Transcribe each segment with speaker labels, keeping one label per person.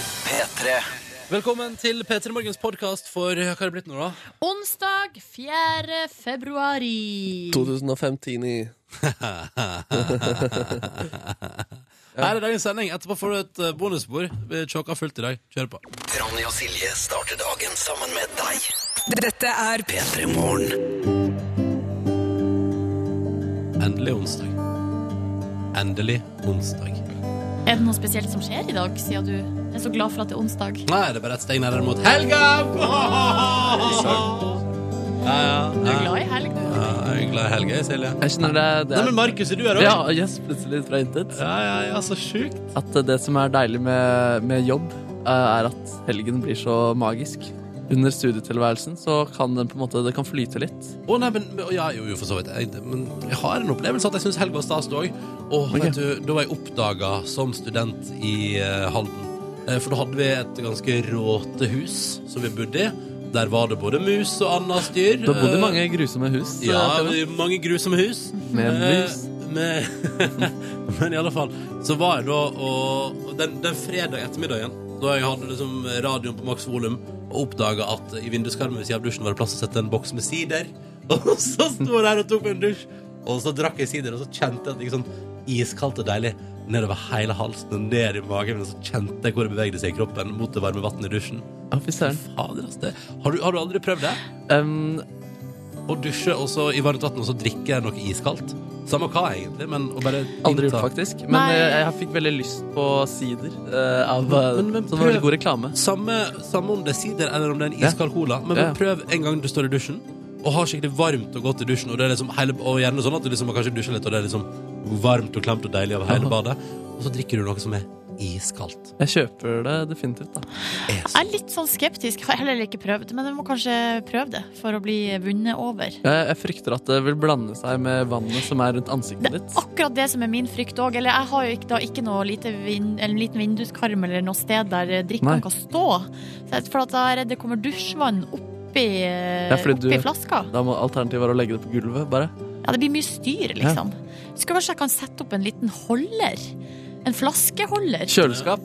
Speaker 1: P3
Speaker 2: Velkommen til P3 Morgens podkast for Hva har det blitt nå, da?
Speaker 3: Onsdag 4. februar. i-
Speaker 4: 2015 i
Speaker 2: Her er dagens sending. Etterpå får du et eh, bonusbord. Vi tjåka fullt i dag. Kjør på.
Speaker 1: Ronny og Silje starter dagen sammen med deg
Speaker 5: Dette er
Speaker 1: P3 Morgen
Speaker 2: Endelig onsdag. Endelig onsdag.
Speaker 3: Er det noe spesielt som skjer i dag, siden du er så glad for at det er onsdag?
Speaker 2: Nei, det er bare et steg nærmere mot helga! Ja, ja.
Speaker 3: Du er
Speaker 2: ja.
Speaker 3: glad i helg, du.
Speaker 2: Ja, jeg er glad i helga, Silje.
Speaker 4: Jeg skjønner det, det
Speaker 2: Nei,
Speaker 4: er,
Speaker 2: men Markus, er du her òg?
Speaker 4: Ja, yes, plutselig fra intet.
Speaker 2: ja, ja, ja, så sjukt.
Speaker 4: At eh, det som er deilig med, med jobb, eh, er at helgen blir så magisk. Under studietilværelsen så kan den på en måte, det kan flyte litt.
Speaker 2: Å nei, men men- ja, jo, jo, for så vidt. Jeg, men jeg har en opplevelse at jeg syns helga var stas, det òg. Og vet du, da var jeg oppdaga som student i eh, Halden. Eh, For da hadde vi et ganske råte hus som vi bodde i. Der var det både mus og annet styr.
Speaker 4: Du har bodd
Speaker 2: Eh,
Speaker 4: i mange grusomme hus. eh,
Speaker 2: Ja,
Speaker 4: Preben.
Speaker 2: det er mange grusomme hus.
Speaker 4: Med
Speaker 2: Eh,
Speaker 4: mus.
Speaker 2: Med, men i alle fall, så var jeg da og, og den, den fredag ettermiddagen, da jeg hadde liksom radioen på maks volum, og oppdaga at i vinduskarmen ved siden av dusjen var det plass til å sette en boks med sider. Og så sto jeg der og tok meg en dusj, og så drakk jeg sider, og så kjente jeg at det gikk sånn iskaldt og deilig nedover hele halsen og ned i magen, men så kjente jeg hvor det bevegde seg i kroppen mot det varme vannet i dusjen.
Speaker 4: Ja, fy søren.
Speaker 2: Fader, ass, det. Har, du, har du aldri prøvd det?
Speaker 4: Um,
Speaker 2: Å dusje og så i varmt vann og så drikke noe iskaldt. Samme hva, egentlig, men å bare
Speaker 4: aldri gjort,
Speaker 2: innta-
Speaker 4: faktisk. Men
Speaker 3: Nei.
Speaker 4: eh, jeg, fikk veldig lyst på sider. eh, av,
Speaker 2: Men- men- men
Speaker 4: som var
Speaker 2: prøv.
Speaker 4: veldig god reklame.
Speaker 2: Samme, samme om det er sider eller om det er en
Speaker 4: Ja.
Speaker 2: iskald cola, men
Speaker 4: Ja.
Speaker 2: bare prøv en gang du står i dusjen og har skikkelig varmt og godt i dusjen, og, det er liksom hele, og gjerne sånn at du liksom har kanskje dusjer litt, og det er liksom varmt og klemt og deilig over hele badet, og så drikker du noe som er iskaldt.
Speaker 4: Jeg kjøper det definitivt. da.
Speaker 2: Det er så-
Speaker 3: Jeg er litt sånn skeptisk. Har heller ikke prøvd, men jeg må kanskje prøve det for å bli vunnet over.
Speaker 4: Jeg, jeg frykter at det vil blande seg med vannet som er rundt ansiktet ditt.
Speaker 3: Akkurat det som er min frykt òg. Eller jeg har jo ikke, da ikke noe lite vin, eller en liten vinduskarm eller noe sted der
Speaker 4: Nei.
Speaker 3: drikkene kan stå. Så jeg, for at jeg er redd det kommer dusjvann oppi,
Speaker 4: Ja, fordi
Speaker 3: oppi
Speaker 4: du-
Speaker 3: flaska.
Speaker 4: Da må alternativet være å legge det på gulvet. bare.
Speaker 3: Ja, det blir mye styr, liksom. Skal kanskje jeg kan sette opp en liten holder? En flaskeholder?
Speaker 4: Kjøleskap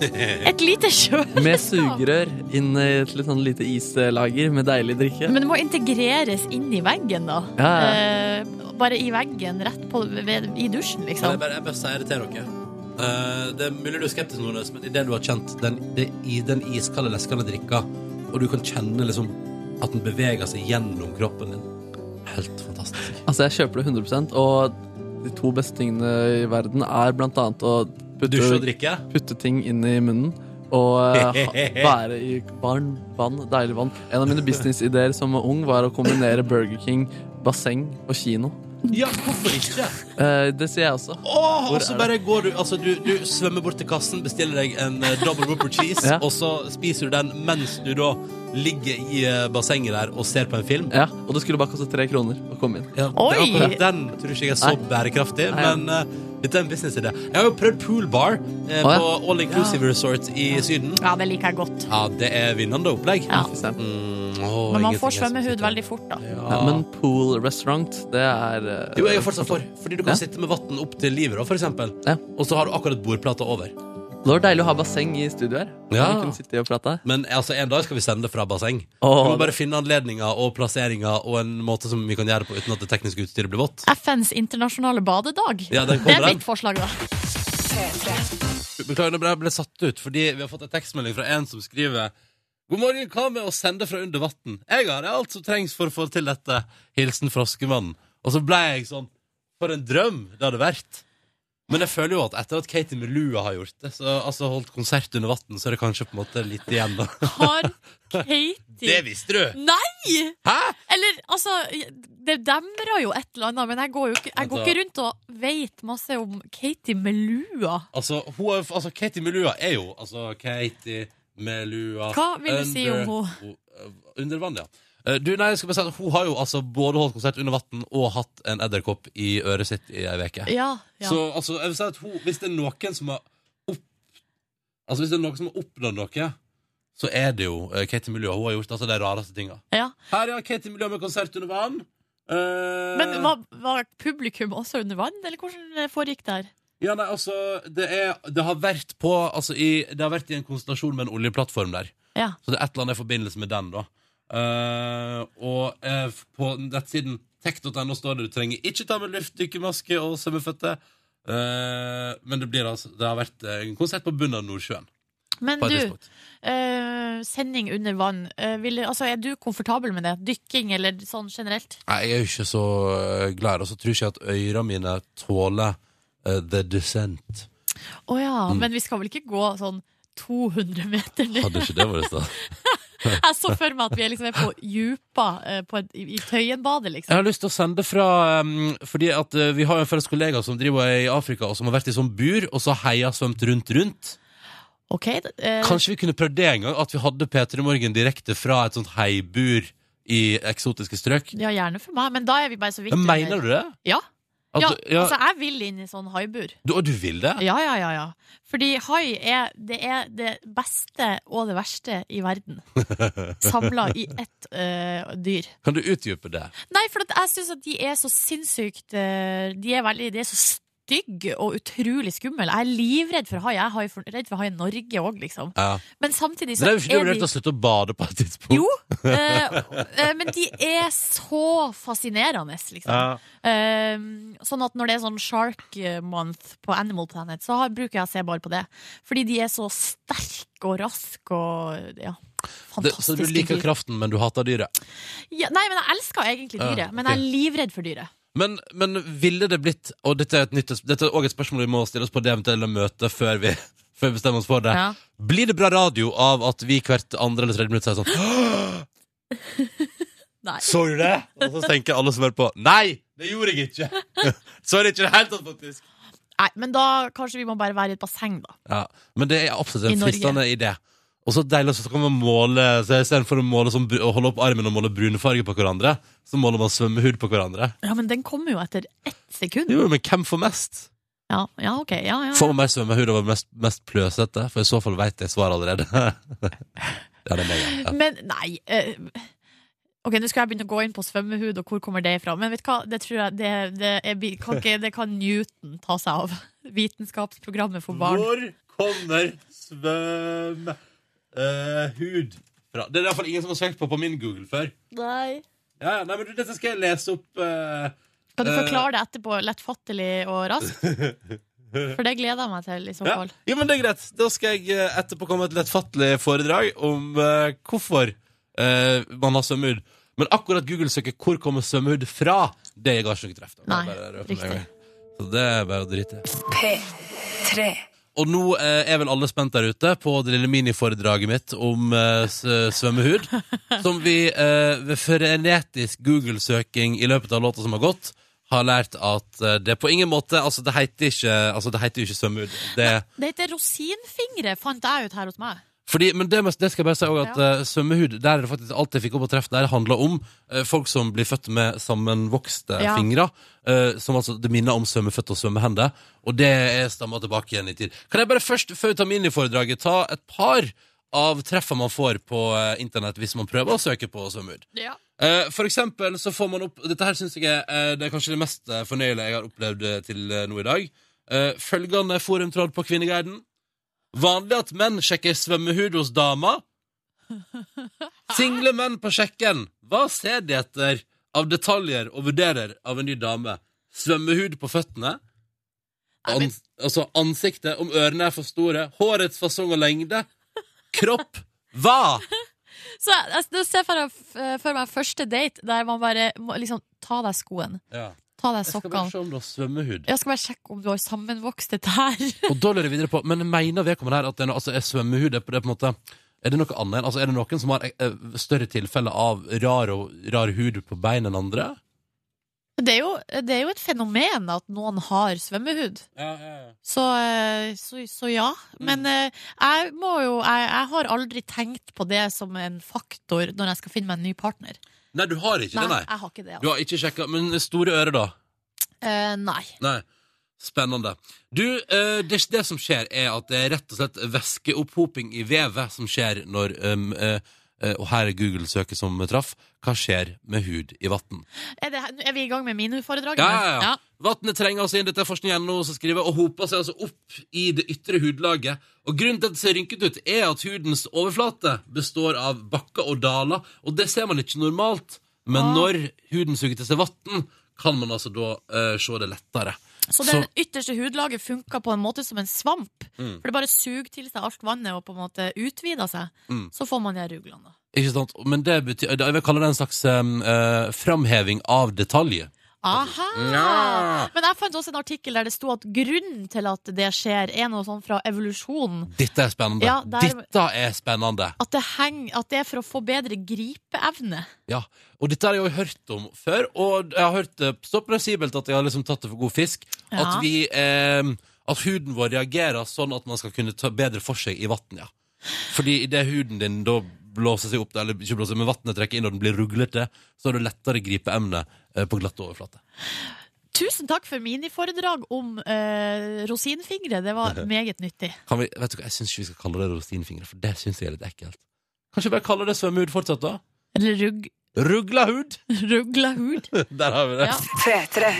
Speaker 3: Et lite kjøl?
Speaker 4: med sugerør inn i et litt sånn lite islager med deilig drikke.
Speaker 3: Men det må integreres inn i veggen, da.
Speaker 4: Ja, ja.
Speaker 3: Eh, bare i veggen, rett på, ved, i dusjen,
Speaker 2: Men jeg
Speaker 3: liksom.
Speaker 2: bare, jeg bare sier det til dere. Eh, det er mulig du er skeptisk, Nordnes, men idet du har kjent den, det, i den iskalde, leskende drikka, og du kan kjenne liksom at den beveger seg gjennom kroppen din Helt fantastisk.
Speaker 4: Altså, jeg kjøper det 100 og de to beste tingene i verden er blant annet å
Speaker 2: Dusje og
Speaker 4: putte,
Speaker 2: drikke.
Speaker 4: putte ting inn i munnen. Og eh, ha- være i varm vann, deilig vann. En av mine businessidéer som ung var å kombinere Burger King, basseng og kino.
Speaker 2: Ja, hvorfor ikke?
Speaker 4: Eh, det sier jeg også.
Speaker 2: Åh,
Speaker 4: Hvor
Speaker 2: og så
Speaker 4: er
Speaker 2: bare går du Altså, du, du svømmer bort til kassen, bestiller deg en eh, double whopper cheese,
Speaker 4: Ja.
Speaker 2: og så spiser du den mens du da ligger i eh, bassenget der og ser på en film.
Speaker 4: Ja, Og det skulle bare koste tre kroner å komme inn.
Speaker 2: Ja, det-
Speaker 3: Oi!
Speaker 2: akkurat Den tror ikke jeg er så bærekraftig,
Speaker 4: Nei, ja.
Speaker 2: men eh, dette er en businessidé. Jeg har jo prøvd poolbar eh,
Speaker 4: Å, ja.
Speaker 2: på All Inclusive Resort i Syden.
Speaker 3: Ja, det liker jeg godt.
Speaker 2: Ja, det er vinnende opplegg.
Speaker 3: Ja.
Speaker 4: Fy søren.
Speaker 2: Mm, åh,
Speaker 3: Men man
Speaker 2: ingenting
Speaker 3: får
Speaker 2: er så
Speaker 3: svømmehud
Speaker 2: sikkert.
Speaker 3: veldig fort, da.
Speaker 4: Ja, men pool restaurant, det er eh,
Speaker 2: Jo, jeg er fortsatt for. Fordi du kan
Speaker 4: Ja.
Speaker 2: sitte med vann opp til livet, da, for eksempel.
Speaker 4: Ja.
Speaker 2: Og så har du akkurat bordplata over.
Speaker 4: Det var deilig å ha basseng i studio her.
Speaker 2: Ja.
Speaker 4: Vi kunne sitte og prate.
Speaker 2: Men altså, en dag skal vi sende det fra basseng.
Speaker 4: Åh,
Speaker 2: vi må bare finne anledninger og plasseringer og en måte som vi kan gjøre det på uten at det tekniske utstyret blir vått.
Speaker 3: FNs internasjonale badedag.
Speaker 2: Ja, den
Speaker 3: det er
Speaker 2: kommer den.
Speaker 3: mitt forslag, da.
Speaker 2: Beklager, nå ble jeg ble satt ut fordi vi har fått en tekstmelding fra en som skriver God morgen, hva med å sende fra under vann? Jeg har alt som trengs for å få til dette. Hilsen Froskemannen. Og så ble jeg sånn For en drøm det hadde vært. Men jeg føler jo at etter at Katie Melua har gjort det, så altså holdt konsert under vann, så er det kanskje på en måte litt igjen, da.
Speaker 3: Har
Speaker 2: Det
Speaker 3: Katie
Speaker 2: visste du!
Speaker 3: Nei!
Speaker 2: Hæ?
Speaker 3: Eller, altså, det demrer jo et eller annet, men jeg går jo ikke, jeg går
Speaker 2: Altså-
Speaker 3: ikke rundt og vet masse om Katie med lua.
Speaker 2: Altså, hun, er- altså Katie Melua er jo Altså, Katie Melua
Speaker 3: Hva vil du si om
Speaker 2: hun? Under vann, ja. Eh, Du, nei, jeg skal bare si at Hun har jo altså både holdt konsert under vann og hatt en edderkopp i øret sitt i ei uke.
Speaker 3: Ja, ja.
Speaker 2: Så altså, jeg vil si at hun, hvis det er noen som har opp, Altså, hvis det er noen som har oppnådd noe, så er det jo eh, Katie Melua. Hun har gjort altså de rareste tinga.
Speaker 3: ja.
Speaker 2: Her, ja, Katie Melua med konsert under vann. Eh,
Speaker 3: Men var, var publikum også under vann, eller hvordan foregikk det her?
Speaker 2: Ja, nei, altså, det, er, det har vært på altså, i, Det har vært i en konstellasjon med en oljeplattform der.
Speaker 3: Ja.
Speaker 2: Så det er et eller annet i forbindelse med den, da. Eh, og eh, f- på nettsiden tech.no står det du trenger ikke ta med luftdykkermaske og svømmeføtter. Eh, men det, blir, altså, det har vært eh, en konsert på bunnen av Nordsjøen.
Speaker 3: Men
Speaker 2: På et
Speaker 3: du,
Speaker 2: tidspunkt.
Speaker 3: eh, sending under vann, eh, vil, altså, er du komfortabel med det? Dykking eller sånn generelt?
Speaker 2: Nei, jeg er jo ikke så eh, glad i det. Og så tror jeg ikke at øyra mine tåler eh, the descent. Mm.
Speaker 3: Å ja, men vi skal vel ikke gå sånn 200 meter ned?
Speaker 2: Hadde ikke det vært stas?
Speaker 3: Jeg så for meg at vi er liksom er på dypa eh, på et, i i Tøyenbadet, liksom.
Speaker 2: Jeg har lyst til å sende fra um, Fordi at uh, vi har jo en felles kollega som driver i Afrika, og som har vært i sånn bur, og så heia svømt rundt rundt.
Speaker 3: Ok, eh,
Speaker 2: Kanskje vi kunne prøvd det en gang, at vi hadde P3 Morgen direkte fra et sånt heibur i eksotiske strøk.
Speaker 3: ja, gjerne for meg, men da er vi bare så vidt
Speaker 2: Men mener du det?
Speaker 3: Ja.
Speaker 2: At,
Speaker 3: Ja,
Speaker 2: du- ja,
Speaker 3: altså jeg vil inn i sånn haibur.
Speaker 2: du, og du vil det?
Speaker 3: Ja, ja, ja, ja. Fordi hai er det, er det beste og det verste i verden. Samla i ett eh, dyr.
Speaker 2: Kan du utdype det?
Speaker 3: Nei, for at jeg syns at de er så sinnssykt eh, De er, veldig, de er så stygge og utrolig skumle. Jeg er livredd for hai. Jeg er hai for, redd for hai i Norge òg, liksom.
Speaker 2: Ja.
Speaker 3: Men samtidig
Speaker 2: Men
Speaker 3: så
Speaker 2: det er jo ikke du
Speaker 3: er
Speaker 2: vurdert
Speaker 3: de
Speaker 2: å slutte å bade på et tidspunkt?
Speaker 3: Jo, eh, eh, men de er så fascinerende, liksom.
Speaker 2: Ja.
Speaker 3: Eh, sånn at når det er sånn Shark Month på Animal Planet, så har, bruker jeg å se bare på det. Fordi de er så sterke og raske og ja,
Speaker 2: Det, så du
Speaker 3: fantastiske
Speaker 2: liker
Speaker 3: dyr.
Speaker 2: kraften, men du hater dyret?
Speaker 3: Ja, nei, men jeg elsker egentlig
Speaker 2: Ja,
Speaker 3: dyret, men jeg
Speaker 2: ok.
Speaker 3: er livredd for dyret.
Speaker 2: Men, men ville det blitt Og dette er, et nytt, dette er også et spørsmål vi må stille oss på det eventuelle møtet før vi, før vi bestemmer oss for det.
Speaker 3: Ja.
Speaker 2: Blir det bra radio av at vi hvert andre eller tredje minutt sier sånn
Speaker 3: Nei.
Speaker 2: Så du det? Og så tenker alle som hører på Nei, det gjorde jeg ikke! så er det ikke i det hele tatt, faktisk.
Speaker 3: nei, men da kanskje vi må bare være i et basseng, da.
Speaker 2: Ja, men det er absolutt
Speaker 3: I
Speaker 2: en
Speaker 3: Norge.
Speaker 2: fristende idé. Og så deilig så kan man måle så Istedenfor å måle sånn, bru- å holde opp armen og måle brunfarge på hverandre, så måler man svømmehud på hverandre.
Speaker 3: Ja, men den kommer jo etter ett sekund.
Speaker 2: Jo, men hvem får mest?
Speaker 3: Ja, ja ok. Ja, ja.
Speaker 2: Får man mer svømmehud over mest, mest pløsete? For i så fall veit jeg svaret allerede. ja, det er meg, ja.
Speaker 3: Men nei eh, Ok, nå skal jeg begynne å gå inn på svømmehud, og hvor kommer det ifra? Men vet du hva, det tror jeg det, det, er, bi- kan, ikke, det kan Newton ta seg av. Vitenskapsprogrammet for barn.
Speaker 2: kommer svømmehud fra? Det er iallfall ingen som har søkt på på min Google før.
Speaker 3: Nei.
Speaker 2: Ja, nei, men du, Dette skal jeg lese opp. eh,
Speaker 3: Kan du
Speaker 2: Eh.
Speaker 3: forklare det etterpå, lettfattelig og raskt? For det gleder jeg meg til, i så
Speaker 2: ja.
Speaker 3: fall.
Speaker 2: Jo, men det er greit. Da skal jeg eh, etterpå komme med et lettfattelig foredrag om eh, hvorfor eh, man har svømmehud. Men akkurat Google søker 'hvor kommer svømmehud fra', det ga ikke noe treff. da.
Speaker 3: Nei,
Speaker 2: Bare røpe med
Speaker 3: riktig.
Speaker 2: en gang. Så det er bare å drite i.
Speaker 5: P3.
Speaker 2: Og nå eh, er vel alle spent der ute på det lille miniforedraget mitt om eh, s- svømmehud. Som vi eh, ved frenetisk Google-søking i løpet av låta som har gått, har lært at eh, det på ingen måte Altså, det heter ikke, altså, det heter jo ikke svømmehud. Det,
Speaker 3: Det heter rosinfingre, fant jeg ut her hos meg.
Speaker 2: fordi, men det, må- det skal jeg bare si også, at
Speaker 3: Ja.
Speaker 2: eh, svømmehud Der er det faktisk alt jeg fikk opp på treff der, handler om eh, folk som blir født med sammenvokste
Speaker 3: Ja.
Speaker 2: fingre. eh, som altså det minner om svømmeføtter og svømmehender. Og det er stammer tilbake igjen i tid. Kan jeg bare først, før vi tar miniforedraget, ta et par av treffene man får på eh, internett hvis man prøver å søke på svømmehud?
Speaker 3: Ja.
Speaker 2: Eh, For eksempel så får man opp Dette her synes jeg er, eh, det er kanskje det mest eh, fornøyelige jeg har opplevd eh, til eh, nå i dag. Eh, Følgende forumtråd på Kvinneguiden. Vanlig at menn sjekker svømmehud hos damer. Single menn på sjekken. Hva ser de etter av detaljer og vurderer av en ny dame? Svømmehud på føttene.
Speaker 3: Nei, men-
Speaker 2: Ans altså ansiktet, om ørene er for store. Hårets fasong og lengde. Kropp. Hva?
Speaker 3: Så jeg, jeg, nå ser jeg for, meg- eh, for meg første date der man bare må liksom ta deg skoen,
Speaker 2: Ja.
Speaker 3: ta deg
Speaker 2: Jeg skal bare
Speaker 3: sokkene.
Speaker 2: se om du har svømmehud.
Speaker 3: Jeg skal bare sjekke om du har sammenvokste tær.
Speaker 2: Og da lurer jeg videre på Men mener vedkommende her at det er, noe- altså, er svømmehud det er på det på en måte Er det noe annet enn Altså er det noen som har eh, større tilfelle av rar, og, rar hud på bein enn andre?
Speaker 3: Det er, jo, det er jo et fenomen at noen har svømmehud.
Speaker 2: Ja, ja, ja Mm.
Speaker 3: Så, eh, så, så ja. Men eh, jeg må jo jeg, jeg har aldri tenkt på det som en faktor når jeg skal finne meg en ny partner.
Speaker 2: Nei, du har ikke det, nei
Speaker 3: jeg har ikke det.
Speaker 2: Du
Speaker 3: Altså.
Speaker 2: har ikke sjekket Men store ører da?
Speaker 3: Eh, nei.
Speaker 2: Nei Spennende Du, eh, det, det som skjer er at det er rett og slett Væskeopphoping i vevet som skjer når um, eh, eh, Og her er Google søket som traff Hva skjer med hud i vatten?
Speaker 3: Er, det, er vi i gang med
Speaker 2: Ja, ja, ja.
Speaker 3: miniforedraget?
Speaker 2: Vannet trenger altså inn dette er forskning.no, som skriver, og hoper seg altså opp i det ytre hudlaget. Og Grunnen til at det ser rynket ut, er at hudens overflate består av bakker og daler. Og det ser man ikke normalt, men
Speaker 3: Ah.
Speaker 2: når huden suger til seg vann, kan man altså da eh, se det lettere.
Speaker 3: Så det ytterste hudlaget funka på en måte som en svamp.
Speaker 2: Mm.
Speaker 3: For det bare suger til seg alt vannet og på en måte utvider seg.
Speaker 2: Mm.
Speaker 3: Så får man de her ruglene. da.
Speaker 2: Ikke sant? Men det betyr, jeg vil kalle det en slags em, eh, framheving av detaljer.
Speaker 3: Aha!
Speaker 2: Ja.
Speaker 3: Men jeg fant også en artikkel der det sto at grunnen til at det skjer, er noe sånn fra evolusjonen.
Speaker 2: Dette er spennende.
Speaker 3: Ja, der-
Speaker 2: Dette er spennende.
Speaker 3: At det, henger, at det er for å få bedre gripeevne.
Speaker 2: Ja, og dette har jeg jo hørt om før, og jeg har hørt det så plausibelt at jeg har liksom tatt det for god fisk.
Speaker 3: Ja.
Speaker 2: At, vi, eh, at huden vår reagerer sånn at man skal kunne ta bedre for seg i vann, ja. Fordi idet huden din da blåser seg opp, eller ikke blåser, men vannet trekker inn og den blir ruglete, så har du lettere gripeemne eh, på glatt overflate.
Speaker 3: Tusen takk for miniforedrag om eh, rosinfingre. Det var meget nyttig.
Speaker 2: Kan vi, vet du hva, Jeg syns ikke vi skal kalle det rosinfingre, for det syns jeg er litt ekkelt. Kanskje vi bare kaller det svømmehud fortsatt, da?
Speaker 3: Eller rugg,
Speaker 2: Rugla hud!
Speaker 3: rugla hud.
Speaker 2: Der har vi det.
Speaker 3: Ja.
Speaker 5: P3.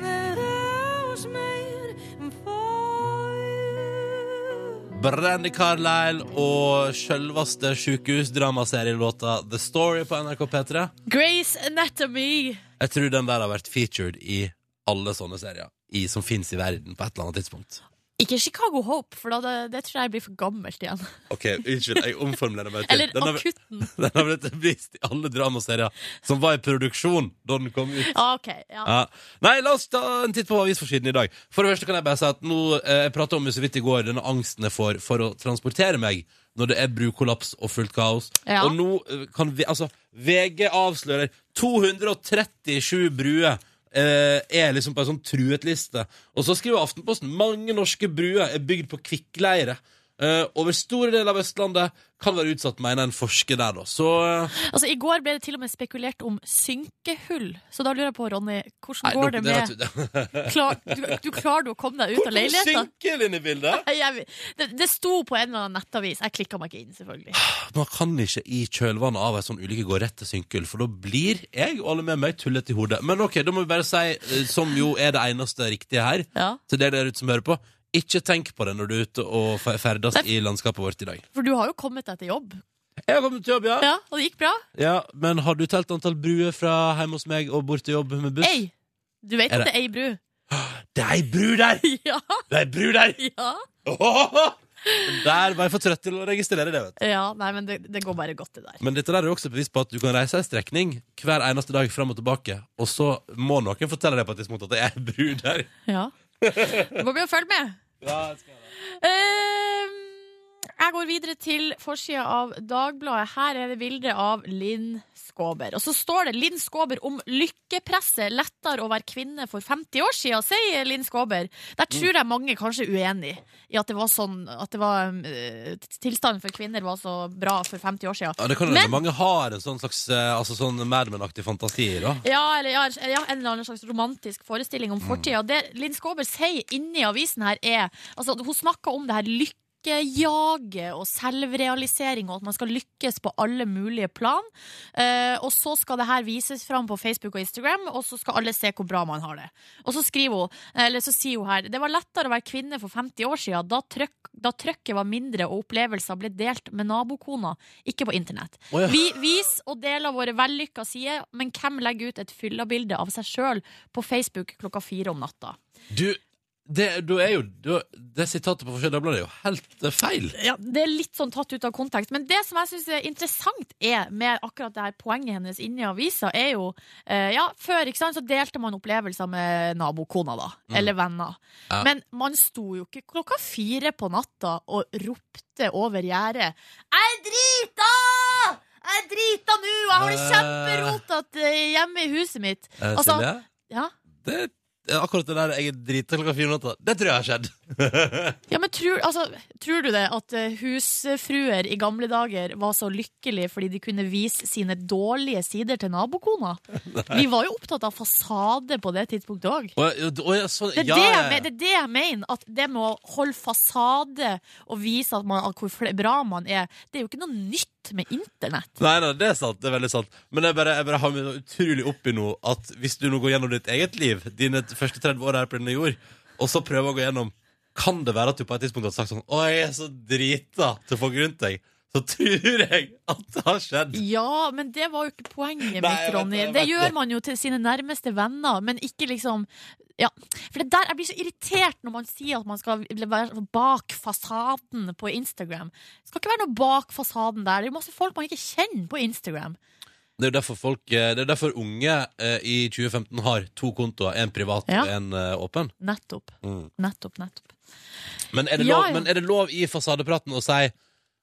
Speaker 2: Brandy Carlisle og sjølveste sjukehusdramaserielåta The Story på NRK P3.
Speaker 3: Grace Anatomy.
Speaker 2: Jeg tror den der har vært featured i alle sånne serier i, som fins i verden på et eller annet tidspunkt.
Speaker 3: Ikke Chicago Hope, for da, det, det tror jeg blir for gammelt igjen.
Speaker 2: Ok, Unnskyld, jeg omformulerer meg
Speaker 3: Eller
Speaker 2: Den har,
Speaker 3: Akutten.
Speaker 2: den har blitt vist i alle dramaserier som var i produksjon da den kom ut.
Speaker 3: Ja, Ah, ok. Ja.
Speaker 2: Ja. Nei, la oss ta en titt på avisforsiden i dag. For det første kan jeg bare si at nå, eh, Jeg prata om det så vidt i går, denne angsten jeg får for å transportere meg når det er brukollaps og fullt kaos.
Speaker 3: Ja.
Speaker 2: Og nå eh, kan vi Altså, VG avslører 237 bruer. eh, Er liksom på en sånn truet liste. Og så skriver Aftenposten mange norske bruer er bygd på kvikkleire. Eh, over store deler av Østlandet kan være utsatt, mener en forsker der, da. Så eh,
Speaker 3: Altså, I går ble det til og med spekulert om synkehull. Så da lurer jeg på, Ronny, hvordan
Speaker 2: nei,
Speaker 3: går
Speaker 2: nå-
Speaker 3: det med
Speaker 2: vet du-
Speaker 3: klar, du, du Klarer du å komme deg ut av
Speaker 2: Hvordan
Speaker 3: leiligheten?
Speaker 2: synker den inn i bildet?
Speaker 3: Nei, Jeg, det, det sto på en eller annen nettavis. Jeg klikka meg ikke inn, selvfølgelig.
Speaker 2: Man kan ikke i kjølvannet av ei sånn ulykke gå rett til synkull, for da blir jeg og alle med meg tullete i hodet. Men ok, da må vi bare si, eh, som jo er det eneste riktige her,
Speaker 3: Ja.
Speaker 2: til dere der ute som hører på, ikke tenk på det når du er ute og fe- ferdes
Speaker 3: Nei.
Speaker 2: i landskapet vårt i dag.
Speaker 3: For du har jo kommet deg til jobb.
Speaker 2: Jeg har kommet til jobb, ja.
Speaker 3: Ja, Og det gikk bra?
Speaker 2: ja. Men har du telt antall bruer fra hjemme hos meg og bort til jobb med buss?
Speaker 3: Ei! Du vet
Speaker 2: Er
Speaker 3: at det er ei bru?
Speaker 2: Det er ei bru der!
Speaker 3: Ja,
Speaker 2: Det er ei bru der!
Speaker 3: ja.
Speaker 2: Åhåhå! Der var jeg for trøtt til å registrere det, vet du.
Speaker 3: ja nei, men det, det går bare godt, det der.
Speaker 2: Men dette der er jo også et bevis på at du kan reise en strekning hver eneste dag fram og tilbake, og så må noen fortelle deg på et tidspunkt at det er en bru der.
Speaker 3: Ja. Du må begynne å følge med. Ehm, jeg går videre til forsida av Dagbladet. Her er det bilde av Linn Skåber. Og så står det 'Linn Skåber om lykkepresset. Lettere å være kvinne for 50 år siden', sier Linn Skåber. Der
Speaker 2: Mm.
Speaker 3: tror jeg mange kanskje er uenig i at det var sånn At det var eh, tilstanden for kvinner var så bra for 50 år siden.
Speaker 2: Ja, det kan jo
Speaker 3: Men-
Speaker 2: hende mange har en sånn slags eh, altså sånn Mad Men-aktig fantasi, da.
Speaker 3: Ja, eller ja, ja, en eller annen slags romantisk forestilling om fortida. Det Linn Skåber sier inni avisen her, er altså, Hun snakker om det her lykkejaget og selvrealisering, og at man skal lykkes på alle mulige plan. Eh, og så skal det her vises fram på Facebook og Instagram, og så skal alle se hvor bra man har det. Og så skriver hun, eller så sier hun her Det var lettere å være kvinne for 50 år siden, da, trøkk, da trøkket var mindre og opplevelser ble delt med nabokona, ikke på internett.
Speaker 2: Å, ja.
Speaker 3: Vi viser og deler våre vellykka sider, men hvem legger ut et fyllabilde av seg sjøl på Facebook klokka fire om natta?
Speaker 2: Du, det, du er jo du, Det sitatet på Forskjell Dagbladet er jo helt eh, feil.
Speaker 3: Ja, Det er litt sånn tatt ut av kontekst. Men det som jeg syns er interessant er med akkurat det her poenget hennes inni avisa, er jo eh, Ja, før ikke sant, så delte man opplevelser med nabokona, da. Eller venner.
Speaker 2: Mm. Ja.
Speaker 3: Men man sto jo ikke klokka fire på natta og ropte over gjerdet 'Jeg er drita! Jeg er drita nå! Jeg har det
Speaker 2: Eh.
Speaker 3: kjemperotete hjemme i huset mitt!'
Speaker 2: Eh,
Speaker 3: Altså-
Speaker 2: Silje?
Speaker 3: Ja.
Speaker 2: Det er akkurat det der jeg er drita klokka fire om natta. Det tror jeg har skjedd.
Speaker 3: Ja, men tror, altså, tror du det at eh, husfruer i gamle dager var så lykkelige fordi de kunne vise sine dårlige sider til nabokona? Vi var jo opptatt av fasade på det tidspunktet òg.
Speaker 2: Og, og, og, sånn,
Speaker 3: Det er,
Speaker 2: ja,
Speaker 3: det,
Speaker 2: ja,
Speaker 3: jeg,
Speaker 2: ja.
Speaker 3: men- det er det jeg mener, at det med å holde fasade og vise at man, at hvor fl- bra man er, det er jo ikke noe nytt. født med internett.
Speaker 2: Nei, nei, det er sant. det er veldig sant Men jeg bare, jeg bare har meg så utrolig oppi nå at hvis du nå går gjennom ditt eget liv, dine første 30 år her på denne jord, og så prøver å gå gjennom Kan det være at du på et tidspunkt har sagt sånn Å, jeg er så drita til folk rundt deg. Så tror jeg at det har skjedd.
Speaker 3: Ja, men det var jo ikke poenget
Speaker 2: Nei,
Speaker 3: mitt,
Speaker 2: jeg vet
Speaker 3: Ronny.
Speaker 2: det, jeg
Speaker 3: Det
Speaker 2: vet det.
Speaker 3: gjør man jo til sine nærmeste venner, men ikke liksom ja, for det der, Jeg blir så irritert når man sier at man skal være bak fasaden på Instagram. Det skal ikke være noe bak fasaden der. Det er jo masse folk man ikke kjenner på Instagram.
Speaker 2: Det er jo derfor, folk, eh, det er derfor unge eh, i 2015 har to kontoer. En privat og
Speaker 3: Ja.
Speaker 2: en eh, åpen.
Speaker 3: Nettopp.
Speaker 2: Mm.
Speaker 3: Nettopp, nettopp.
Speaker 2: Men er, det
Speaker 3: Ja,
Speaker 2: lov,
Speaker 3: ja.
Speaker 2: men er det lov i fasadepraten å si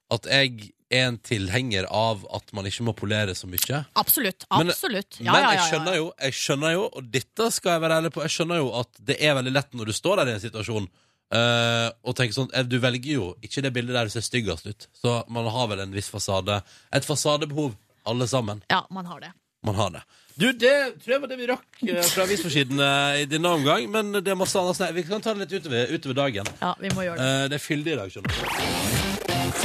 Speaker 2: at jeg er en tilhenger av at man ikke må polere så mye?
Speaker 3: Absolutt.
Speaker 2: Men- eh,
Speaker 3: Absolutt.
Speaker 2: Men jeg skjønner jo, jeg skjønner jo og dette skal jeg være ærlig på, jeg skjønner jo at det er veldig lett når du står der i en situasjon eh, og tenker sånn eh, Du velger jo ikke det bildet der du ser styggest ut. Så man har vel en viss fasade. Et fasadebehov, alle sammen.
Speaker 3: Ja, man har det.
Speaker 2: Man har det. Du, det tror jeg var det vi rakk eh, fra avisforsidene i denne omgang, men det er masse annet. snakk. Vi kan ta det litt utover, utover dagen.
Speaker 3: Ja, vi må gjøre det.
Speaker 2: Eh, det er fyldig i dag, skjønner du. Eh,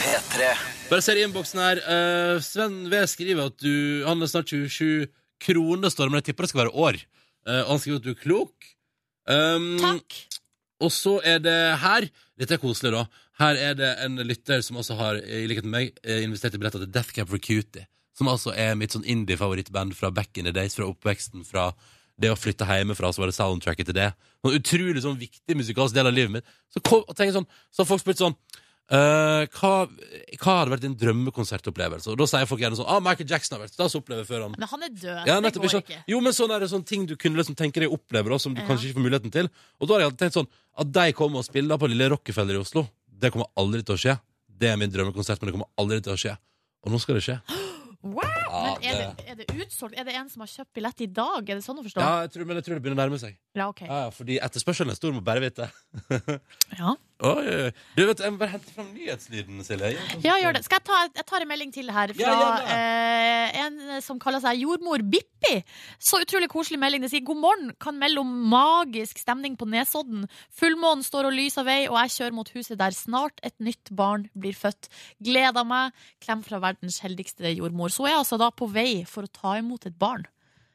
Speaker 1: P3.
Speaker 2: Bare ser i innboksen her. eh, Sven V skriver at du Han er snart 27 kroner, står det, men jeg tipper det skal være år. Eh, og han skriver at du er klok. Um,
Speaker 3: Takk.
Speaker 2: Og så er det her Dette er koselig, da. Her er det en lytter som også har, i likhet med meg, eh, investert i billetter til Death Cab for Cutie. Som altså er mitt sånn indie-favorittband fra back in the days, fra oppveksten, fra det å flytte hjemmefra, så var det soundtracket til det. Noen utrolig sånn viktig musikalsk del av livet mitt. Så, kom, og tenk sånn, så har folk spurt sånn eh, hva, hva hadde vært din drømmekonsertopplevelse? Og da sier folk gjerne sånn ah, Michael Jackson har vært stas å oppleve før han
Speaker 3: Men han er død.
Speaker 2: ja,
Speaker 3: det
Speaker 2: nettopp,
Speaker 3: går
Speaker 2: ikke.
Speaker 3: ikke.
Speaker 2: sant? Jo, men sånn er det sånne ting du kunne liksom tenke deg å oppleve, da, som du
Speaker 3: Ja.
Speaker 2: kanskje ikke får muligheten til. Og da har jeg alltid tenkt sånn At de kommer og spiller på Lille Rockefeller i Oslo, det kommer aldri til å skje. Det er min drømmekonsert, men det kommer aldri til å skje. Og nå skal det skje.
Speaker 3: Wow!
Speaker 2: Ja,
Speaker 3: Men er det, er det utsolgt? Er det en som har kjøpt billett i dag? Er det sånn å forstå?
Speaker 2: Ja,
Speaker 3: Ja,
Speaker 2: jeg tror, men jeg tror det begynner å nærme seg.
Speaker 3: ok.
Speaker 2: Ja, ja, fordi etterspørselen er stor, må bare vite.
Speaker 3: Ja.
Speaker 2: Oi, oi, oi. Du vet, Jeg må bare hente fram nyhetslyden, Silje.
Speaker 3: Ja, gjør det. Skal jeg ta jeg tar en melding til her fra
Speaker 2: Ja, gjør det.
Speaker 3: eh, en som kaller seg jordmor Bippi. Så utrolig koselig melding. Det sier god morgen, kan melde om magisk stemning på Nesodden. Fullmånen står og lyser vei, og jeg kjører mot huset der snart et nytt barn blir født. Gleder meg. Klem fra verdens heldigste jordmor. Så er jeg altså da på vei for å ta imot et barn.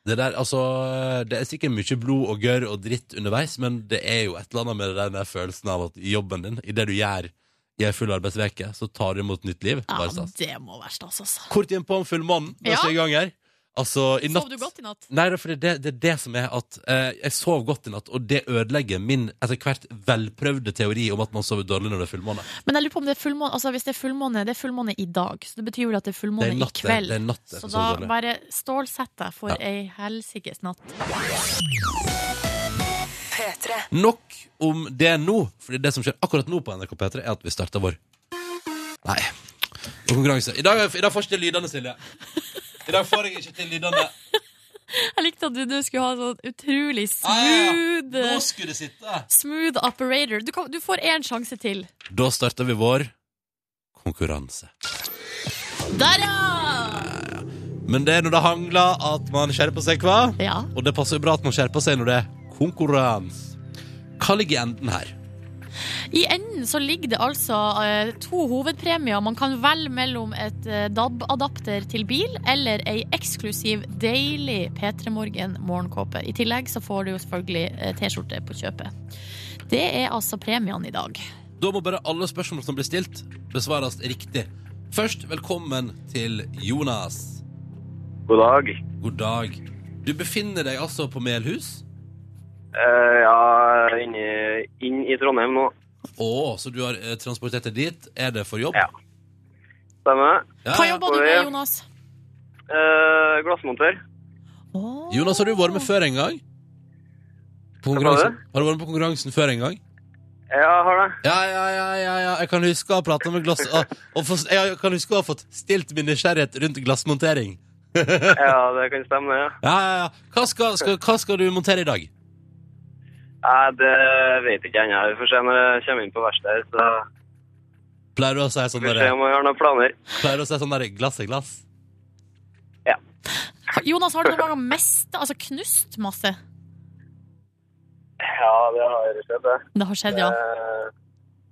Speaker 2: Det der, altså Det er sikkert mye blod og gørr og dritt underveis, men det er jo et eller annet med den der følelsen av at i jobben din, i det du gjør i ei full arbeidsveke, så tar du imot nytt liv.
Speaker 3: Ja,
Speaker 2: Bare stas.
Speaker 3: det må være stas, altså.
Speaker 2: Kort innpå om fullmånen.
Speaker 3: Ja.
Speaker 2: Ja. I gang her. Altså, i natt
Speaker 3: Sov du godt i natt?
Speaker 2: Nei, det er fordi det, det er det som er at eh, jeg sov godt i natt, og det ødelegger min etter hvert velprøvde teori om at man sover dårlig når det er fullmåne.
Speaker 3: Men jeg lurer på om det er fullmåne Altså hvis det er fullmåne, det er fullmåne i dag. Så det betyr vel at det er
Speaker 2: Det
Speaker 3: fullmåne i
Speaker 2: er natt, det,
Speaker 3: kveld.
Speaker 2: det er natt jeg
Speaker 3: Så
Speaker 2: skal
Speaker 3: da
Speaker 2: sove dårlig.
Speaker 3: bare stålsett deg for
Speaker 2: Ja.
Speaker 3: ei helsikes natt.
Speaker 5: P3.
Speaker 2: Nok om det nå, Fordi det som skjer akkurat nå på NRK P3, er at vi starter vår Nei. vår konkurranse. I dag, I dag får jeg ikke til lydene, Silje. I dag får jeg ikke til lydene.
Speaker 3: Jeg likte at du, du skulle ha sånn utrolig
Speaker 2: Ah, ja, ja.
Speaker 3: smooth
Speaker 2: Nå skulle det sitte.
Speaker 3: Smooth operator. Du, kan, du får én sjanse til.
Speaker 2: Da starter vi vår konkurranse.
Speaker 3: Der, ja!
Speaker 2: Men det er når det hangler at man skjerper seg, hva?
Speaker 3: Ja.
Speaker 2: Og det passer jo bra at man skjerper seg når det er konkurranse. Hva ligger i enden her?
Speaker 3: I enden så ligger det altså eh, to hovedpremier. Man kan velge mellom et eh, DAB-adapter til bil eller ei eksklusiv, deilig P3 Morgen-morgenkåpe. I tillegg så får du jo selvfølgelig eh, T-skjorte på kjøpet. Det er altså premiene i dag.
Speaker 2: Da må bare alle spørsmål som blir stilt, besvares riktig. Først, velkommen til Jonas.
Speaker 6: God dag.
Speaker 2: God dag. Du befinner deg altså på Melhus.
Speaker 6: Eh, ja, inne, inn i Trondheim nå.
Speaker 2: Å, så du har eh, transportert deg dit. Er det for jobb?
Speaker 6: Ja. Stemmer.
Speaker 2: Ja,
Speaker 3: Hva
Speaker 2: ja.
Speaker 3: jobber du med, Jonas?
Speaker 6: Eh, glassmonter.
Speaker 3: Åh.
Speaker 2: Jonas, har du vært med før en gang? På
Speaker 6: Hva sa
Speaker 2: konkurransen?
Speaker 6: du?
Speaker 2: Har du vært med på konkurransen før en gang?
Speaker 6: Ja, jeg har det.
Speaker 2: Ja, ja, ja, ja, ja. jeg kan huske å ha pratet med glass... ah, Og få- jeg kan huske å ha fått stilt min nysgjerrighet rundt glassmontering.
Speaker 6: Ja, det kan stemme, det. Ja.
Speaker 2: Ja, ja, ja. Hva skal, skal, hva skal du montere i dag?
Speaker 6: Nei, det vet jeg ikke ennå. Vi får se når jeg kommer inn på verkstedet. Så
Speaker 2: Pleier du å si sånn
Speaker 6: får vi se
Speaker 2: der,
Speaker 6: om jeg har noen planer.
Speaker 2: pleier du å si sånn der glass er glass?
Speaker 3: Har- Jonas, har du noen ganger mista, altså knust masse?
Speaker 6: Ja, det har jeg sett, det.
Speaker 3: Det har skjedd, ja.
Speaker 6: Eh,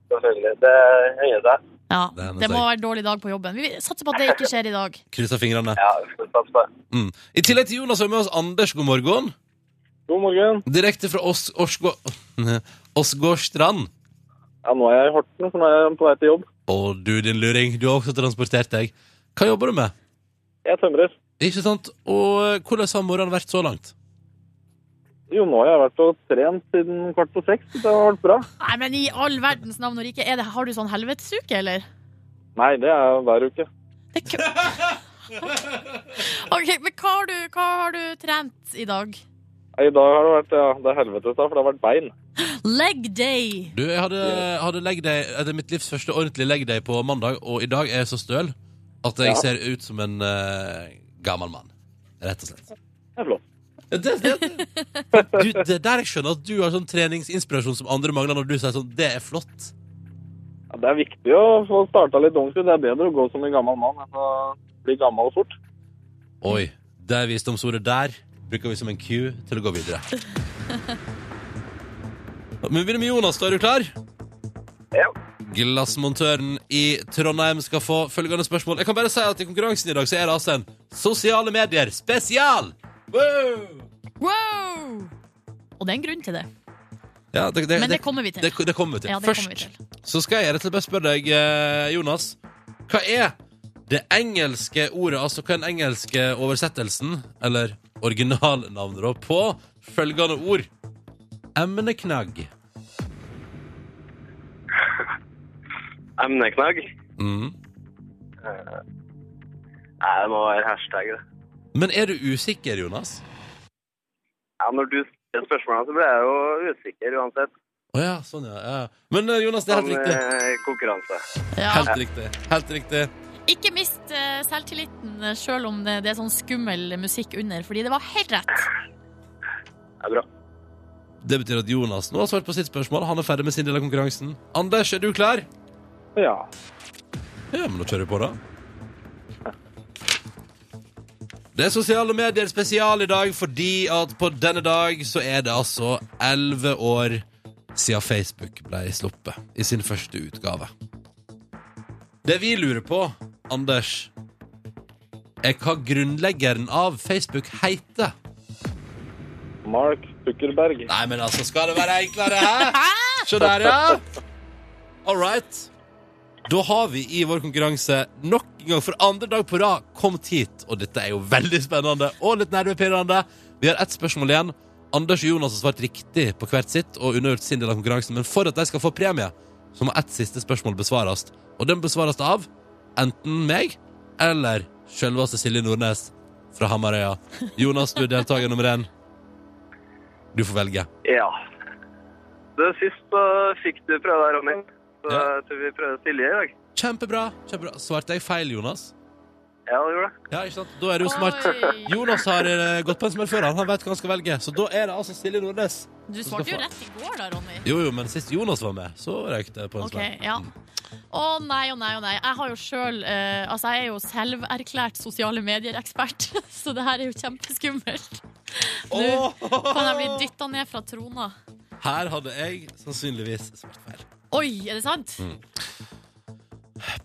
Speaker 6: Det selvfølgelig. Det hender seg.
Speaker 3: Ja,
Speaker 2: Det hender
Speaker 3: det må
Speaker 2: seg.
Speaker 3: være en dårlig dag på jobben. Vi satser på at det ikke skjer i dag.
Speaker 2: Krysser fingrene.
Speaker 6: Ja, vi får satse på det.
Speaker 2: Mm. I tillegg til Jonas har vi med oss Anders, god morgen.
Speaker 6: God morgen.
Speaker 2: Direkte fra Os Osgo Åsgårdstrand.
Speaker 6: Ja, nå er jeg i Horten, så nå er jeg på vei til jobb.
Speaker 2: Å, du din luring, du har også transportert deg. Hva jobber du med?
Speaker 6: Jeg tømrer.
Speaker 2: Ikke sant? Og eh, hvordan har morgenen vært så langt?
Speaker 6: Jo, nå har jeg vært og trent siden kvart på seks. så Det har vært bra.
Speaker 3: Nei, men i all verdens navn og rike, er det, har du sånn helvetesuke, eller?
Speaker 6: Nei, det er hver uke.
Speaker 3: Det er kø- OK, men hva har, du, hva har du trent i dag?
Speaker 6: I dag har det vært ja, det er helvetes, da, for det har vært bein.
Speaker 3: Leg day!
Speaker 2: Du, jeg hadde, hadde leg day, det er mitt livs første ordentlige leg day på mandag, og i dag er jeg så støl at jeg
Speaker 6: Ja.
Speaker 2: ser ut som en eh, gammel mann. Rett og slett.
Speaker 6: Det er flott.
Speaker 2: Det, det, du, det der jeg skjønner at du har sånn treningsinspirasjon som andre mangler, når du sier sånn Det er flott.
Speaker 6: Ja, det er viktig å få starta litt ungt. Det er bedre å gå som en gammel mann enn å bli gammel fort.
Speaker 2: Oi, det visdomsordet der bruker vi som en cue til å gå videre. Men vi begynner med Jonas, da er du klar?
Speaker 6: Ja.
Speaker 2: Glassmontøren i Trondheim skal få følgende spørsmål. Jeg kan bare si at i konkurransen i dag så er det altså en sosiale medier spesial! Wow!
Speaker 3: Wow! Og det er en grunn til det.
Speaker 2: Ja, det, det,
Speaker 3: Men
Speaker 2: det,
Speaker 3: det kommer vi til.
Speaker 2: det, det kommer vi til.
Speaker 3: Ja, det
Speaker 2: Først
Speaker 3: kommer vi til.
Speaker 2: så skal jeg rett og slett bare spørre deg, eh, Jonas. Hva er det engelske ordet, altså hva er den engelske oversettelsen, eller originalnavnet da, på følgende ord? Emneknagg.
Speaker 6: Emneknagg? Eh,
Speaker 2: Mm.
Speaker 6: Nei, det må være hashtag, det.
Speaker 2: Men er du usikker, Jonas?
Speaker 6: Ja, Når du stiller spørsmålene, så blir jeg jo usikker uansett. Sånn,
Speaker 2: Å ja, sånn ja. ja. Men eh, Jonas, det er helt riktig.
Speaker 6: eh, konkurranse.
Speaker 3: Ja.
Speaker 2: Helt riktig. Helt riktig.
Speaker 3: Ikke mist eh, selvtilliten eh, selv om det, det er sånn skummel musikk under, fordi det var helt rett.
Speaker 6: Det er bra.
Speaker 2: Det betyr at Jonas nå har svart på sitt spørsmål. Han er ferdig med sin del av konkurransen. Anders, er du klar?
Speaker 6: Ja.
Speaker 2: Ja, men da kjører vi på, da. Det er sosiale medier spesial i dag fordi at på denne dag så er det altså elleve år siden Facebook ble sluppet i sin første utgave. Det vi lurer på, Anders, er hva grunnleggeren av Facebook heter.
Speaker 6: Mark Zuckerberg.
Speaker 2: Nei, men altså, skal det være enklere, hæ? Se der, ja. All right. Da har vi i vår konkurranse nok en gang for andre dag på rad kommet hit. Og dette er jo veldig spennende og litt nervepirrende. Vi har ett spørsmål igjen. Anders og Jonas har svart riktig på hvert sitt og undergjort sin del av konkurransen. Men for at de skal få premie, så må ett siste spørsmål besvares. Og den besvares av enten meg eller selveste Silje Nordnes fra Hamarøya. Jonas, du er deltaker nummer én. Du får velge.
Speaker 6: Ja. Det sist så fikk du prøve deg, Ronny. Så
Speaker 2: Ja.
Speaker 6: jeg tror vi prøver Silje i dag.
Speaker 2: Kjempebra. kjempebra. Svarte jeg feil, Jonas?
Speaker 6: Ja, du gjorde det.
Speaker 2: Ja, ikke sant? Da er det jo smart.
Speaker 3: Oi.
Speaker 2: Jonas har eh, gått på en smell før, han. Han vet hva han skal velge. Så da er det altså Silje Nordnes.
Speaker 3: Du svarte jo rett i går da, Ronny.
Speaker 2: Jo, jo, men sist Jonas var med, så røyk det Mm. på en
Speaker 3: Ok,
Speaker 2: smell.
Speaker 3: ja. Å nei, å nei, å nei. Jeg har jo sjøl eh, Altså, jeg er jo selverklært sosiale medier-ekspert, så det her er jo kjempeskummelt. Nå kan jeg bli dytta ned fra trona.
Speaker 2: Her hadde jeg sannsynligvis svart feil.
Speaker 3: Oi, er det sant?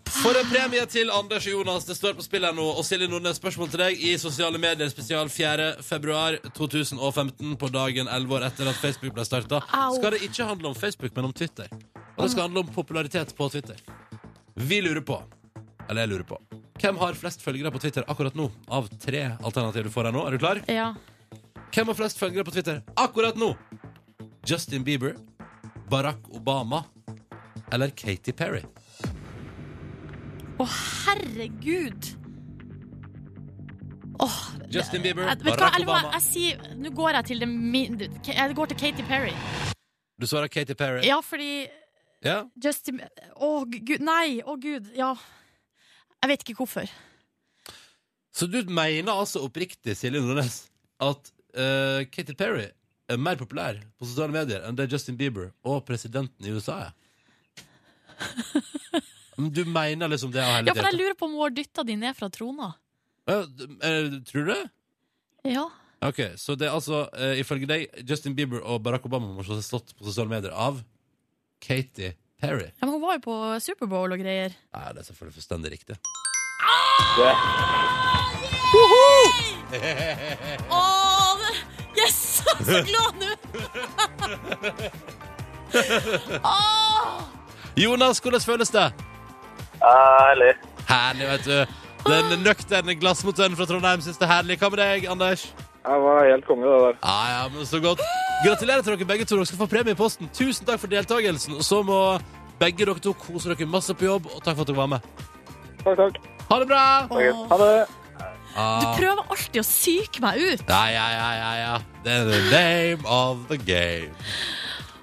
Speaker 2: For en premie til Anders og Jonas. Det står på spill her nå. Og Silje Nordnes, spørsmål til deg i sosiale medier spesial 4. februar 2015, på dagen 11 år etter at Facebook ble starta.
Speaker 3: Au.
Speaker 2: Skal det ikke handle om Facebook, men om Twitter. Og det skal handle om popularitet på Twitter. Vi lurer på, eller jeg lurer på, hvem har flest følgere på Twitter akkurat nå? Av tre alternativer du får her nå. Er du klar?
Speaker 3: Ja.
Speaker 2: Hvem har flest følgere på Twitter akkurat nå? Justin Bieber, Barack Obama eller Katy Perry?
Speaker 3: Å, herregud! Åh,
Speaker 2: Justin Bieber,
Speaker 3: jeg, vet du hva,
Speaker 2: Barack
Speaker 3: jeg, må-
Speaker 2: Obama.
Speaker 3: jeg sier Nå går jeg til det min... Jeg går til Katy Perry.
Speaker 2: Du svarer Katy Perry.
Speaker 3: Ja, fordi
Speaker 2: Ja.
Speaker 3: Justin Å, gud. Nei, å gud. Ja. Jeg vet ikke hvorfor.
Speaker 2: Så du mener altså oppriktig, Silje Nordnes, at eh, Katy Perry er mer populær på sosiale medier enn det Justin Bieber og presidenten i USA er? Men Du mener liksom det av hele
Speaker 3: Ja, for jeg lurer på om hun har dytta de ned fra trona.
Speaker 2: eh, tror du det?
Speaker 3: Ja.
Speaker 2: Ok, Så det er altså, eh, ifølge deg, Justin Bieber og Barack Obama må slå seg slått på sosiale medier av Katy Perry.
Speaker 3: Ja, men hun var jo på Superbowl og greier.
Speaker 2: Nei, det er selvfølgelig fullstendig riktig.
Speaker 6: Det.
Speaker 3: Åh, det- yes! Jeg er så glad nå! Åh,
Speaker 2: Jonas, hvordan føles det?
Speaker 6: Ærlig.
Speaker 2: Herlig, vet du.
Speaker 3: Ah.
Speaker 2: Den nøkterne glassmotøren fra Trondheim syns det er herlig. Hva med deg, Anders?
Speaker 6: Det var helt konge, det der.
Speaker 2: Ja, ja, men så godt. Gratulerer til dere begge to. Dere skal få premie i posten. Tusen takk for deltakelsen. Og så må begge dere to kose dere masse på jobb, og takk for at dere var med.
Speaker 6: Takk, takk.
Speaker 2: Ha det bra!
Speaker 3: åh.
Speaker 6: Ha det.
Speaker 3: Du
Speaker 2: Ah.
Speaker 3: prøver alltid å psyke meg ut.
Speaker 2: Ja, ja, ja, ja, ja. Det er the name of the game.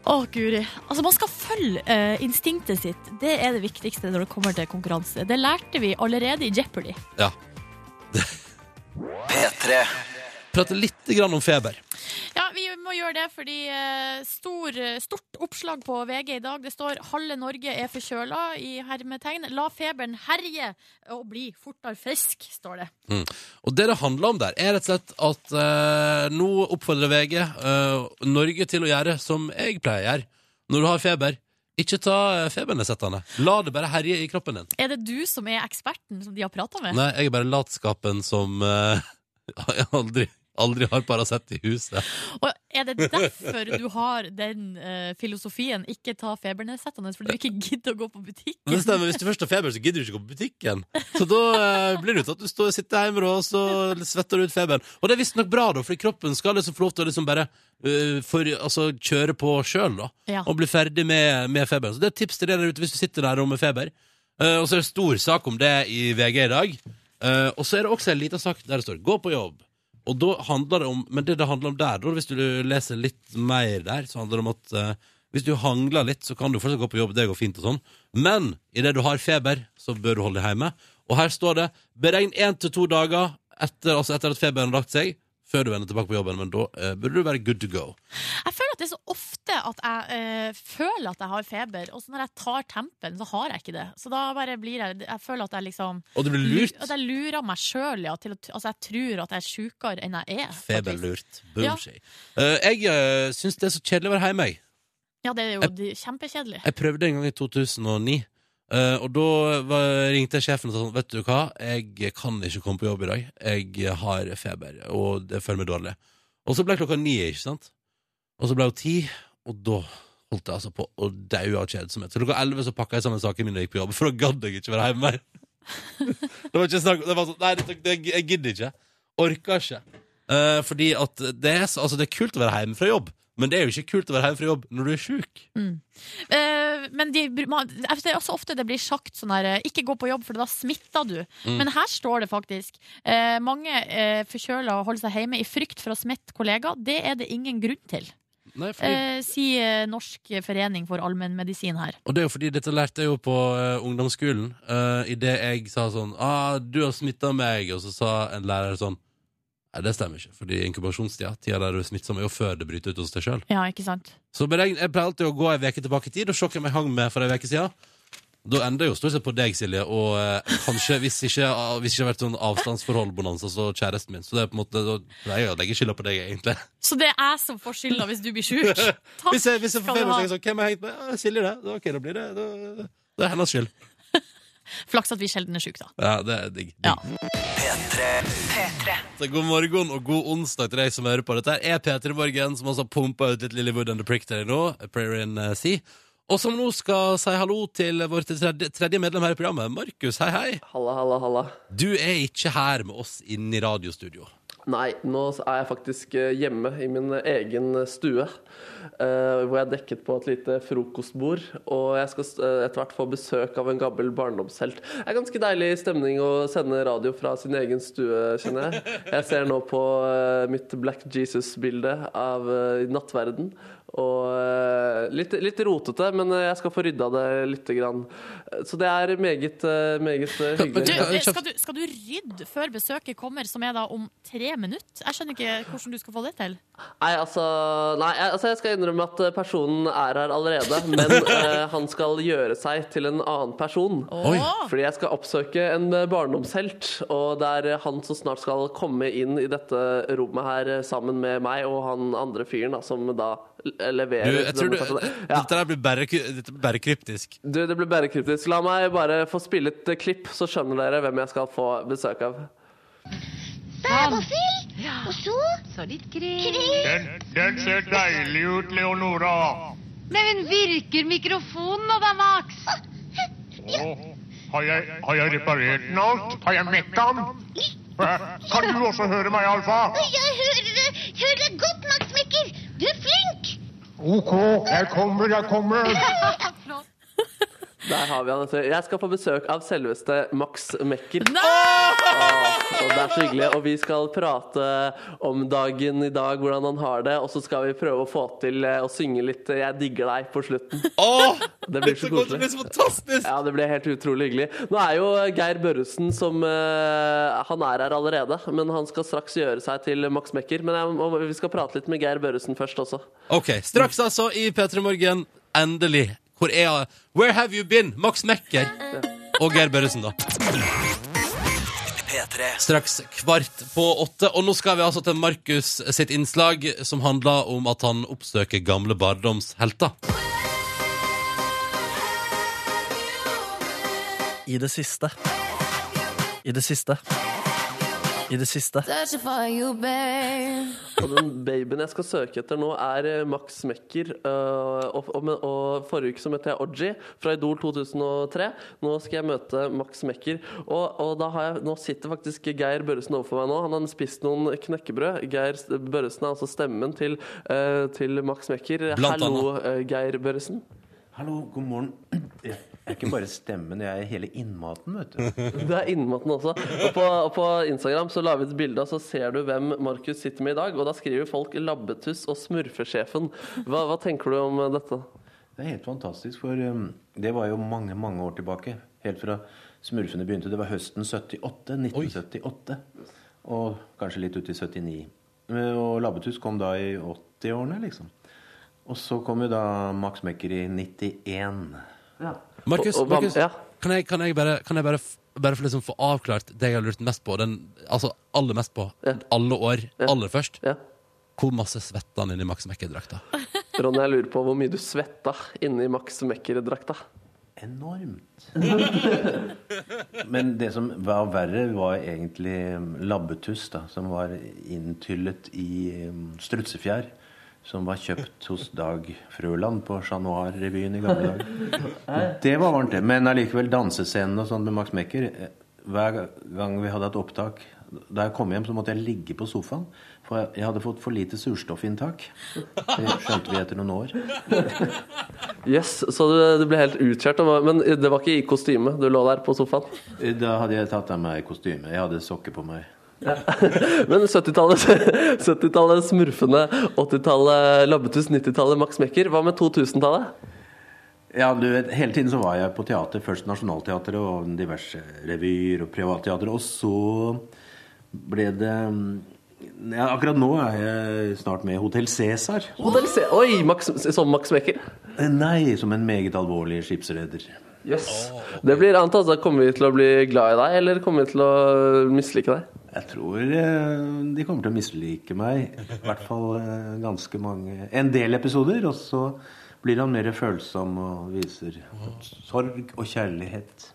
Speaker 3: Å, guri. Altså, man skal følge eh, instinktet sitt. Det er det viktigste når det kommer til konkurranse. Det lærte vi allerede i Jeopardy.
Speaker 2: Ja.
Speaker 1: P3.
Speaker 2: Prate litt grann om feber.
Speaker 3: Ja, vi må gjøre det, fordi eh, stor, stort oppslag på VG i dag. Det står 'Halve Norge er forkjøla', i hermetegn. 'La feberen herje og bli fortere frisk', står det.
Speaker 2: Mm. Og det det handler om der, er rett og slett at eh, nå oppfordrer VG eh, Norge til å gjøre som jeg pleier å gjøre. Når du har feber, ikke ta eh, febernedsettende. La det bare herje i kroppen din.
Speaker 3: Er det du som er eksperten som de har prata med?
Speaker 2: Nei, jeg er bare latskapen som eh, aldri, aldri har Paracet i huset.
Speaker 3: Og er det derfor du har den eh, filosofien 'ikke ta febernedsettende', fordi du ikke gidder å gå på
Speaker 2: Men
Speaker 3: butikken?
Speaker 2: det stemmer, Hvis du først har feber, så gidder du ikke gå på butikken. Så da eh, blir det ut at du står, sitter hjemme da, og så svetter du ut feberen. Og det er visstnok bra, da, fordi kroppen skal liksom få lov til å liksom bare eh, for, altså, kjøre på sjøl
Speaker 3: Ja.
Speaker 2: og bli ferdig med, med feberen. Så det er et tips til dere der ute hvis du sitter der og med feber. Eh, og så er det stor sak om det i VG i dag. Eh, og så er det også en liten sak der det står 'gå på jobb'. Og da handler det om, Men det det handler om der, da, hvis du leser litt mer der, så handler det om at eh, hvis du hangler litt, så kan du fortsatt gå på jobb, det går fint og sånn. Men idet du har feber, så bør du holde deg hjemme. Og her står det beregn én til to dager etter, altså etter at feberen har lagt seg, før du vender tilbake på jobben. Men da eh, burde du være good to go.
Speaker 3: Jeg føler at det er så ofte at jeg eh, føler at jeg har feber, og så når jeg tar tempen, så har jeg ikke det. Så da bare blir jeg Jeg føler at jeg liksom
Speaker 2: Og det blir lurt.
Speaker 3: At jeg lurer meg sjøl, ja. Til å, t- altså, jeg tror at jeg er sjukere enn jeg er. på et vis.
Speaker 2: Feberlurt.
Speaker 3: Ja.
Speaker 2: Bullshit. Eh, jeg uh, syns det er så kjedelig å være hjemme, jeg.
Speaker 3: Ja, det er jo de- kjempekjedelig.
Speaker 2: Jeg prøvde en gang i 2009 eh, Og da var, ringte jeg sjefen og sa sånn Vet du hva, jeg kan ikke komme på jobb i dag Jeg har feber Og det føler meg dårlig Og så ble klokka ni, ikke sant? Og så ble det ti Og da holdt jeg altså på å daue av kjedsomhet Så klokka elve så pakket jeg sammen sakene mine og gikk på jobb For da gadd jeg ikke være hjemme mer Det var ikke snakk Det var sånn, nei, det, det, jeg gidder ikke Orker ikke Eh, Fordi at det er, så- altså, det er kult å være hjemme fra jobb Men det er jo ikke kult å være hjemme fra jobb når du er syk
Speaker 3: Eh, men de, br- man, jeg synes det er også ofte det blir sagt sånn her eh, Ikke gå på jobb, for da smitter du.
Speaker 2: Mm.
Speaker 3: Men her står det faktisk eh, mange eh, forkjøla holder seg hjemme i frykt for å smitte kollegaer. Det er det ingen grunn til,
Speaker 2: Nei, fordi
Speaker 3: eh, sier Norsk forening for allmennmedisin her.
Speaker 2: Og det er jo fordi dette lærte jeg jo på eh, ungdomsskolen. Uh, I det jeg sa sånn ah, 'Du har smitta meg', og så sa en lærer sånn Nei, det stemmer ikke, fordi inkubasjonstida, tida der du er smittsom, er jo før det bryter ut hos deg sjøl.
Speaker 3: Ja, ikke sant?
Speaker 2: Så beregn, jeg pleier alltid å gå ei uke tilbake i tid og se hvem jeg hang med for ei uke sida. Da ender jeg jo stort sett på deg, Silje, og eh, kanskje, hvis ikke, ah, hvis ikke det har vært sånn avstandsforhold-bonanza, så kjæresten min. Så det er på en måte, da pleier jeg å legge skylda på deg, egentlig.
Speaker 3: Så det er jeg som får skylda hvis du blir sjuk? Takk
Speaker 2: Hvis jeg, hvis jeg
Speaker 3: skal du
Speaker 2: får feber, så
Speaker 3: ha.
Speaker 2: tenker jeg sånn, hvem har jeg hengt med? Ah, Silje, det. Da, ok, da blir det da, Det er hennes skyld.
Speaker 3: Flaks at vi sjelden er sjuke, da.
Speaker 2: Ja, det er digg.
Speaker 3: Ja.
Speaker 2: Så god morgen og god onsdag til deg som hører på dette. her er Peter Morgen, som også har pumpa ut litt Lillywood and the Prick til deg nå. A Prayer in eh, Sea. Og som nå skal si hallo til vår tredje, tredje medlem her i programmet. Markus, hei, hei.
Speaker 7: Halla, halla, halla.
Speaker 2: Du er ikke her med oss inn i radiostudio.
Speaker 7: Nei, nå er jeg faktisk eh, hjemme i min egen stue. eh, Hvor jeg er dekket på et lite frokostbord. Og jeg skal eh, etter hvert få besøk av en gammel barndomshelt. Det er ganske deilig stemning å sende radio fra sin egen stue, kjenner jeg. Jeg ser nå på eh, mitt Black Jesus-bilde av eh, nattverden. Og eh, litt, litt rotete, men eh, jeg skal få rydda det lite grann. Eh, Så det er meget, eh, meget eh,
Speaker 3: Du,
Speaker 2: men
Speaker 7: hyggelig.
Speaker 2: Ja, kjapt.
Speaker 3: skal, du, skal du rydde før besøket kommer, som er da om tre minutter? Jeg skjønner ikke hvordan du skal få det til.
Speaker 7: Nei, altså, nei jeg, altså, jeg skal innrømme at eh, personen er her allerede, men eh, han skal gjøre seg til en annen person.
Speaker 2: Oi.
Speaker 3: Åh,
Speaker 7: Fordi jeg skal oppsøke en eh, barndomshelt, og det er eh, han som snart skal komme inn i dette rommet her eh, sammen med meg og han andre fyren da, som da l-
Speaker 4: eh, levere.
Speaker 2: Du, jeg tror du,
Speaker 4: denne personen. ja.
Speaker 2: dette der blir bare, ky- dette blir bare kryptisk.
Speaker 4: du, det blir bare kryptisk. La meg bare få spille et eh, klipp, så skjønner dere hvem jeg skal få besøk av.
Speaker 8: Dægåfyll! Og så Sånn. Så litt krill.
Speaker 9: Den, den ser deilig ut, Leonora.
Speaker 8: Neimen, virker mikrofonen nå da, Max?
Speaker 9: Åh, har, jeg, har jeg reparert den alt? Har jeg mekka den? Eh, Kan du også høre meg, Alfa?
Speaker 8: Jeg hører det, hører det godt, Max Mekker. Du er flink.
Speaker 9: OK, jeg kommer, jeg kommer.
Speaker 4: Der har vi han. vet du. Jeg skal få besøk av selveste Max Mekker. Og det er så hyggelig. Og vi skal prate om dagen i dag, hvordan han har det. Og så skal vi prøve å få til eh, å synge litt eh, 'Jeg digger deg' på slutten.
Speaker 2: Åh,
Speaker 4: Det blir så
Speaker 2: det blir
Speaker 4: koselig.
Speaker 2: så fantastisk!
Speaker 4: Ja, det blir helt utrolig hyggelig. Nå er jo eh, Geir Børresen som eh, Han er her allerede, men han skal straks gjøre seg til Max Mekker. Men jeg, må- vi skal prate litt med Geir Børresen først også.
Speaker 2: Ok, straks altså i P3 Morgen. Endelig. Hvor er jeg? Where have you been? Max Mekker. Og Geir Børresen, da.
Speaker 10: P3.
Speaker 2: Straks kvart på åtte. Og nå skal vi altså til Markus sitt innslag, som handler om at han oppsøker gamle barndomshelter.
Speaker 11: I det siste. I det siste. I det siste.
Speaker 4: Og den babyen jeg skal søke etter nå, er eh, Max Mekker. øh, Og, og, men- og forrige uke så møtte jeg Oji fra Idol 2003. Nå skal jeg møte Max Mekker. Og, og da har jeg, nå sitter faktisk Geir Børresen overfor meg nå. Han har spist noen knekkebrød. Geir S- Børresen er altså stemmen til, øh, til Max Mekker.
Speaker 2: Blant
Speaker 4: Hallo, øh, Geir Børresen.
Speaker 11: Hallo, god morgen. Jeg er ikke bare stemmen, jeg er hele innmaten, vet du.
Speaker 4: Det er innmaten også. Og på, og på Instagram så la vi et bilde, og så ser du hvem Markus sitter med i dag. Og da skriver folk 'Labbetuss' og 'Smurfesjefen'. Hva, hva tenker du om dette?
Speaker 11: Det er helt fantastisk, for um, det var jo mange, mange år tilbake. Helt fra smurfene begynte. Det var høsten 78. 1978. Og kanskje litt ut i 79. Eh, Og Labbetuss kom da i 80-årene, liksom. Og så kom jo da Max Mekker i 91.
Speaker 2: Markus,
Speaker 4: Og- og hva-
Speaker 2: Markus
Speaker 4: ja.
Speaker 2: kan, jeg, kan jeg bare, kan jeg bare, f- bare få liksom få avklart det jeg har lurt mest på? Den, altså aller mest på. Alle år. Aller først.
Speaker 4: Ja.
Speaker 2: Hvor masse svetta han inni Max Mekker-drakta?
Speaker 4: Ronny, jeg lurer på hvor mye du svetta inni Max Mekker-drakta.
Speaker 11: Enormt. Men det som var verre, var egentlig um, labbetuss, da, som var inntyllet i um, strutsefjær. Som var kjøpt hos Dag Frøland på Chat Noir-revyen i gamle dager. Det var varmt, det. Men allikevel, dansescenen og sånn med Max Mekker eh, Hver gang vi hadde hatt opptak Da jeg kom hjem, så måtte jeg ligge på sofaen. For jeg- jeg hadde fått for lite surstoffinntak. Det skjønte vi etter noen år.
Speaker 4: Yes, så du, du ble helt utkjørt. og hva- Men det var ikke i kostyme. Du lå der på sofaen.
Speaker 11: Eh, Da hadde jeg tatt av meg kostymet. Jeg hadde sokker på meg.
Speaker 4: Men 70-tallet, 70-tallet smurfene, 80-tallet labbetuss, 90-tallet Max Mekker. Hva med 2000-tallet?
Speaker 11: Ja, du vet, Hele tiden så var jeg på teater. Først Nationaltheatret og diverse revyer og privatteater. Og så ble det mm, ja, Akkurat nå er jeg snart med i Hotell Cæsar. Eh,
Speaker 4: Modell C. Oi, Max, som Max Mekker.
Speaker 11: Nei, som en meget alvorlig skipsreder.
Speaker 4: Yes. Det blir annet. altså. Kommer vi til å bli glad i deg, eller kommer vi til å mislike deg?
Speaker 11: Jeg tror eh, de kommer til å mislike meg. I hvert fall eh, ganske mange En del episoder. Og så blir han mer følsom og viser sorg og kjærlighet.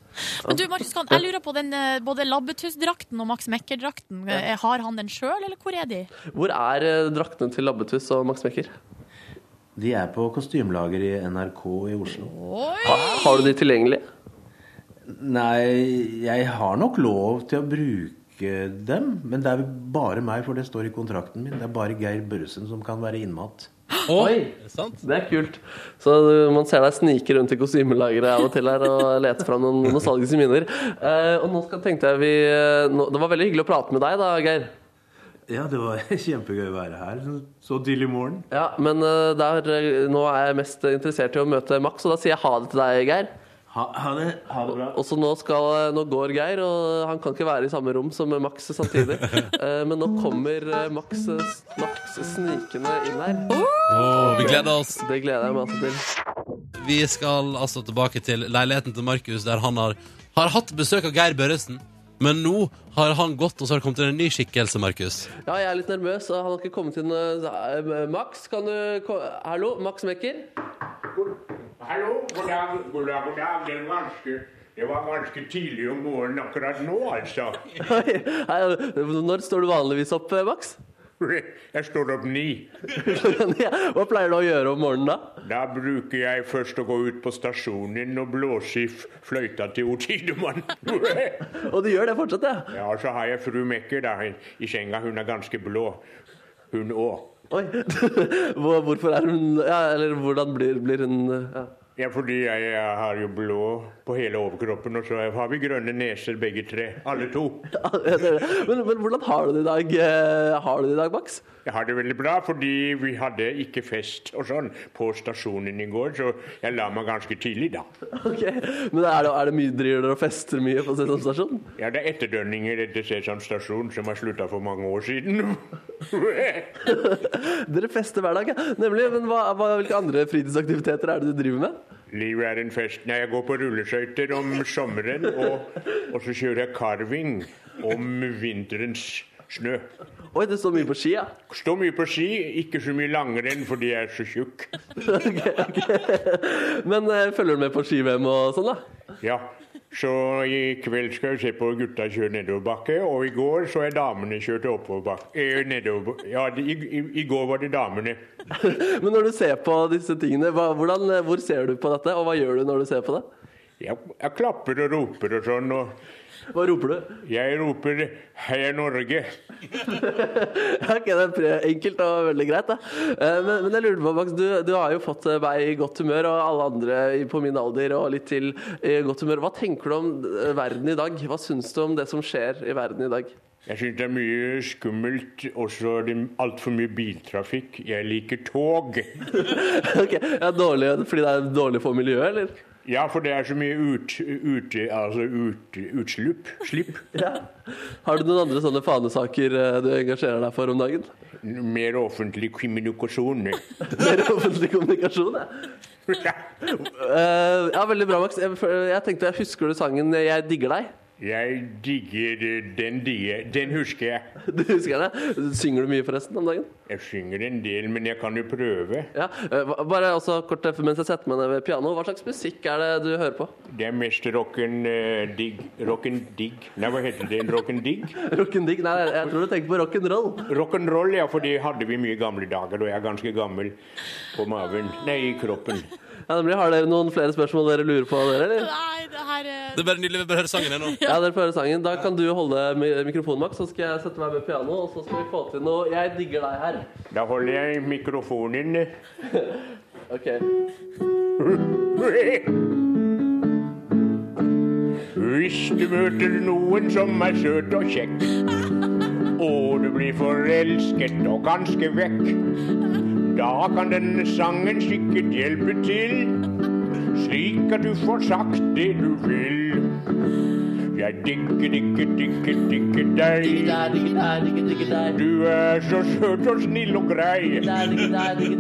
Speaker 3: Men du, Markus Kahn, jeg lurer på den, eh, både Labbetuss-drakten og Max Mekker-drakten. Eh, Har han den sjøl, eller hvor er de?
Speaker 4: Hvor er eh, draktene til Labbetuss og Max Mekker?
Speaker 11: De er på kostymelager i NRK i Oslo.
Speaker 4: Ha, har du de tilgjengelig?
Speaker 11: Nei, jeg har nok lov til å bruke dem. Men det er bare meg, for det står i kontrakten min. Det er bare Geir Børresen som kan være innmat.
Speaker 2: Oh,
Speaker 4: Oi.
Speaker 2: sant?
Speaker 4: Det er kult. Så du- man ser deg snike rundt i kostymelageret av og til her og lete fram noen nostalgiske minner. Eh, og nå skal, tenkte jeg vi eh, nå, Det var veldig hyggelig å prate med deg, da, Geir.
Speaker 11: Ja, det var kjempegøy å være her så tidlig i morgen.
Speaker 4: Ja, Men eh, der, eh, nå er jeg mest interessert i å møte Max, og da sier jeg ha det til deg, Geir.
Speaker 11: Ha, ha det. Ha det bra.
Speaker 4: Og så nå, skal, eh, nå går Geir, og han kan ikke være i samme rom som Max samtidig. Eh, men nå kommer eh, Max, eh, Max snikende inn her.
Speaker 2: Åh, vi gleder oss.
Speaker 4: Det gleder jeg meg altså til.
Speaker 2: Vi skal altså tilbake til leiligheten til Markus, der han har, har hatt besøk av Geir Børresen. Men nå har han gått, og så har det kommet inn en ny skikkelse, Markus.
Speaker 4: Ja, jeg er litt nervøs. og Han har ikke kommet inn. eh, Max, kan du ko- Hallo, Max Mekker?
Speaker 9: Hallo, god dag, god dag, god dag. Det er ganske, det var ganske tidlig om morgenen akkurat nå, altså.
Speaker 4: Hei, hei, Når står du vanligvis opp, eh, Max?
Speaker 9: Jeg står opp ni.
Speaker 4: Hva pleier du å gjøre om morgenen da?
Speaker 9: Da bruker jeg først å gå ut på stasjonen og blåse i f- fløyta til O. Tidemann.
Speaker 4: og du gjør det fortsatt, ja?
Speaker 9: Ja, og så har jeg fru Mekke da, hun- i senga. Hun er ganske blå, hun òg.
Speaker 4: Oi. Hvor- Hvorfor er hun ja, Eller hvordan blir, blir hun eh, ja.
Speaker 9: Ja, fordi jeg, jeg har jo blå på hele overkroppen, og så har vi grønne neser begge tre. Alle to.
Speaker 4: Jeg ser det. Men, men hvordan har du det i dag? eh, Har du det i dag, Max?
Speaker 9: Jeg har det veldig bra, fordi vi hadde ikke fest og sånn på stasjonen i går, så jeg la meg ganske tidlig da.
Speaker 4: Ok, Men er det, er det mye driver dere og fester mye på Sesam stasjon?
Speaker 9: Ja, det er etterdønninger etter Sesam stasjon, som har slutta for mange år siden.
Speaker 4: Dere fester hver dag, ja. Nemlig. Men hva, hva, hvilke andre fritidsaktiviteter er det du driver med?
Speaker 9: Livet er en fest. Nei, jeg går på rulleskøyter om sommeren, og, og så kjører jeg carving om vinterens snø.
Speaker 4: Oi, du står mye på ski, ja?
Speaker 9: Står mye på ski, ikke så mye langrenn fordi jeg er så tjukk.
Speaker 4: Men eh, følger du med på ski-VM og sånn, da?
Speaker 9: Ja, så i kveld skal vi se på gutta kjøre nedoverbakke, og i går så er damene kjørt oppoverbakke. Eh, nedover, ja, de- i, i, i går var det damene.
Speaker 4: Men når du ser på disse tingene, hva, hvordan, eh, hvor ser du på dette, og hva gjør du når du ser på det?
Speaker 9: Jeg, jeg klapper og roper og sånn. Og...
Speaker 4: Hva roper du?
Speaker 9: Jeg roper 'Heia Norge'.
Speaker 4: Ja, ok, det er pre- enkelt og veldig greit, da. Eh, Men, men jeg lurer på, Max, du, du har jo fått eh, meg i godt humør, og alle andre i- på min alder og litt til i godt humør. Hva tenker du om eh, verden i dag? Hva syns du om det som skjer i verden i dag?
Speaker 9: Jeg syns det er mye skummelt, og så er det altfor mye biltrafikk. Jeg liker tog.
Speaker 4: Ok, ja, dårlig, Fordi det er dårlig for miljøet, eller?
Speaker 9: Ja, for det er så mye ut, ute- altså ut, utslipp. Slipp.
Speaker 4: Har du noen andre sånne fanesaker eh, du engasjerer deg for om dagen?
Speaker 9: Mer offentlig kommunikasjon.
Speaker 4: Mer offentlig kommunikasjon, ja. Eh, ja, veldig bra, Max. Jeg, jeg tenkte jeg husker du sangen 'Jeg digger deg'?
Speaker 9: Jeg digger eh, den die. Den husker jeg.
Speaker 4: Du husker det? Synger du mye forresten om dagen?
Speaker 9: Jeg synger en del, men jeg kan jo prøve.
Speaker 4: Ja, eh, hva- Bare også kort eh, mens jeg setter meg ned ved pianoet, hva slags musikk er det du hører på?
Speaker 9: Det er mest rock'n eh, digg. Rock'n digg. Nei, hva heter det? Rock'n digg?
Speaker 4: Rock'n'digg? Nei, jeg- jeg tror du tenker på rock'n'roll.
Speaker 9: Rock'n'roll, ja, for det hadde vi mye i gamle dager, og jeg er ganske gammel på maven. Nei, i kroppen.
Speaker 4: Ja, nemlig, Har dere noen flere spørsmål dere lurer på, dere, eller?
Speaker 3: Nei, det her eh,
Speaker 2: Det er bare nydelig. Vi bare hører sangen ennå.
Speaker 4: Ja, dere får høre sangen. Da kan du holde mi- mikrofonen, Max, så skal jeg sette meg ved pianoet, og så skal vi få til noe 'Jeg digger deg' her.
Speaker 9: Da holder jeg mikrofonen.
Speaker 4: Ok.
Speaker 9: Hvis du møter noen som er søt og kjekk, og du blir forelsket og ganske vekk, da kan denne sangen sikkert hjelpe til, slik at du får sagt det du vil. Jeg digger, digger, digger, digger deg. Du er så søt og snill og grei.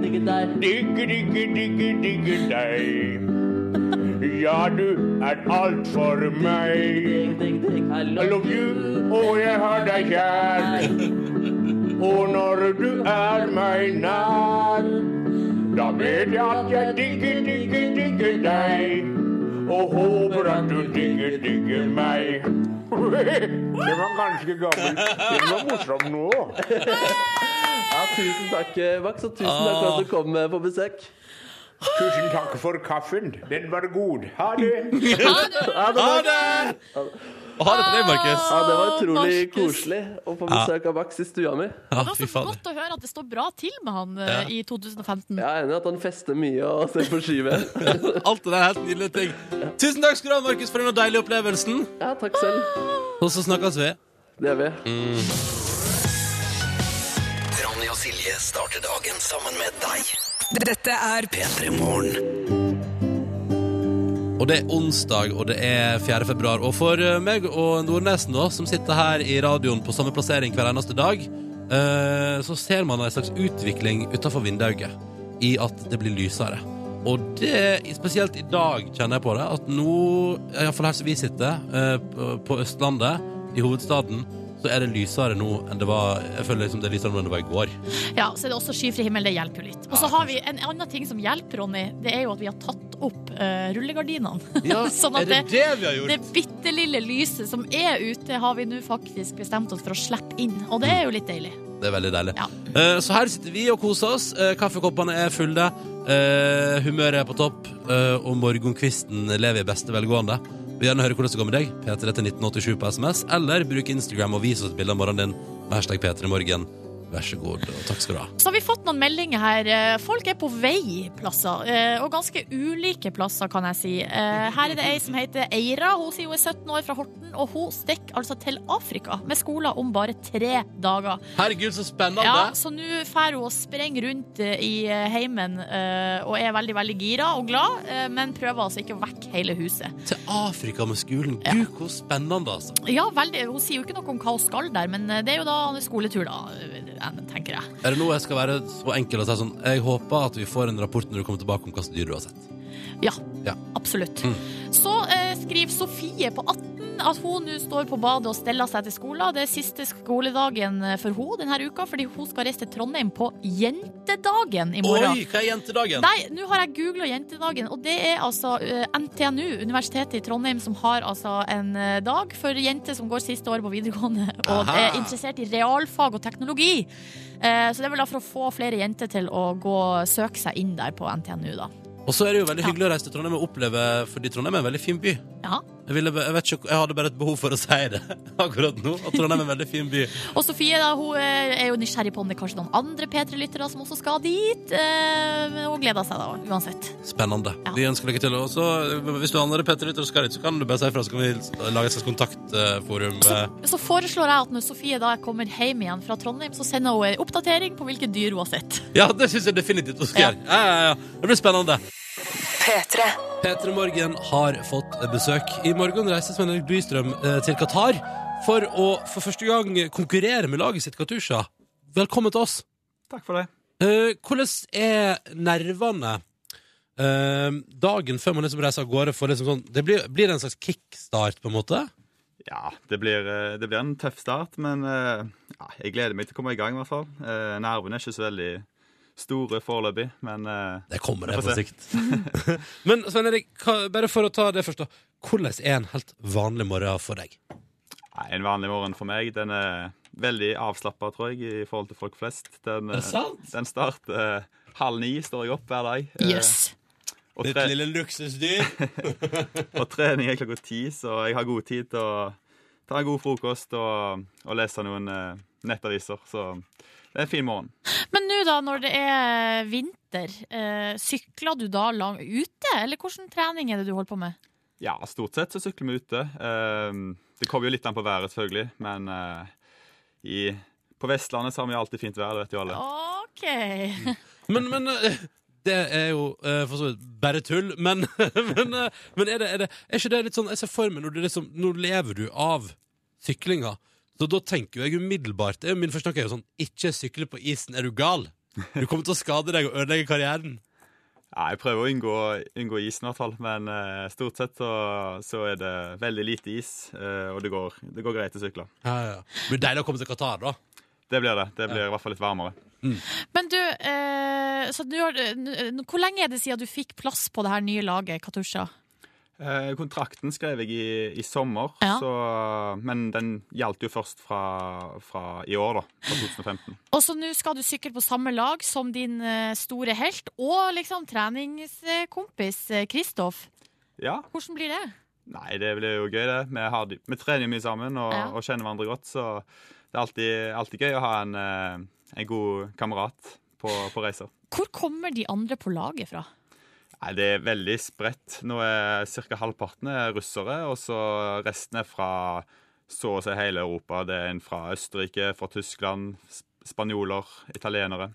Speaker 9: Digger, digger, digger, digger deg. Ja, du er alt for meg. I love you, og jeg har deg kjær. Og når du er meg nær, da vet jeg at jeg digger, digger, digger deg. Og håper at du digger, digger meg. Det var ganske gammel. Den var morsom nå.
Speaker 4: Ja, tusen takk, eh, Max, og tusen takk for
Speaker 2: Ah.
Speaker 4: at du kom eh, på besøk.
Speaker 9: Tusen takk for kaffen. Den var god. Ha det.
Speaker 4: Ja, det var-
Speaker 2: Og ha det på deg, Markus.
Speaker 4: Ja, det var utrolig
Speaker 3: Markus.
Speaker 4: koselig å få besøk av Max i stua mi.
Speaker 2: Ja,
Speaker 3: Det var
Speaker 2: fy
Speaker 3: så
Speaker 2: faen.
Speaker 3: godt å høre at det står bra til med han eh, i 2015.
Speaker 4: Jeg er enig i at han fester mye og ser på skiven.
Speaker 2: Alt det der er helt nydelige ting. Tusen takk skal du ha, Markus, for den deilige opplevelsen.
Speaker 4: Ja, takk selv.
Speaker 2: Og så snakkes vi. Mm.
Speaker 4: Det gjør vi.
Speaker 10: Ronny og Silje starter dagen sammen med deg.
Speaker 6: Dette er
Speaker 10: P3 Morgen.
Speaker 2: Og det er onsdag, og det er 4. februar. Og for eh, meg og Nordnesen, da, som sitter her i radioen på samme plassering hver eneste dag, eh, så ser man en slags utvikling utenfor vinduet i at det blir lysere. Og det, spesielt i dag, kjenner jeg på det, at nå, iallfall her som vi sitter, eh, på- på Østlandet, i hovedstaden, så er det lysere nå enn det var Jeg føler liksom det er lysere nå enn det var i går.
Speaker 3: Ja, så er det også skyfri himmel. Det hjelper jo litt. Og så har vi en annen ting som hjelper, Ronny. Det er jo at vi har tatt opp eh, rullegardinene. Sånn
Speaker 2: Ja, er det det vi har gjort?
Speaker 3: Det bitte lille lyset som er ute, har vi nå faktisk bestemt oss for å slippe inn. Og det er jo litt deilig.
Speaker 2: Det er veldig deilig. Eh, så her sitter vi og koser oss. Eh, kaffekoppene er fulle. eh, humøret er på topp. eh, og morgenkvisten lever i beste velgående. Vil gjerne høre hvordan det går med deg. P3 til 1987 på SMS, eller bruk Instagram og vis oss et bilde av morgenen din med hashtag P3morgen. Vær så god, og takk skal du ha.
Speaker 3: Så har vi fått noen meldinger her. Eh, Folk er på vei plasser, eh, og ganske ulike plasser, kan jeg si. Eh, Her er det ei som heter Eira. Hun sier hun er 17 år fra Horten, og hun stikker altså til Afrika med skolen om bare tre dager.
Speaker 2: Herregud, så spennende!
Speaker 3: Ja, så nå drar hun og sprenger rundt eh, i eh, heimen eh, og er veldig, veldig gira og glad, eh, men prøver altså ikke å vekke hele huset.
Speaker 2: Til Afrika med skolen. Gud, hvor spennende, altså.
Speaker 3: Ja, veldig. Hun sier jo ikke noe om hva hun skal der, men eh, det er jo da en skoletur, da, eh, tenker jeg.
Speaker 2: Er det noe jeg skal være så enkel og si sånn Jeg håper at vi får en rapport når du kommer tilbake om hva slags dyr du har sett.
Speaker 3: Ja,
Speaker 2: Ja.
Speaker 3: absolutt.
Speaker 2: Mm.
Speaker 3: Så eh, skriver Sofie på 18 at hun nå står på badet og steller seg til skolen. Det er siste skoledagen eh, for hun denne uka, fordi hun skal reise til Trondheim på jentedagen i morgen.
Speaker 2: Oi, hva er jentedagen?
Speaker 3: Nei, nå har jeg googla jentedagen, og det er altså eh, NTNU, Universitetet i Trondheim, som har altså en eh, dag for jenter som går siste året på videregående og
Speaker 12: Aha.
Speaker 3: er interessert i realfag og teknologi. Eh, Så det er vel da for å få flere jenter til å gå, søke seg inn der på NTNU, da.
Speaker 2: Og så er det jo veldig hyggelig å reise til Trondheim og oppleve, fordi Trondheim er en veldig fin by.
Speaker 3: Ja.
Speaker 2: Jeg, ville, jeg, vet ikke, jeg hadde bare et behov for å si det akkurat nå, at Trondheim er en veldig fin by.
Speaker 3: Og Sofie da, hun eh, er jo nysgjerrig på om det er kanskje noen andre P3-lyttere som også skal dit. eh, Og gleder seg da, uansett.
Speaker 2: Spennende. Vi ønsker dere til. Og så, hvis du har andre Petter lytter og skal dit, så kan du bare si ifra, så kan vi lage et slags kontaktforum. eh.
Speaker 3: Så foreslår jeg at når Sofie da kommer hjem igjen fra Trondheim, så sender hun en oppdatering på hvilke dyr hun har sett.
Speaker 2: Ja, det syns jeg definitivt hun skal gjøre. Ja, ja, ja. Det blir spennende.
Speaker 5: P3.
Speaker 2: P3 Morgen har fått besøk. I morgen reiser Svein Erik Bystrøm eh, til Qatar for å for første gang konkurrere med laget sitt Katusha. Velkommen til oss.
Speaker 13: Takk for det.
Speaker 2: Eh, hvordan er nervene eh, dagen før man liksom reiser av gårde? For liksom sånn, det blir, blir det en slags kickstart, på en måte?
Speaker 13: Ja, det blir, eh, det blir en tøff start, men eh, ja, jeg gleder meg til å komme i gang, i hvert fall. Eh, Nervene er ikke så veldig store foreløpig, men eh,
Speaker 2: Det kommer, det, på sikt. Men Svein Erik, hva- bare for å ta det først, da. Hvordan er en helt vanlig morgen for deg?
Speaker 13: En vanlig morgen for meg. Den er veldig avslappa, tror jeg, i forhold til folk flest. Den, eh,
Speaker 2: Er det sant?
Speaker 13: Den starter eh, halv ni, står jeg opp hver dag. Eh,
Speaker 2: Yes.
Speaker 13: og
Speaker 2: Ditt
Speaker 13: tre-
Speaker 2: lille luksusdyr.
Speaker 13: og trening er klokka ti, så jeg har god tid til å ta en god frokost og, og lese noen eh, nettaviser. Så det er en fin morgen.
Speaker 3: Men nå da, når det er vinter, eh, sykler du da lang ute, eller hvilken trening er det du holder på med?
Speaker 13: Ja, stort sett så sykler vi ute. Ehm, det kommer jo litt an på været, selvfølgelig, men eh, i, på Vestlandet så har vi alltid fint vær, det vet jo alle.
Speaker 3: OK.
Speaker 2: Men, men eh, Det er jo eh, for så vidt bare tull, men, men, eh, men er, det, er, det, er ikke det litt sånn Jeg ser for meg når du liksom Nå lever du av syklinga. Så da tenker jo jeg umiddelbart det er jo Min første tanke er jo sånn Ikke sykle på isen, er du gal? Du kommer til å skade deg og ødelegge karrieren.
Speaker 13: Ja, jeg prøver å unngå, unngå isen, i hvert fall, men eh, stort sett så, så er det veldig lite is, eh, og det går, det går greit å sykle.
Speaker 2: Ja, ja. Det blir deilig å komme til Qatar, da.
Speaker 13: Det blir det. Det blir i hvert fall litt varmere.
Speaker 3: Men du, eh, så du har, n- hvor lenge er det siden du fikk plass på det her nye laget, Katusha?
Speaker 13: Eh, kontrakten skrev jeg i, i sommer,
Speaker 3: Ja.
Speaker 13: så, men den gjaldt jo først fra, fra i år, da. Fra 2015.
Speaker 3: Og så nå skal du sykle på samme lag som din eh, store helt og liksom treningskompis eh, Kristoff.
Speaker 13: Ja.
Speaker 3: Hvordan blir det?
Speaker 13: Nei, det blir jo gøy, det. Vi, har, de- vi trener mye sammen og,
Speaker 3: Ja.
Speaker 13: og kjenner hverandre godt, så det er alltid, alltid gøy å ha en, eh, en god kamerat på, på reiser.
Speaker 3: Hvor kommer de andre på laget fra?
Speaker 13: Nei, Det er veldig spredt. Nå er ca. halvparten er russere, og så resten er fra så å si hele Europa. Det er en fra Østerrike, fra Tyskland, sp- spanjoler, italienere.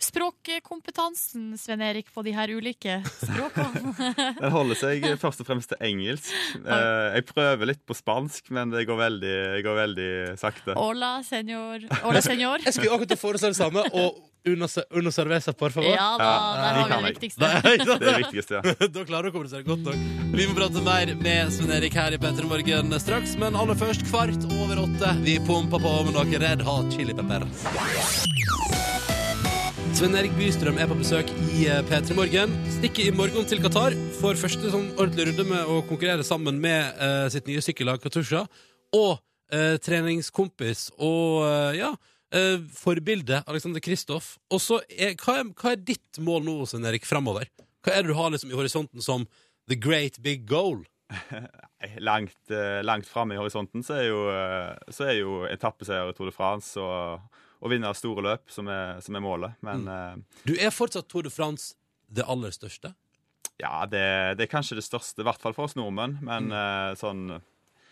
Speaker 3: Språkkompetansen, Sven Erik, på de her ulike språkene.
Speaker 13: Den holder seg først og fremst til engelsk. Eh, Jeg prøver litt på spansk, men det går veldig, går veldig sakte.
Speaker 3: Hola, senor. Hola, senor.
Speaker 2: Jeg skulle akkurat foreslå det samme. Og under, under cerveza, por favor.
Speaker 3: Ja da, der har vi det viktigste.
Speaker 13: Det er det viktigste, ja.
Speaker 2: da klarer du å kommunisere godt nok. Vi får prate mer med Svein Erik her i P3 Morgen straks, men aller først kvart over åtte. Vi pumper på med noe Red Hot Chili Pepper. Svein Erik Bystrøm er på besøk i eh, P3 Morgen. Stikker i morgen til Qatar for første sånn ordentlig runde med å konkurrere sammen med eh, sitt nye sykkellag Katusha. Og eh, treningskompis og eh, ja, eh, forbilde Alexander Kristoff. Og så er, hva, er, hva er ditt mål nå, Svein Erik, framover? Hva er det du har liksom i horisonten som the great big goal?
Speaker 13: Nei, Langt, eh, langt framme i horisonten så er jo, eh, så er jo etappeseier i Tour de France og, og vinne av store løp som er, som er målet. Men eh,
Speaker 2: Du er fortsatt Tour de France det aller største.
Speaker 13: ja, det, det er kanskje det største, i hvert fall for oss nordmenn. Men
Speaker 2: Mm.
Speaker 13: eh, sånn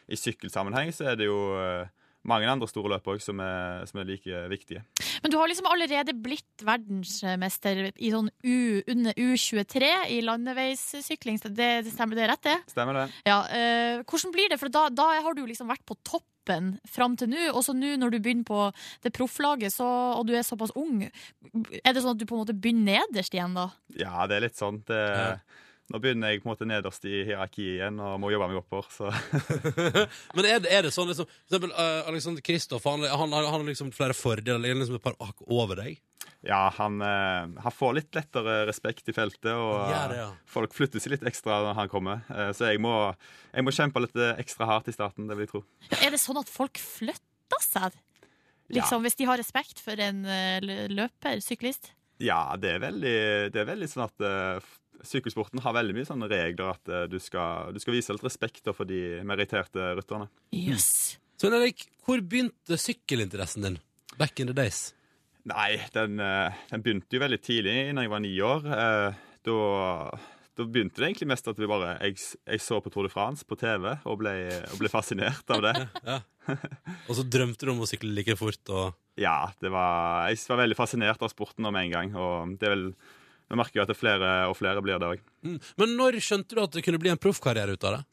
Speaker 13: i sykkelsammenheng så er det jo eh, mange andre store løp òg som, er- som er like viktige.
Speaker 3: Men du har liksom allerede blitt verdensmester i sånn U, under U23 i landeveissykling. så Det, det stemmer det er rett, det?
Speaker 13: Stemmer det?
Speaker 3: Ja, eh, hvordan blir det? For da, da har du liksom vært på toppen fram til nå, og så nå når du begynner på det profflaget, så, og du er såpass ung, er det sånn at du på en måte begynner nederst igjen da?
Speaker 13: Ja, det er litt sånn. Det, Nå begynner jeg på en måte nederst i hierarkiet igjen og må jobbe meg oppover. Så
Speaker 2: Men er det, er det sånn liksom, For eksempel eh, Alexander Kristoff Han, han, han har liksom flere fordeler Han er liksom et par hakk over deg
Speaker 13: ja, han, eh, han får litt lettere respekt i feltet, og eh,
Speaker 2: Han gjør det, ja.
Speaker 13: folk flytter seg litt ekstra når han kommer. Eh, Så jeg må, jeg må kjempe litt eh, ekstra hardt i starten, det vil jeg tro.
Speaker 3: Ja, Er det sånn at folk flytter seg?
Speaker 13: Ja.
Speaker 3: Liksom, Hvis de har respekt for en eh, lø- løper, syklist?
Speaker 13: Ja, det er veldig, det er veldig sånn at eh, f- sykkelsporten har veldig mye sånne regler at eh, du skal, du skal vise litt respekt da, for de meritterte rytterne.
Speaker 3: Yes.
Speaker 2: Svein Erik, hvor begynte sykkelinteressen din? Back in the days
Speaker 13: Nei, den, eh, den begynte jo veldig tidlig, da jeg var ni år. Eh, Da, da begynte det egentlig mest at vi bare, jeg, s- jeg så på Tour de France på TV og ble, og ble fascinert av det.
Speaker 2: Og så drømte du om å sykle like fort og...
Speaker 13: Ja, det var, jeg var veldig fascinert av sporten om en gang, og det er vel, nå merker jeg at det er flere og flere blir det også.
Speaker 2: mm. Men når skjønte du at det kunne bli en proffkarriere ut av det?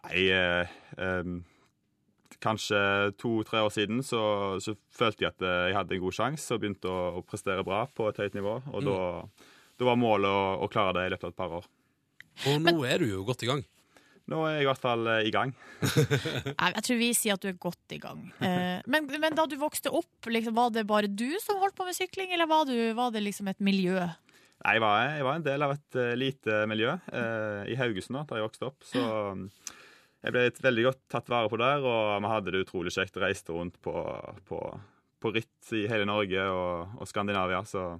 Speaker 13: Nei, eh, em, kanskje to-tre år siden så, så følte jeg at eh, jeg hadde en god sjanse og begynte å, å prestere bra på et høyt nivå,
Speaker 2: Mm.
Speaker 13: og da, da var målet å, å klare det i løpet av et par år.
Speaker 2: Og nå er du jo godt i gang
Speaker 13: Nå er jeg i hvert fall eh, i gang.
Speaker 3: Nei, Jeg tror vi sier at du er godt i gang. Eh, Men, men da du vokste opp, liksom, var det bare du som holdt på med sykling, eller var, du, var det liksom et miljø?
Speaker 13: Nei, jeg var, jeg var en del av et eh, lite miljø eh, i Haugesund da da jeg vokste opp. Så mm, jeg ble veldig godt tatt vare på der, og vi hadde det utrolig kjekt. Reiste rundt på, på, på ritt i hele Norge og, og Skandinavia, så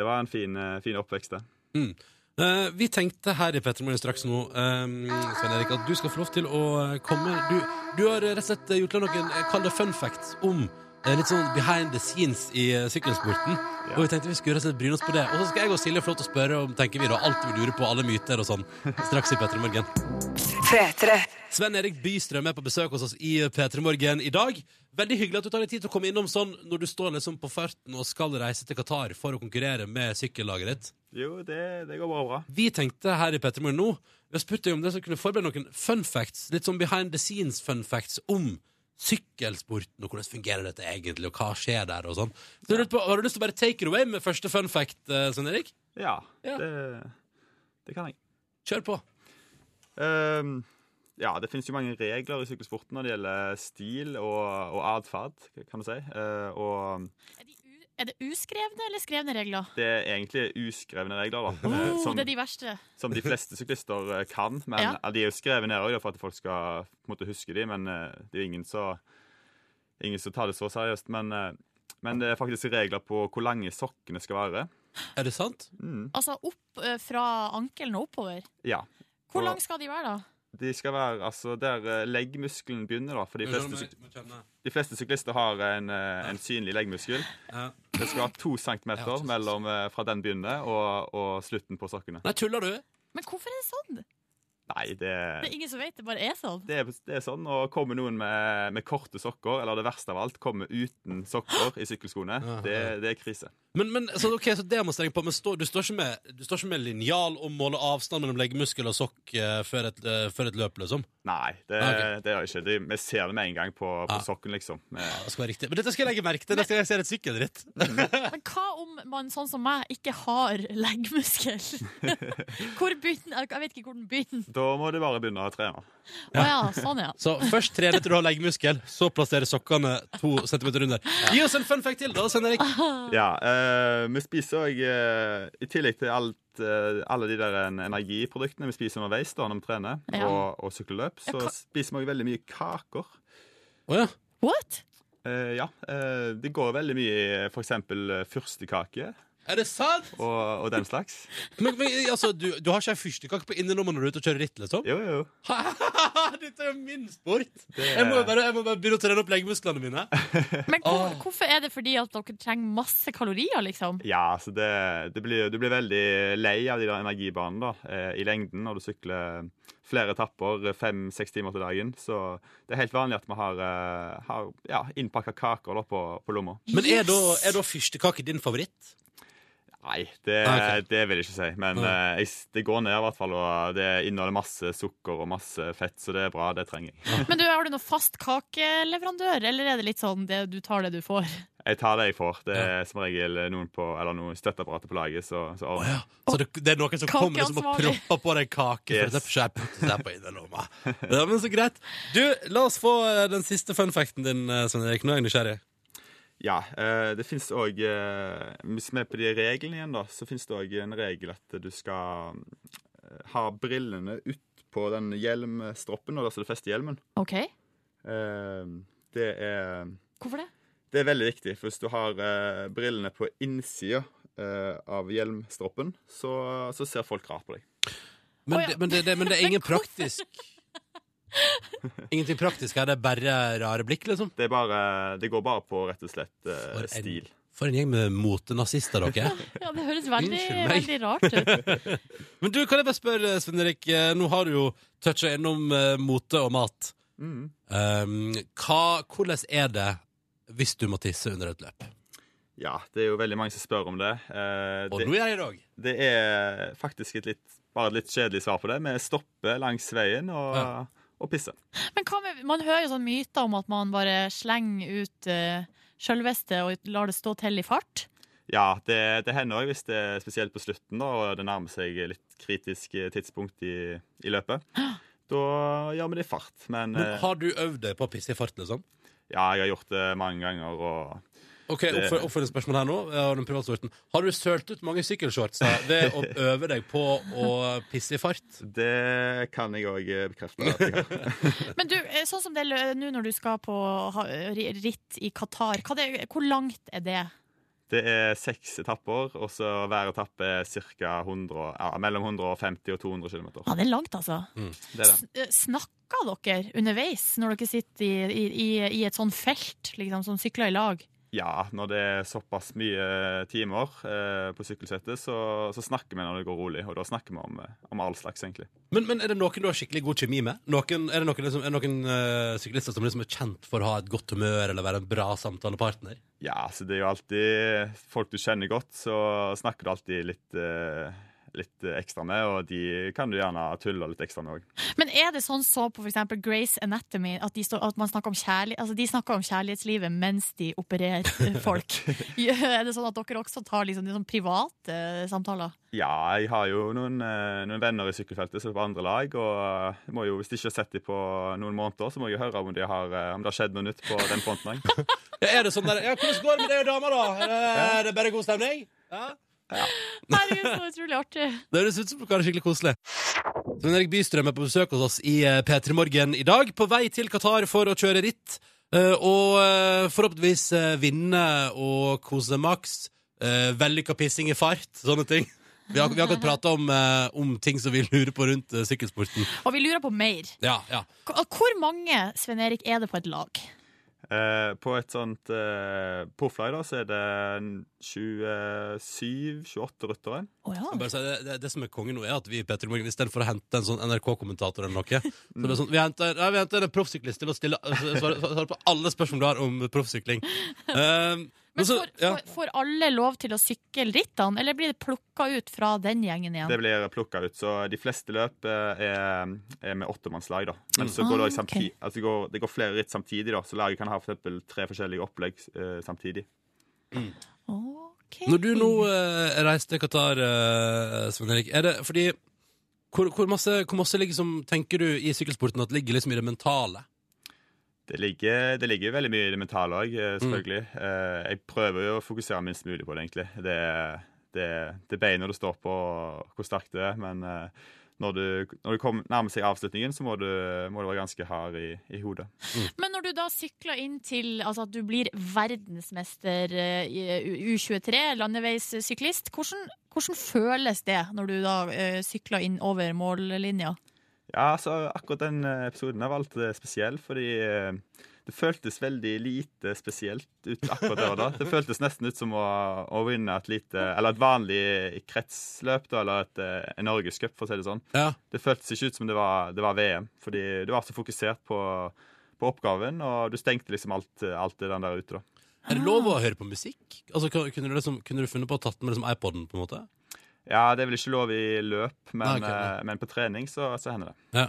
Speaker 13: det var en fin, eh, fin oppvekst, det.
Speaker 2: mm. Eh, vi tenkte her i Petremorgen straks nå ehm, Svein Erik, at du skal få lov til å eh, komme Du, du har eh, rett og slett gjort deg noen eh, Kall det fun facts om eh, Litt sånn behind the scenes i eh, sykkelsporten Og vi tenkte vi skulle rett og slett bryne oss på det Og så skal jeg og Silje få lov til å spørre om Tenker vi da alt vi lurer på, alle myter og sånn Straks i Petremorgen Sven Erik Bystrøm er på besøk hos oss i P3 Morgen i dag. Veldig hyggelig at du tar deg tid til å komme innom sånn når du står liksom på farten og skal reise til Qatar for å konkurrere med sykkellaget ditt.
Speaker 13: Jo, det, det går bare bra.
Speaker 2: Vi tenkte her i P3 Morgen nå Vi har spurt deg om det som kunne forberede noen fun facts, litt sånn behind the scenes fun facts om sykkelsporten og hvordan fungerer dette egentlig, og hva skjer der og sånn. Så jeg lurte på, har du lyst til å bare take it away med første fun fact, eh, Svein Erik?
Speaker 13: Ja, Det, det kan jeg. Ehm,
Speaker 2: Kjør på.
Speaker 13: ja, det finnes jo mange regler i sykkelsporten når det gjelder stil og, og atferd, kan du si. Eh, og
Speaker 3: Er det uskrevne eller skrevne regler?
Speaker 13: det er egentlig uskrevne regler, da. eh,
Speaker 3: Oh,
Speaker 13: som-
Speaker 3: det er de verste.
Speaker 13: som de fleste syklister eh, kan. Men
Speaker 3: Ja.
Speaker 13: eh, de er jo skrevet ned også, da, for at folk skal på en måte, huske de, men eh, det er jo ingen som ingen som tar det så seriøst. Men, eh, men det er faktisk regler på hvor lange sokkene skal være. Mm,
Speaker 2: Er det sant?
Speaker 3: Altså opp eh, fra ankelen og oppover.
Speaker 13: Ja.
Speaker 3: Hvor
Speaker 13: Og
Speaker 3: lang skal de være, da?
Speaker 13: De skal være altså, der eh, leggmuskelen begynner, da. For de
Speaker 2: Jeg
Speaker 13: fleste,
Speaker 2: skjønner,
Speaker 13: syk-
Speaker 2: jeg skjønner.
Speaker 13: de fleste syklister har en, eh, en synlig leggmuskel.
Speaker 2: Ja.
Speaker 13: Det skal være to centimeter mellom eh, fra den begynner og, og slutten på sokkene.
Speaker 2: Nei, tuller du?
Speaker 3: Men hvorfor er det sånn?
Speaker 13: Nei, det
Speaker 3: Det er ingen som vet, det bare er sånn.
Speaker 13: det er, det er sånn, og kommer noen med, med korte sokker, eller det verste av alt, kommer uten sokker i sykkelskoene,
Speaker 2: Ah,
Speaker 13: det, det er krise.
Speaker 2: Men, men så, ok, så det må jeg strenge på. Men stå, du, står ikke med, du står ikke med linjal og måler avstand mellom leggemuskel og sokk eh, før, et, eh, før et løp, liksom?
Speaker 13: Nei, det,
Speaker 2: Ah,
Speaker 13: det gjør jeg ikke. De, vi ser det med en gang på, på sokken, liksom.
Speaker 2: det skal være riktig. Men Ah, altså, dette skal jeg legge merke til neste gang jeg ser et sykkelritt.
Speaker 3: Men hva om man sånn som meg ikke har leggmuskel? Hvor begynner Jeg vet ikke hvor den begynner.
Speaker 13: Da må du bare begynne å trene.
Speaker 3: Å ja, sånn ja.
Speaker 2: Så først trene til du har leggemuskel, så plassere sokkene to centimeter under. Gi oss en fun fact til, da, Svein Erik.
Speaker 13: Ja, eh, vi spiser òg I tillegg til alt, eh, alle de der en- energiproduktene vi spiser underveis da, når vi trener
Speaker 9: Ja.
Speaker 13: og, og sykkeløp, så
Speaker 9: Ja, ka-
Speaker 13: spiser vi òg veldig mye kaker.
Speaker 2: Å ja.
Speaker 3: What?
Speaker 13: ja. eh, det går veldig mye i f.eks. fyrstekake
Speaker 2: Er det sant?
Speaker 13: og, og den slags.
Speaker 2: Men, men altså, du, du har ikke ei fyrstekake på innerlomma når du er ute og kjører ritt, liksom?
Speaker 13: Jo, jo.
Speaker 2: Dette er jo min sport! Jeg må jo bare, jeg må bare begynne å trene opp leggemusklene mine.
Speaker 3: Men hvor, hvorfor er det fordi at dere trenger masse kalorier, liksom?
Speaker 13: Ja, så det, det blir, du blir veldig lei av de der energibanene da, eh, i lengden når du sykler flere etapper, fem-seks timer til dagen. Så det er helt vanlig at vi har, eh, har ja, innpakka kaker da, på, på lomma.
Speaker 2: Men er da, er da fyrstekake din favoritt?
Speaker 13: Nei, det,
Speaker 2: Ah,
Speaker 13: det vil jeg ikke si. Men
Speaker 2: Ah.
Speaker 13: eh, jeg, s- det går ned, i hvert fall. Og det inneholder masse sukker og masse fett, så det er bra. Det trenger jeg.
Speaker 2: Ah.
Speaker 3: Men du, har du noen fast kakeleverandør, eller er det litt sånn det, du tar det du får?
Speaker 13: Jeg tar det jeg får. Det er som regel noen på, eller noen støtteapparater på laget. Så, så ordner jeg.
Speaker 2: Så det, det er noen som kommer liksom og
Speaker 13: Kakeansvarlig.
Speaker 2: propper på deg
Speaker 13: Yes.
Speaker 2: kake? For det er ikke jeg putter det her på innerlomma. Ja, men så greit. Du, la oss få eh, den siste fun facten din, eh, Svein Erik. Nå er jeg nysgjerrig.
Speaker 13: Ja, eh, det finnes òg Hvis vi er på de reglene igjen, da, så finnes det òg en regel at du skal eh, ha brillene ut på den hjelmstroppen, og da så du fester hjelmen.
Speaker 3: OK.
Speaker 13: Eh, Det er
Speaker 3: Hvorfor det?
Speaker 13: Det er veldig viktig, for hvis du har eh, brillene på innsida eh, av hjelmstroppen, så, så ser folk rart på deg.
Speaker 2: Men, det, men, det, det, men det er ingen praktisk Ingenting praktisk her, det er bare rare blikk, liksom?
Speaker 13: Det, er bare, det går bare på rett og slett eh,
Speaker 2: For en-
Speaker 13: stil.
Speaker 2: For en gjeng med motenazister dere er.
Speaker 3: Ja, det høres veldig,
Speaker 2: Unnskyld meg.
Speaker 3: veldig rart ut.
Speaker 2: Men du, kan jeg bare spørre, Svein Erik. eh, Nå har du jo toucha innom eh, mote og mat.
Speaker 13: Mm.
Speaker 2: Um, hva, hvordan er det hvis du må tisse under et løp?
Speaker 13: Ja, det er jo veldig mange som spør om det. og
Speaker 2: nå gjør jeg det òg.
Speaker 13: Det er faktisk et litt, bare et litt kjedelig svar på det. Vi stopper langs veien og, og pisser.
Speaker 3: Men hva med, man hører jo sånn myter om at man bare slenger ut uh, sjølveste og lar det stå til i fart.
Speaker 13: Ja, det, det hender òg hvis det er spesielt på slutten da, og det nærmer seg litt kritisk eh, tidspunkt i, i løpet. Da gjør vi det i fart. Men,
Speaker 2: Men
Speaker 13: eh,
Speaker 2: har du øvd deg på å pisse i fart, liksom?
Speaker 13: ja, jeg har gjort det mange ganger. Og
Speaker 2: Ok,
Speaker 13: Det-
Speaker 2: oppfør, oppfør et spørsmål her nå eh, av den privatsorten. Har du sølt ut mange sykkelshorts da, ved å øve deg på å pisse i fart?
Speaker 13: det kan jeg òg bekrefte. At jeg har.
Speaker 3: Men du, eh, sånn som det er lø- nå når du skal på ha- ri- ritt i Qatar, hva det, hvor langt er det?
Speaker 13: Det er seks etapper, og så hver etappe er cirka 100, og- ja, mellom 150 og 200 km.
Speaker 3: Ja, det er langt, altså.
Speaker 2: Mm.
Speaker 13: Det er det.
Speaker 3: Eh, Snakker dere underveis når dere sitter i, i, i- i et sånn felt, liksom, som sykler i lag?
Speaker 13: Ja, når det er såpass mye timer eh, på sykkelsettet, så, så snakker vi når det går rolig. Og da snakker vi om, eh, om all slags, egentlig.
Speaker 2: Men, men er det noen du har skikkelig god kjemi med? Noen, er det noen, liksom, er det noen eh, syklister som liksom er kjent for å ha et godt humør eller være en bra samtalepartner?
Speaker 13: Ja, så det er jo alltid eh, folk du kjenner godt, så snakker du alltid litt, eh, litt ekstra med, og de kan du gjerne tulle litt ekstra med òg.
Speaker 3: Men er det sånn så på for eksempel Grace Anatomy at de, står, at man snakker om, kjærlig, altså de snakker om kjærlighetslivet mens de opererer eh, folk? er det sånn at dere også tar liksom, de sånn private eh, samtaler?
Speaker 13: Ja, jeg har jo noen, eh, noen venner i sykkelfeltet som er på andre lag, og jeg må jo, hvis de ikke har sett dem på noen måneder, så må jeg jo høre om, de har, eh, om det har skjedd noe nytt på den fronten òg.
Speaker 2: Er det sånn der Ja, hvordan går det med deg og dama, da? Er det, er det bare god stemning? Ja?
Speaker 3: Herregud, så utrolig artig!
Speaker 2: Det høres ut som dere har det skikkelig koselig. Svein Erik Bystrøm er på besøk hos oss i eh, P3 Morgen i dag, på vei til Qatar for å kjøre ritt. eh, Og eh, forhåpentligvis eh, vinne og kose maks. eh, Vellykka pissing i fart, sånne ting. Vi har, vi har akkurat prata om, eh, om ting som vi lurer på rundt eh, sykkelsporten.
Speaker 3: Og vi lurer på mer.
Speaker 2: Ja, ja.
Speaker 3: K- Hvor mange Sven Erik, er det på et lag?
Speaker 13: Eh, på et sånt eh, Pofflag da, så er det 27-28 ryttere.
Speaker 2: Jeg Bare, sier, det, det, det som er konge nå, er at vi i Petter Morgen istedenfor å hente en sånn NRK-kommentator eller noe, så det er sånn, vi henter, ja, vi henter en proffsyklist til å stille altså, svare, svare på alle spørsmål du har om proffsykling. Um, men
Speaker 3: Altså,
Speaker 2: så, ja.
Speaker 3: Får- Får alle lov til å sykle rittene, eller blir det plukka ut fra den gjengen igjen?
Speaker 13: Det blir plukka ut. Så de fleste løp eh, er, er med åttemannslag, da. Men så
Speaker 3: Mm.
Speaker 13: går det,
Speaker 3: Ah,
Speaker 13: også samti-
Speaker 3: ok.
Speaker 13: altså, det, går, det går flere ritt samtidig, da. Så laget kan ha for eksempel tre forskjellige opplegg eh, samtidig.
Speaker 2: Mm. Når du nå eh, reiser til Qatar, eh, Svein Erik, er det fordi hvor, hvor, masse, hvor masse liksom, tenker du i sykkelsporten at ligger liksom i det mentale?
Speaker 13: Det ligger, det ligger veldig mye i det mentale òg, selvfølgelig. Eh, Jeg prøver jo å fokusere minst mulig på det, egentlig. Det, er- det, er- det er beina du står på, og hvor sterkt det er. Men eh, når du, når du kommer- nærmer seg avslutningen, så må du, må du være ganske hard i, i hodet.
Speaker 3: Men når du da sykler inn til altså at du blir verdensmester eh, i U23, landeveissyklist, hvordan, hvordan føles det når du da eh, sykler inn over mållinja?
Speaker 13: Ja, altså akkurat den eh, episoden her var litt eh, spesiell, fordi eh, det føltes veldig lite spesielt ut akkurat der og da. Det føltes nesten ut som å, å vinne et lite, eller et vanlig kretsløp, da, eller et, eh, en norgescup, for å si det sånn. Det føltes ikke ut som det var, det var VM, fordi du var så fokusert på, på oppgaven, og du stengte liksom alt, alt det den der ute, da.
Speaker 2: Er det lov å høre på musikk? Altså, kan- kunne, du liksom, kunne du funnet på å tatt med liksom, iPoden? på en måte?
Speaker 13: Ja, det er vel ikke lov i løp, men,
Speaker 2: Nei, ok, nei.
Speaker 13: eh, men på trening så, så hender det.
Speaker 2: Ja.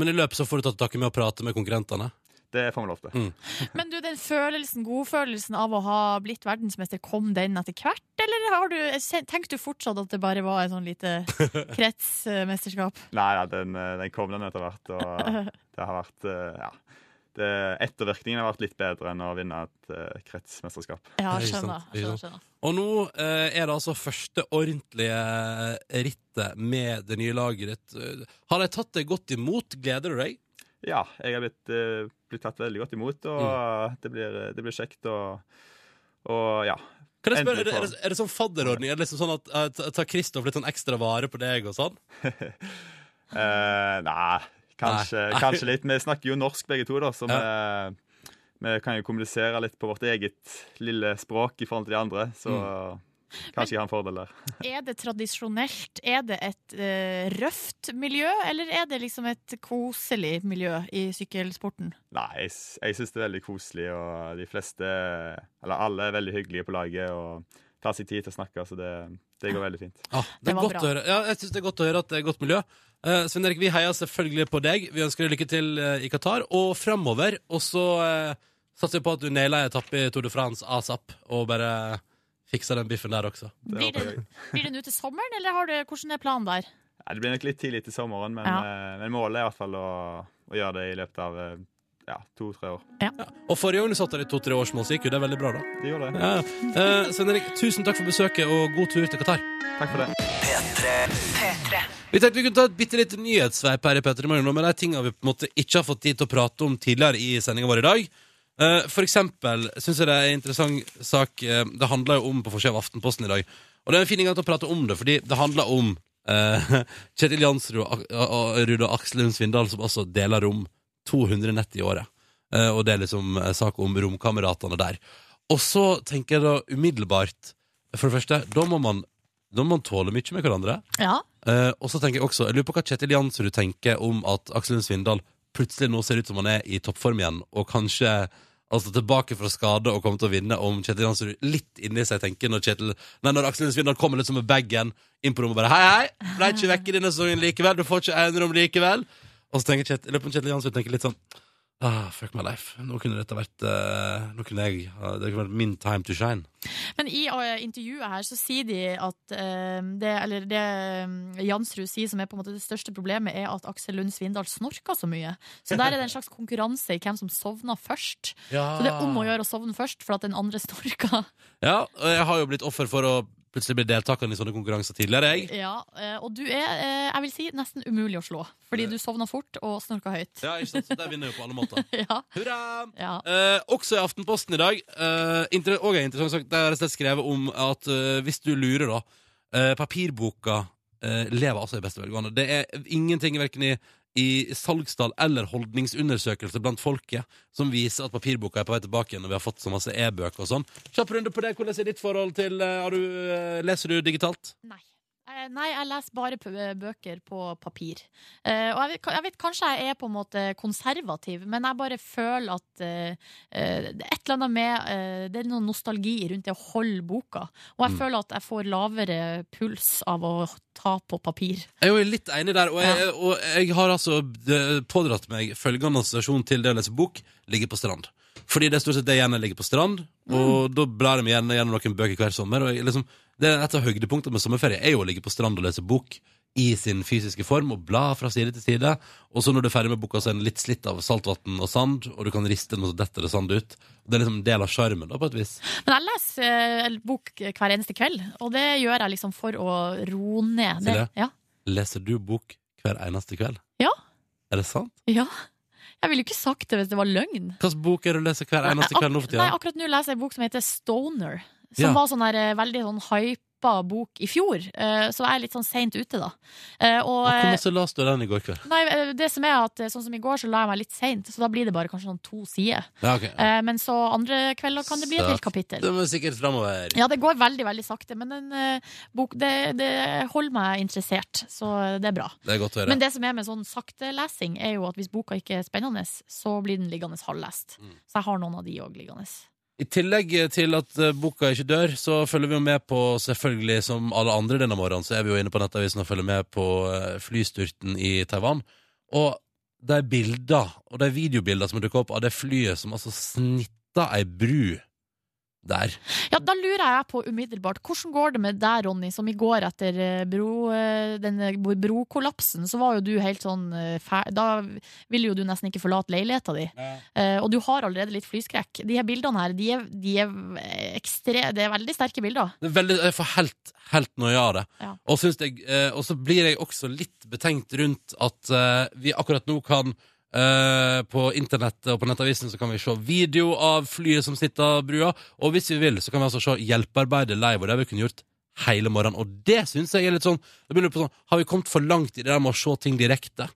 Speaker 2: Men i løpet så får du tatt tak i med å prate med konkurrentene? Mm.
Speaker 13: Det får vi lov til.
Speaker 3: Men du, den følelsen, godfølelsen av å ha blitt verdensmester, kom den etter hvert, eller har du, tenker du fortsatt at det bare var et sånn lite kretsmesterskap?
Speaker 13: Nei, ja, den, eh, den kom den etter hvert, og det har vært eh, Ja. Det, ettervirkningen har vært litt bedre enn å vinne et eh, kretsmesterskap.
Speaker 3: Ja, Ikke skjønner, sant, ikke skjønner, sant.
Speaker 2: Og nå eh, er det altså første ordentlige eh, rittet med det nye laget ditt. Eh, Har de tatt det godt imot? Gleder du deg?
Speaker 13: Ja, jeg har blitt, eh, blitt tatt veldig godt imot, og
Speaker 2: Mm.
Speaker 13: det, blir, det blir kjekt å Og ja.
Speaker 2: Kan jeg spørre, er,
Speaker 13: Endelig
Speaker 2: det, er,
Speaker 13: få-
Speaker 2: det, er det sånn fadderordning? Er det liksom sånn at eh, ta- Tar Kristoff litt sånn ekstra vare på deg og sånn?
Speaker 13: Eh, nei, kanskje,
Speaker 2: Nei.
Speaker 13: kanskje litt. Vi snakker jo norsk begge to, da, så
Speaker 2: Ja.
Speaker 13: vi, vi kan jo kommunisere litt på vårt eget lille språk i forhold til de andre, så
Speaker 2: Mm.
Speaker 13: kanskje jeg har en fordel der.
Speaker 3: Er det tradisjonelt? Er det et eh, røft miljø, eller er det liksom et koselig miljø i sykkelsporten?
Speaker 13: Nei, jeg, s- jeg syns det er veldig koselig, og de fleste, eller alle, er veldig hyggelige på laget og tar seg tid til å snakke, så det, det går veldig fint.
Speaker 2: Det er godt å høre. Ja, jeg synes det er godt å høre at det er godt miljø. Eh, Svein Erik, vi heier selvfølgelig på deg. Vi ønsker deg lykke til eh, i Qatar og framover. Og så eh, satser vi på at du nailer en etappe i Tour de France asap og bare eh, fikser den biffen der også.
Speaker 3: Blir det, blir det nå til sommeren, eller har du, hvordan er planen der?
Speaker 13: Nei, det blir nok litt tidlig til sommeren, men,
Speaker 3: Ja.
Speaker 13: eh, men målet er i hvert fall å, å gjøre det i løpet av eh, ja, to-tre år.
Speaker 2: Og forrige gang du satt der i to-tre års mål, så gikk jo det veldig bra, da.
Speaker 13: Det gjorde det.
Speaker 2: Ja. Eh, Svein Erik, tusen takk for besøket, og god tur til Qatar.
Speaker 13: Takk for det.
Speaker 5: P3.
Speaker 2: Vi tenkte vi kunne ta et bitte lite nyhetssveip her i Petter i morgen, med de tingene vi på en måte ikke har fått tid til å prate om tidligere i sendinga vår i dag. Eh, For eksempel syns jeg det er en interessant sak eh, Det handler jo om på forsida av Aftenposten i dag. Og det er en fin gang til å prate om det, fordi det handler om eh, Kjetil Jansrud og Ak- og Ruud og Aksel Lund Svindal, som altså deler rom 200 nett i året. Eh, Og det er liksom eh, sak om romkameratene der. Og så tenker jeg da umiddelbart For det første, da må man, da må man tåle mye med hverandre.
Speaker 3: Ja.
Speaker 2: Eh, og så tenker jeg også, jeg lurer på hva Kjetil Jansrud tenker om at Aksel Lund Svindal plutselig nå ser ut som han er i toppform igjen, og kanskje altså tilbake fra skade og kommer til å vinne om Kjetil Jansrud litt inni seg tenker når, Kjetil, nei, når Aksel Lund Svindal kommer litt som med bagen inn på rommet og bare Hei, hei, ble ikke vekk i denne sesongen likevel, du får ikke enerom likevel. Og så tenker Kjetil, jeg lurer på om Kjetil Jansrud tenker litt sånn Ah, fuck my life. Nå kunne dette vært eh, Nå kunne jeg ha- Det kunne vært min time to shine.
Speaker 3: Men i eh, intervjuet her så sier de at eh, det, eller det eh, Jansrud sier som er på en måte det største problemet, er at Aksel Lund Svindal snorker så mye. Så der er det en slags konkurranse i hvem som sovner først.
Speaker 2: Ja.
Speaker 3: Så det er om å gjøre å sovne først, for at den andre snorker.
Speaker 2: Ja, og jeg har jo blitt offer for å plutselig bli deltaker i sånne konkurranser tidligere, jeg.
Speaker 3: Ja, eh, og du er, eh, jeg vil si, nesten umulig å slå. Fordi du sovner fort og snorker høyt.
Speaker 2: Ja, ikke sant? Så der vinner jeg jo på alle måter.
Speaker 3: Ja.
Speaker 2: Hurra!
Speaker 3: Ja.
Speaker 2: Eh, også i Aftenposten i dag, eh, inter- og en interessant sak, der er det slett skrevet om at eh, hvis du lurer, da eh, Papirboka eh, lever altså i beste velgående. Det er ingenting verken i i salgstall eller holdningsundersøkelse blant folket som viser at papirboka er på vei tilbake igjen når vi har fått så masse e-bøker og sånn. Kjapp runde på det. Hvordan er ditt forhold til eh, har du, eh, Leser du digitalt?
Speaker 3: Eh, Nei, jeg leser bare p- eh, bøker på papir. Eh, og jeg vet, jeg vet kanskje jeg er på en måte konservativ, men jeg bare føler at eh, eh, det er et eller annet med eh, Det er noe nostalgi rundt det å holde boka. Og jeg
Speaker 2: Mm.
Speaker 3: føler at jeg får lavere puls av å ta på papir.
Speaker 2: Jeg er jo litt enig der, og jeg, og jeg har altså eh, pådratt meg følgende assosiasjon til det å lese bok, ligge på strand. Fordi det er stort sett det igjen jeg ligger på strand, og
Speaker 3: Mm.
Speaker 2: da blar jeg meg gjerne gjennom noen bøker hver sommer. Og jeg liksom, det er Et av høydepunktene med sommerferie er jo å ligge på strand og lese bok i sin fysiske form, og bla fra side til side. Og så når du er ferdig med boka, så er den litt slitt av saltvann og sand, og du kan riste den, og så detter det sand ut. Det er liksom en del av sjarmen, da, på et vis.
Speaker 3: Men jeg leser eh, en bok hver eneste kveld, og det gjør jeg liksom for å roe ned.
Speaker 2: Silje?
Speaker 3: ja.
Speaker 2: Leser du bok hver eneste kveld?
Speaker 3: Ja.
Speaker 2: Er det sant?
Speaker 3: ja. Jeg ville jo ikke sagt det hvis det var løgn.
Speaker 2: Hvilken bok er det du leser hver eneste
Speaker 3: Nei,
Speaker 2: kveld nå
Speaker 3: ak-
Speaker 2: for tida?
Speaker 3: Nei, akkurat nå leser jeg en bok som heter Stoner. Som
Speaker 2: Ja.
Speaker 3: var sånn der, eh, veldig sånn hypa bok i fjor. eh, så jeg er litt sånn seint ute, da. Eh, og,
Speaker 2: Hvor
Speaker 3: eh,
Speaker 2: masse leste du den i går kveld?
Speaker 3: nei, eh, det som er at eh, Sånn som i går, så la jeg meg litt seint, så da blir det bare kanskje sånn to sider.
Speaker 2: Ja, ok.
Speaker 3: Eh, men så andre kvelder kan det bli et helt kapittel.
Speaker 2: Det må sikkert fremover.
Speaker 3: Ja, det går veldig veldig sakte, men en eh, bok det, det holder meg interessert, så det er bra.
Speaker 2: Det er godt å høre.
Speaker 3: Men det som er med sånn saktelesing, er jo at hvis boka ikke er spennende, så blir den liggende halvlest.
Speaker 2: Mm.
Speaker 3: Så jeg har noen av de òg liggende.
Speaker 2: I tillegg til at eh, boka ikke dør, så følger vi jo med på, selvfølgelig som alle andre denne morgenen, så er vi jo inne på nettavisen og følger med på eh, flystyrten i Taiwan. Og de bilder, og de videobilder som dukker opp av det flyet som altså snitta ei bru der.
Speaker 3: Ja, Da lurer jeg på umiddelbart, hvordan går det med deg, Ronny, som i går etter eh, bro, eh, den eh, brokollapsen, så var jo du helt sånn eh, fæ- Da ville jo du nesten ikke forlate leiligheta di. Eh, Og du har allerede litt flyskrekk. De her bildene her, de er, de er eh, ekstre... Det er veldig sterke bilder.
Speaker 2: Det er veldig, jeg får helt, helt noia av det.
Speaker 3: Ja.
Speaker 2: Og, syns jeg, eh, og så blir jeg også litt betenkt rundt at eh, vi akkurat nå kan eh, på internettet og på nettavisen så kan vi se video av flyet som sitter av brua, og hvis vi vil så kan vi altså se hjelpearbeidet live, og det har vi kunnet gjort hele morgenen. Og det syns jeg er litt sånn, jeg begynner på sånn Har vi kommet for langt i det der med å se ting direkte?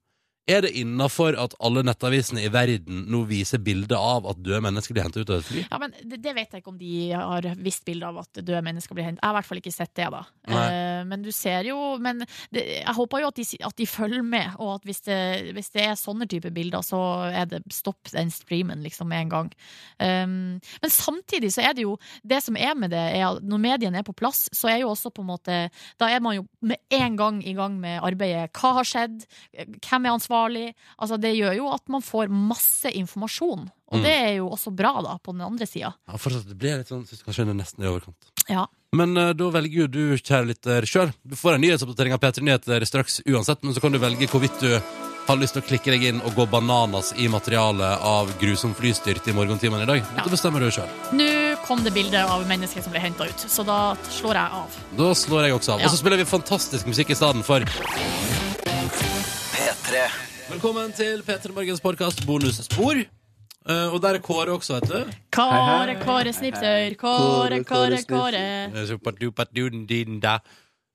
Speaker 2: Er det innafor at alle nettavisene i verden nå viser bilder av at døde mennesker blir henta ut av et fly?
Speaker 3: Ja, men det, det vet jeg ikke om de har visst bilde av at døde mennesker blir hentet. Jeg har i hvert fall ikke sett det, da.
Speaker 2: Nei.
Speaker 3: Eh, men du ser jo Men det, jeg håper jo at de, si- at de følger med, og at hvis det, hvis det er sånne type bilder, så er det stopp den streamen liksom med en gang. Um, men samtidig så er det jo Det som er med det, er at når mediene er på plass, så er jo også på en måte Da er man jo med en gang i gang med arbeidet. Hva har skjedd? Hvem er ansvarlig? Altså, det gjør jo at man får masse informasjon. Og
Speaker 2: Mm.
Speaker 3: det er jo også bra, da, på den andre sida.
Speaker 2: Ja, fortsatt, det blir litt sånn, synes kanskje det er nesten i overkant.
Speaker 3: Ja.
Speaker 2: Men eh, da velger jo du, kjære lytter, sjøl. Du får en nyhetsoppdatering av P3 Nyheter straks uansett, men så kan du velge hvorvidt du har lyst til å klikke deg inn og gå bananas i materialet av grusom flystyrt i morgentimene i dag. Dette bestemmer du sjøl.
Speaker 3: Nå kom det bilde av mennesket som ble henta ut, så da slår jeg av.
Speaker 2: Da slår jeg også av.
Speaker 3: Ja.
Speaker 2: Og så spiller vi fantastisk musikk i stedet for. P3. Velkommen til P3 Morgens podkast bonusspor. Eh, og der er Kåre også, vet du.
Speaker 3: Kåre, Kåre Snipsøyr, Kåre, Kåre, Kåre.
Speaker 2: Eh, superdupadudendinda.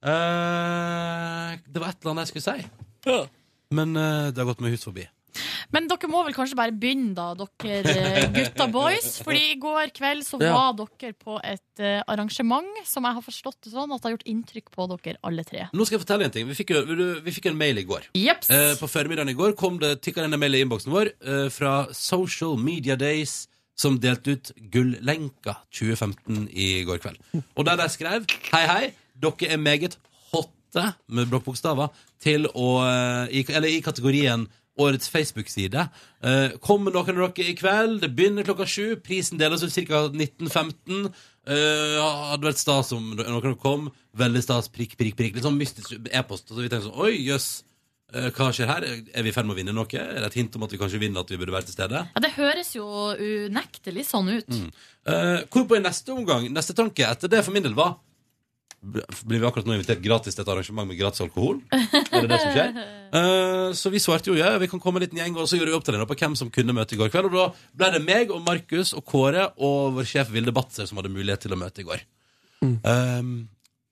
Speaker 2: Eh, Det var et eller annet jeg skulle si, men eh, det har gått meg hus forbi.
Speaker 3: Men dere må vel kanskje bare begynne, da, dere eh, gutta boys. Fordi i går kveld så
Speaker 2: Ja.
Speaker 3: var dere på et eh, arrangement som jeg har forstått det sånn at har gjort inntrykk på dere alle tre.
Speaker 2: Nå skal jeg fortelle en ting. Vi fikk, jo- vi fikk en mail i går.
Speaker 3: Jeps.
Speaker 2: Eh, på formiddagen i går kom det tikka inn en mail i innboksen vår eh, fra Social Media Days, som delte ut Gullenka 2015 i går kveld. Og der de skrev Hei, hei, dere er meget hotte med blokkbokstaver til å eh, i, Eller i kategorien Årets Facebook-side. Eh, kom med noen av dere i kveld. Det begynner klokka sju. Prisen deles ut ca. 19.15. Eh, hadde vært stas om noen av dere kom. Veldig stas. Prikk, prikk, prikk. Litt sånn mystisk e-post. Og så vi tenkte sånn Oi, jøss. Eh, Hva skjer her? Er vi i ferd med å vinne noe? Er det et hint om at vi kanskje vinner at vi burde være til stede?
Speaker 3: Ja, det høres jo unektelig sånn ut.
Speaker 2: Mm. Eh, hvorpå i neste omgang, neste tanke etter det for min del var bl- Blir vi akkurat nå invitert gratis til et arrangement med gratis alkohol? Er det det som skjer? Eh, så vi svarte jo ja, vi kan komme en liten gjeng, og så gjorde vi opptellinga på hvem som kunne møte i går kveld. Og da ble det meg og Markus og Kåre og vår sjef Vilde Batzer som hadde mulighet til å møte i går. Eh,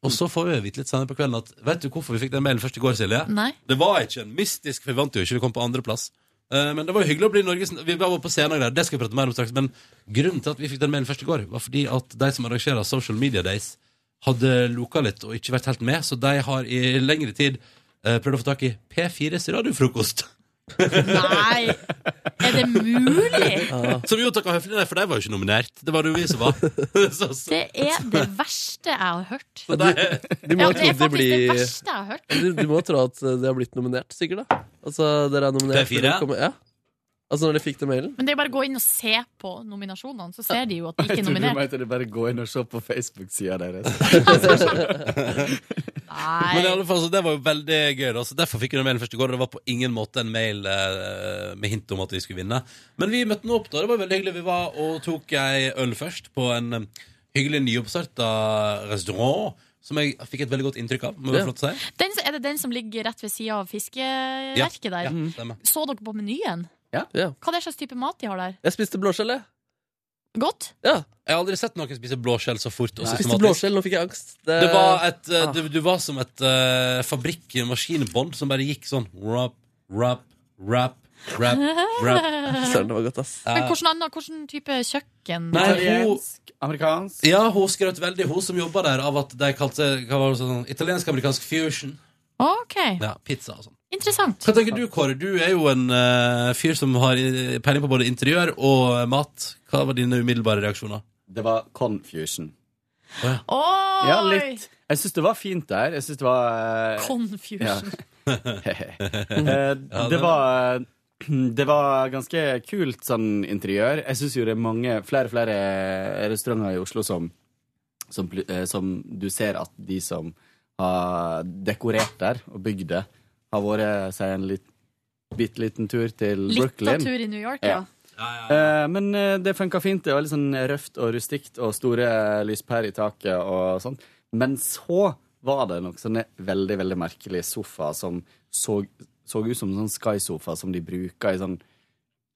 Speaker 2: Og så får vi vite litt senere på kvelden at Vet du hvorfor vi fikk den mailen først i går, Silje?
Speaker 3: Nei.
Speaker 2: Det var ikke en mystisk, for vi vant jo ikke, vi kom på andreplass. Uh, men det var jo hyggelig å bli Norges Vi var på scenen og greier, det skal vi prate mer om straks. Men grunnen til at vi fikk den mailen først i går, var fordi at de som arrangerer Social Media Days, hadde loka litt og ikke vært helt med, så de har i lengre tid eh, prøvd å få tak i P4s radiofrokost.
Speaker 3: Nei, er det mulig?
Speaker 2: Som jo takka høflig nei, for de var jo ikke nominert. Det var det jo vi som var. Så, så.
Speaker 3: Det er det verste jeg har hørt.
Speaker 2: Så de-
Speaker 4: de
Speaker 3: ja,
Speaker 4: må jo
Speaker 3: det er
Speaker 4: tro de
Speaker 3: faktisk det
Speaker 4: blir-
Speaker 3: verste jeg har hørt.
Speaker 4: Du, du må tro at eh, det har blitt nominert, sikkert. da Altså, dere er nominert
Speaker 2: P4?
Speaker 4: for å komme- ja. Altså, når dere fikk den mailen?
Speaker 3: Men det er bare å gå inn og se på nominasjonene, så ser de jo at de ikke er
Speaker 12: Jeg tror du
Speaker 3: nominert.
Speaker 12: mente det bare gå inn og se på Facebook-sida deres.
Speaker 2: Men i alle fall, så det var jo veldig gøy. Da. Så Derfor fikk vi den mailen først i går. Og det var på ingen måte en mail eh, med hint om at vi skulle vinne. Men vi møtte nå opp, da. Det var veldig hyggelig. Vi var og tok ei øl først på en eh, hyggelig nyoppstarta restaurant. Som jeg fikk et veldig godt inntrykk av. Må jeg
Speaker 3: Ja.
Speaker 2: få lov til å si.
Speaker 3: Den, er det den som ligger rett ved sida av fiskeverket der?
Speaker 2: Ja, ja, stemmer.
Speaker 3: Så dere på menyen?
Speaker 4: Mm. Ja.
Speaker 3: Hva er det slags type mat de har der?
Speaker 4: Jeg spiste blåskjell, jeg.
Speaker 3: Godt?
Speaker 4: Ja.
Speaker 2: Jeg har aldri sett noen spise blåskjell så fort og
Speaker 4: Jeg spiste
Speaker 2: systematisk.
Speaker 4: blåskjell, nå fikk jeg angst.
Speaker 2: Det
Speaker 4: Ah.
Speaker 2: var et, eh, du, du var som et eh, fabrikkmaskinbånd som bare gikk sånn rap, rap, rap, rap, rap.
Speaker 4: Søren, det var godt, ass.
Speaker 3: Men hvordan, annen- hvordan type kjøkken?
Speaker 2: Eh. Nei, hun,
Speaker 12: Amerikansk?
Speaker 2: ja, hun skrøt veldig, hun som jobba der, av at de kalte hva var det sånn, italiensk-amerikansk fusion.
Speaker 3: OK,
Speaker 2: Ja, pizza og sånn.
Speaker 3: interessant.
Speaker 2: Hva tenker du, Kåre? Du er jo en eh, fyr som har eh, peiling på både interiør og eh, mat. Hva var dine umiddelbare reaksjoner?
Speaker 12: Det var confusion.
Speaker 3: Oi!
Speaker 12: Ja, litt. Jeg syns det var fint der. Jeg syns det var eh,
Speaker 3: Confusion.
Speaker 12: Eh, det var eh, det var ganske kult sånn interiør. Jeg syns jo det er mange flere flere restauranter i Oslo som, som, pl- eh, som du ser at de som har dekorert der og bygd det, har vært eh, seg en litt, bitte liten tur til
Speaker 3: Litt av
Speaker 12: Brooklyn.
Speaker 3: tur i New York, ja.
Speaker 12: Eh, Men eh, det funka fint. Det var litt sånn røft og rustikt og store eh, lyspærer i taket og sånn. Men så var det noen sånne veldig, veldig merkelige sofaer som så, så ut som en sånn Sky-sofa som de bruker i sånn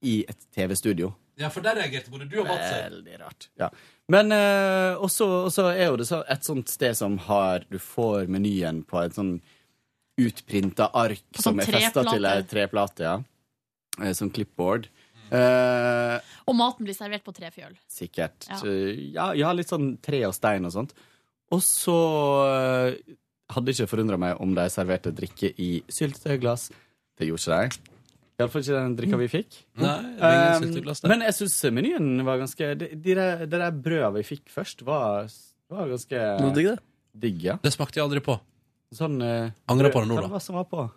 Speaker 12: i et TV-studio.
Speaker 2: Ja, for der reagerte både du og Mats.
Speaker 12: Veldig rart. Ja. Men eh, også, også er jo det så, et sånt sted som har Du får menyen på et sånn utprinta ark
Speaker 3: På sånn
Speaker 12: som er festa
Speaker 3: treplate.
Speaker 12: til ei treplate, ja. Eh, Som clipboard. Eh,
Speaker 3: Og maten blir servert på tre fjøl.
Speaker 12: Sikkert.
Speaker 3: Ja.
Speaker 12: Så, Ja, ja, litt sånn tre og stein og sånt. Og så eh, hadde ikke forundra meg om de serverte drikke i syltetøyglass. Det gjorde ikke de. Iallfall ikke den drikka vi fikk.
Speaker 2: Mm. Nei, det er ingen
Speaker 12: Um,
Speaker 2: syltetøyglass der.
Speaker 12: men jeg syns menyen var ganske Det de der, det der brødet vi fikk først, var, var ganske
Speaker 4: Noe digg, det.
Speaker 12: digg, ja.
Speaker 2: Det smakte jeg aldri på.
Speaker 12: Eh, Sånn eh,
Speaker 2: Angrer
Speaker 12: brød-
Speaker 2: på det nå,
Speaker 12: hva
Speaker 2: da.
Speaker 12: var det som var på?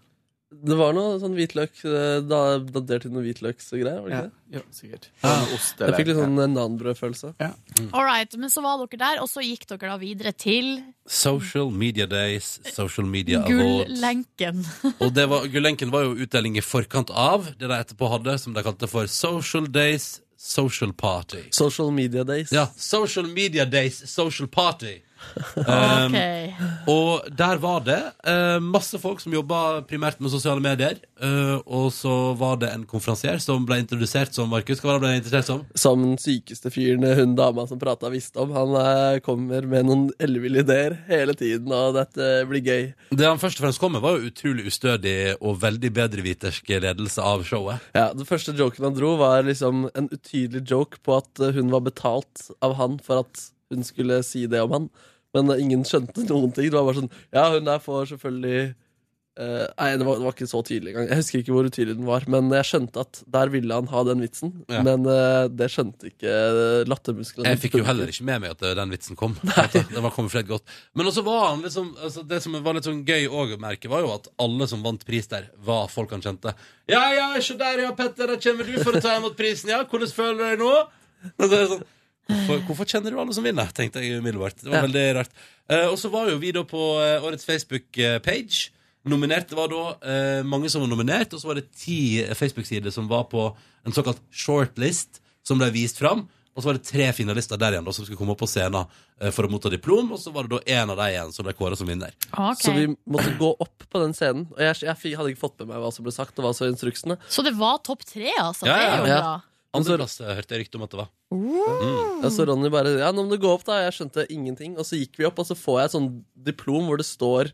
Speaker 4: Det var noe sånn hvitløk eh, da, Dadert til noe hvitløksgreier, var det ikke det?
Speaker 12: Ja, sikkert. Med ost, eller-
Speaker 4: Jeg fikk litt sånn eh, nanbrødfølelse.
Speaker 3: All right, men så var dere der, og så gikk dere da videre til
Speaker 2: Social Media Days, Social Media Awards.
Speaker 3: gullenken.
Speaker 2: Og det var, Gullenken var jo utdeling i forkant av det de etterpå hadde, som de kalte for Social Days Social Party.
Speaker 4: Social Media Days.
Speaker 2: Ja, Social Media Days Social Party. Um,
Speaker 4: Ok.
Speaker 2: og der var det eh, masse folk som jobba primært med sosiale medier. eh, og så var det en konferansier som ble introdusert som Markus. Hva var det han ble introdusert som?
Speaker 4: Som den sykeste fyren hun dama som prata, visste om. Han eh, kommer med noen elleville ideer hele tiden, og dette blir gøy.
Speaker 2: Det han først og fremst kom med, var jo utrolig ustødig og veldig bedrevitersk ledelse av showet.
Speaker 4: Ja, Den første joken han dro, var liksom en utydelig joke på at eh, hun var betalt av han for at hun skulle si det om han. Men eh, ingen skjønte noen ting. Det var bare sånn Ja, hun der får selvfølgelig eh, Nei, det var, det var ikke så tydelig engang. Jeg husker ikke hvor utydelig den var, men jeg skjønte at der ville han ha den vitsen.
Speaker 2: Ja.
Speaker 4: Men eh, det skjønte ikke eh, lattermusklene.
Speaker 2: Jeg fikk jo heller ikke med meg at eh, den vitsen kom. Den var kommet flett godt Men også var han liksom altså Det som var litt sånn gøy å merke, var jo at alle som vant pris der, var folk han kjente. Ja, ja, se der, ja, Petter, der kommer du for å ta imot prisen, ja. Hvordan føler du deg nå? Og så er det sånn Hvorfor, hvorfor kjenner du alle som vinner? tenkte jeg umiddelbart. Det var
Speaker 4: Ja.
Speaker 2: veldig rart. Eh, og så var jo vi da på eh, årets Facebook-page. Nominert det var da eh, mange som var nominert, og så var det ti Facebook-sider som var på en såkalt shortlist, som ble vist fram. Og så var det tre finalister der igjen da, som skulle komme opp på scenen eh, for å motta diplom. Og så var det da én av de igjen som ble kåra som vinner.
Speaker 4: Så vi måtte gå opp på den scenen. Og jeg, jeg fikk- hadde ikke fått med meg hva som ble sagt, og hva som var instruksene.
Speaker 3: Så det var topp tre, altså.
Speaker 4: Ja,
Speaker 3: Det
Speaker 4: ja,
Speaker 3: er jo
Speaker 4: ja.
Speaker 3: bra.
Speaker 2: Andreplass eh, hørte jeg rykte om at det var. Mm.
Speaker 4: Ja, så Ronny bare Ja, nå må du gå opp, da. Jeg skjønte ingenting. Og så gikk vi opp, og så får jeg et sånn diplom hvor det står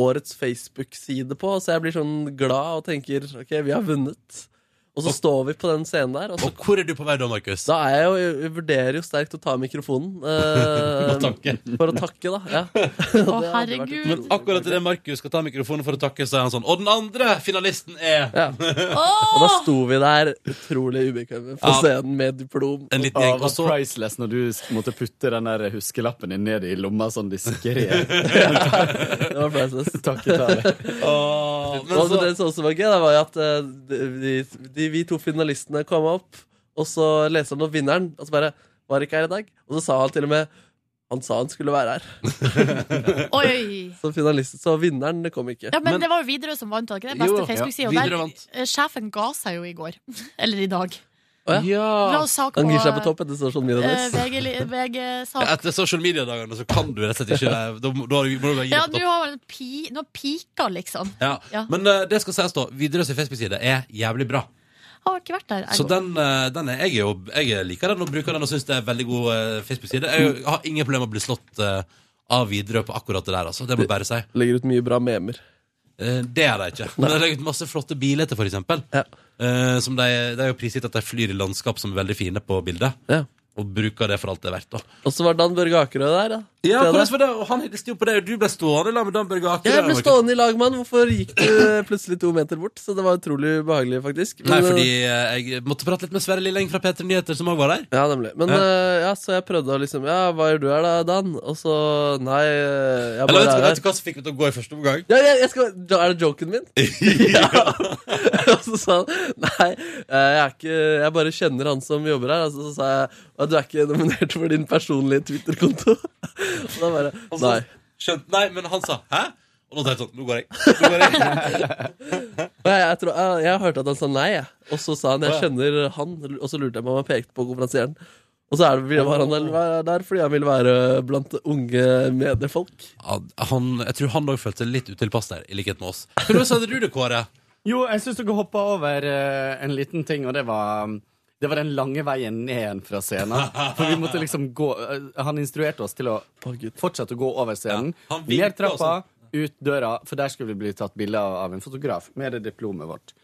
Speaker 4: årets Facebook-side på. Så jeg blir sånn glad og tenker OK, vi har vunnet. Og så står vi på den scenen der. Og, så,
Speaker 2: hvor er du på vei da, Markus?
Speaker 4: Da er jeg jo Jeg vurderer jo sterkt å ta mikrofonen. eh,
Speaker 2: For å takke.
Speaker 4: For å takke, da. Ja.
Speaker 3: Å, herregud.
Speaker 2: Men akkurat idet Markus skal ta mikrofonen for å takke, så er han sånn Og den andre finalisten er
Speaker 4: Og da sto vi der utrolig ubekvemme på
Speaker 12: Ja.
Speaker 4: scenen med diplom.
Speaker 2: En liten
Speaker 12: Ja, det var priceless når du s- måtte putte den der huskelappen din ned i lomma sånn diskré.
Speaker 4: Det var priceless.
Speaker 12: Takketale.
Speaker 2: Åh, men
Speaker 4: og
Speaker 2: så-
Speaker 4: det som også var gøy, da, var jo at eh, de, de, vi to finalistene kom opp, og så leser han opp vinneren, og så bare Var ikke her i dag? Og så sa han til og med Han sa han skulle være her.
Speaker 3: Oi.
Speaker 4: så finalisten, så vinneren det kom ikke.
Speaker 3: Ja, men, det var jo Widerøe som vant, var det ikke det?
Speaker 4: Jo, ja.
Speaker 3: Beste Facebook-sida.
Speaker 4: Widerøe
Speaker 3: Og
Speaker 4: vant.
Speaker 3: der eh, sjefen ga seg jo i går. Eller i dag.
Speaker 4: Å
Speaker 2: ja.
Speaker 3: La oss sak
Speaker 4: Han gir
Speaker 3: på-
Speaker 4: seg på topp etter sosial media.
Speaker 3: Eh,
Speaker 4: deres.
Speaker 3: VG, li- VG sa
Speaker 2: Ja, Etter sosiale medier-dagene så kan du rett og slett ikke det. Da må da må du bare gi
Speaker 3: Ja,
Speaker 2: deg på
Speaker 3: du
Speaker 2: topp.
Speaker 3: har en pi... Nå pika, liksom.
Speaker 2: Ja.
Speaker 3: Ja.
Speaker 2: Men eh, det skal sies, da. Widerøes Facebook-side er jævlig bra.
Speaker 3: Har ikke vært der.
Speaker 2: Så den, eh, den er, jeg, er jo, jeg liker den og bruker den og syns det er en veldig god eh, Facebook-side. Jeg har ingen problemer med å bli slått eh, av Widerøe på akkurat det der, altså. Det må jeg bare si.
Speaker 4: Legger ut mye bra memer.
Speaker 2: Eh, Det er det ikke. Men de har legget ut masse flotte biletter, for eksempel. Eh, som de, de er jo prisgitt at de flyr i landskap som er veldig fine på bildet. Og bruker det for alt det er verdt. da
Speaker 4: Og så var Dan Børge Akerø der, da.
Speaker 2: Ja,
Speaker 4: Stedet.
Speaker 2: hvordan var det? Og han hilste jo på deg, og du ble stående la med Dan Børge Akerø.
Speaker 4: Ja, jeg ble
Speaker 2: Markus.
Speaker 4: stående i lag med han. Hvorfor gikk du plutselig to meter bort? Så det var utrolig behagelig, faktisk.
Speaker 2: Nei,
Speaker 4: Men,
Speaker 2: fordi eh, jeg måtte prate litt med Sverre Lilleng fra P3 Nyheter, som også var der.
Speaker 4: Ja, nemlig. Men eh,
Speaker 2: Ja.
Speaker 4: ja. ja, så jeg prøvde å liksom Ja, hva gjør du her da, Dan? Og så Nei, eh, jeg
Speaker 2: Eller vet
Speaker 4: bare
Speaker 2: du,
Speaker 4: er
Speaker 2: vet
Speaker 4: her.
Speaker 2: du hva som fikk meg til å gå i første omgang?
Speaker 4: Ja, jeg, jeg skal, er det joken min? ja. Og så sa han nei, eh, jeg er ikke Jeg bare kjenner han som jobber her. Og så, så sa jeg «Å, du er ikke nominert for din personlige Twitter-konto. Og da bare
Speaker 2: Og så
Speaker 4: Nei.
Speaker 2: skjønte- nei, men han sa 'hæ?' Og nå tenkte jeg sånn Nå går jeg. Nå går jeg.
Speaker 4: Og jeg, jeg, tror, jeg, jeg hørte at han sa nei, jeg. og så sa han jeg
Speaker 2: Å, ja.
Speaker 4: kjenner han. Og så lurte jeg på om han pekte på konferansieren. Og så er det, var han der, var der fordi han ville være blant unge mediefolk.
Speaker 2: Ja, han, jeg tror han òg følte seg litt utilpass der, i likhet med oss. Hvordan hadde du det, Kåre?
Speaker 12: Jo, jeg syns dere hoppa over eh, en liten ting, og det var um, det var den lange veien ned igjen fra scenen. For vi måtte liksom gå eh, Han instruerte oss til å fortsette å gå over scenen.
Speaker 2: han vinket
Speaker 12: ned trappa, ut døra, for der skulle vi bli tatt bilde av- av en fotograf med det diplomet vårt.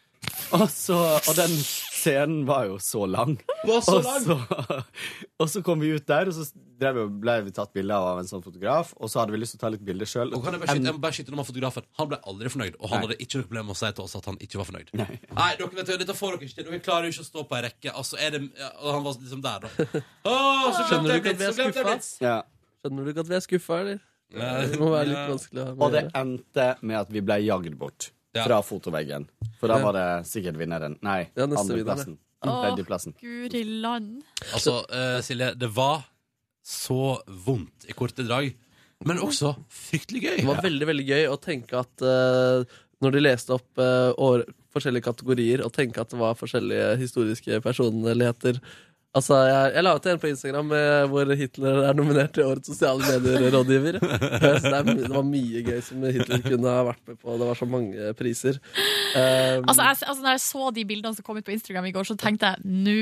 Speaker 12: Og, så, og den scenen var jo så lang.
Speaker 2: Var så lang.
Speaker 12: Og så, og så kom vi ut der, og så drev vi, og ble vi tatt bilde av en sånn fotograf. Og så hadde vi lyst til å ta litt bilder sjøl.
Speaker 2: Og kan jeg bare skyte, jeg må bare skyte noe med fotografen. Han ble aldri fornøyd, og han hadde ikke noe problem med å si til oss at han ikke var fornøyd. Nei, dere vet jo, dette får dere ikke til. Dere klarer jo ikke å stå på ei rekke. Altså, er det, ja, og han var liksom der, da. Å, så
Speaker 4: Skjønner du
Speaker 2: glemte jeg
Speaker 4: ikke at vi
Speaker 2: blitz,
Speaker 4: er
Speaker 2: så glemte jeg
Speaker 4: skuffa?
Speaker 2: blitz.
Speaker 4: Skjønner du ikke at vi er skuffa, eller?
Speaker 12: Nei.
Speaker 4: Det må være litt vanskelig å ha med
Speaker 12: Og det
Speaker 4: å gjøre.
Speaker 12: endte med at vi ble jagd bort fra fotoveggen. For da
Speaker 4: Ja.
Speaker 12: var det sikkert vinneren. Nei,
Speaker 4: Ja, neste
Speaker 12: andreplassen.
Speaker 3: Åh,
Speaker 12: Tredjeplassen.
Speaker 3: guri land.
Speaker 2: Altså, eh, Silje, det var så vondt i korte drag, men også fryktelig gøy.
Speaker 4: Det var veldig veldig gøy å tenke at eh, når de leste opp eh, år, forskjellige kategorier, og tenke at det var forskjellige historiske personligheter Altså, Jeg, jeg la ut en på Instagram eh, hvor Hitler er nominert til årets sosiale medier-rådgiver. Så det, er, my- det var mye gøy som Hitler kunne ha vært med på. Det var så mange priser. Eh,
Speaker 3: Altså, jeg, altså, når jeg så de bildene som kom ut på Instagram i går, så tenkte jeg nå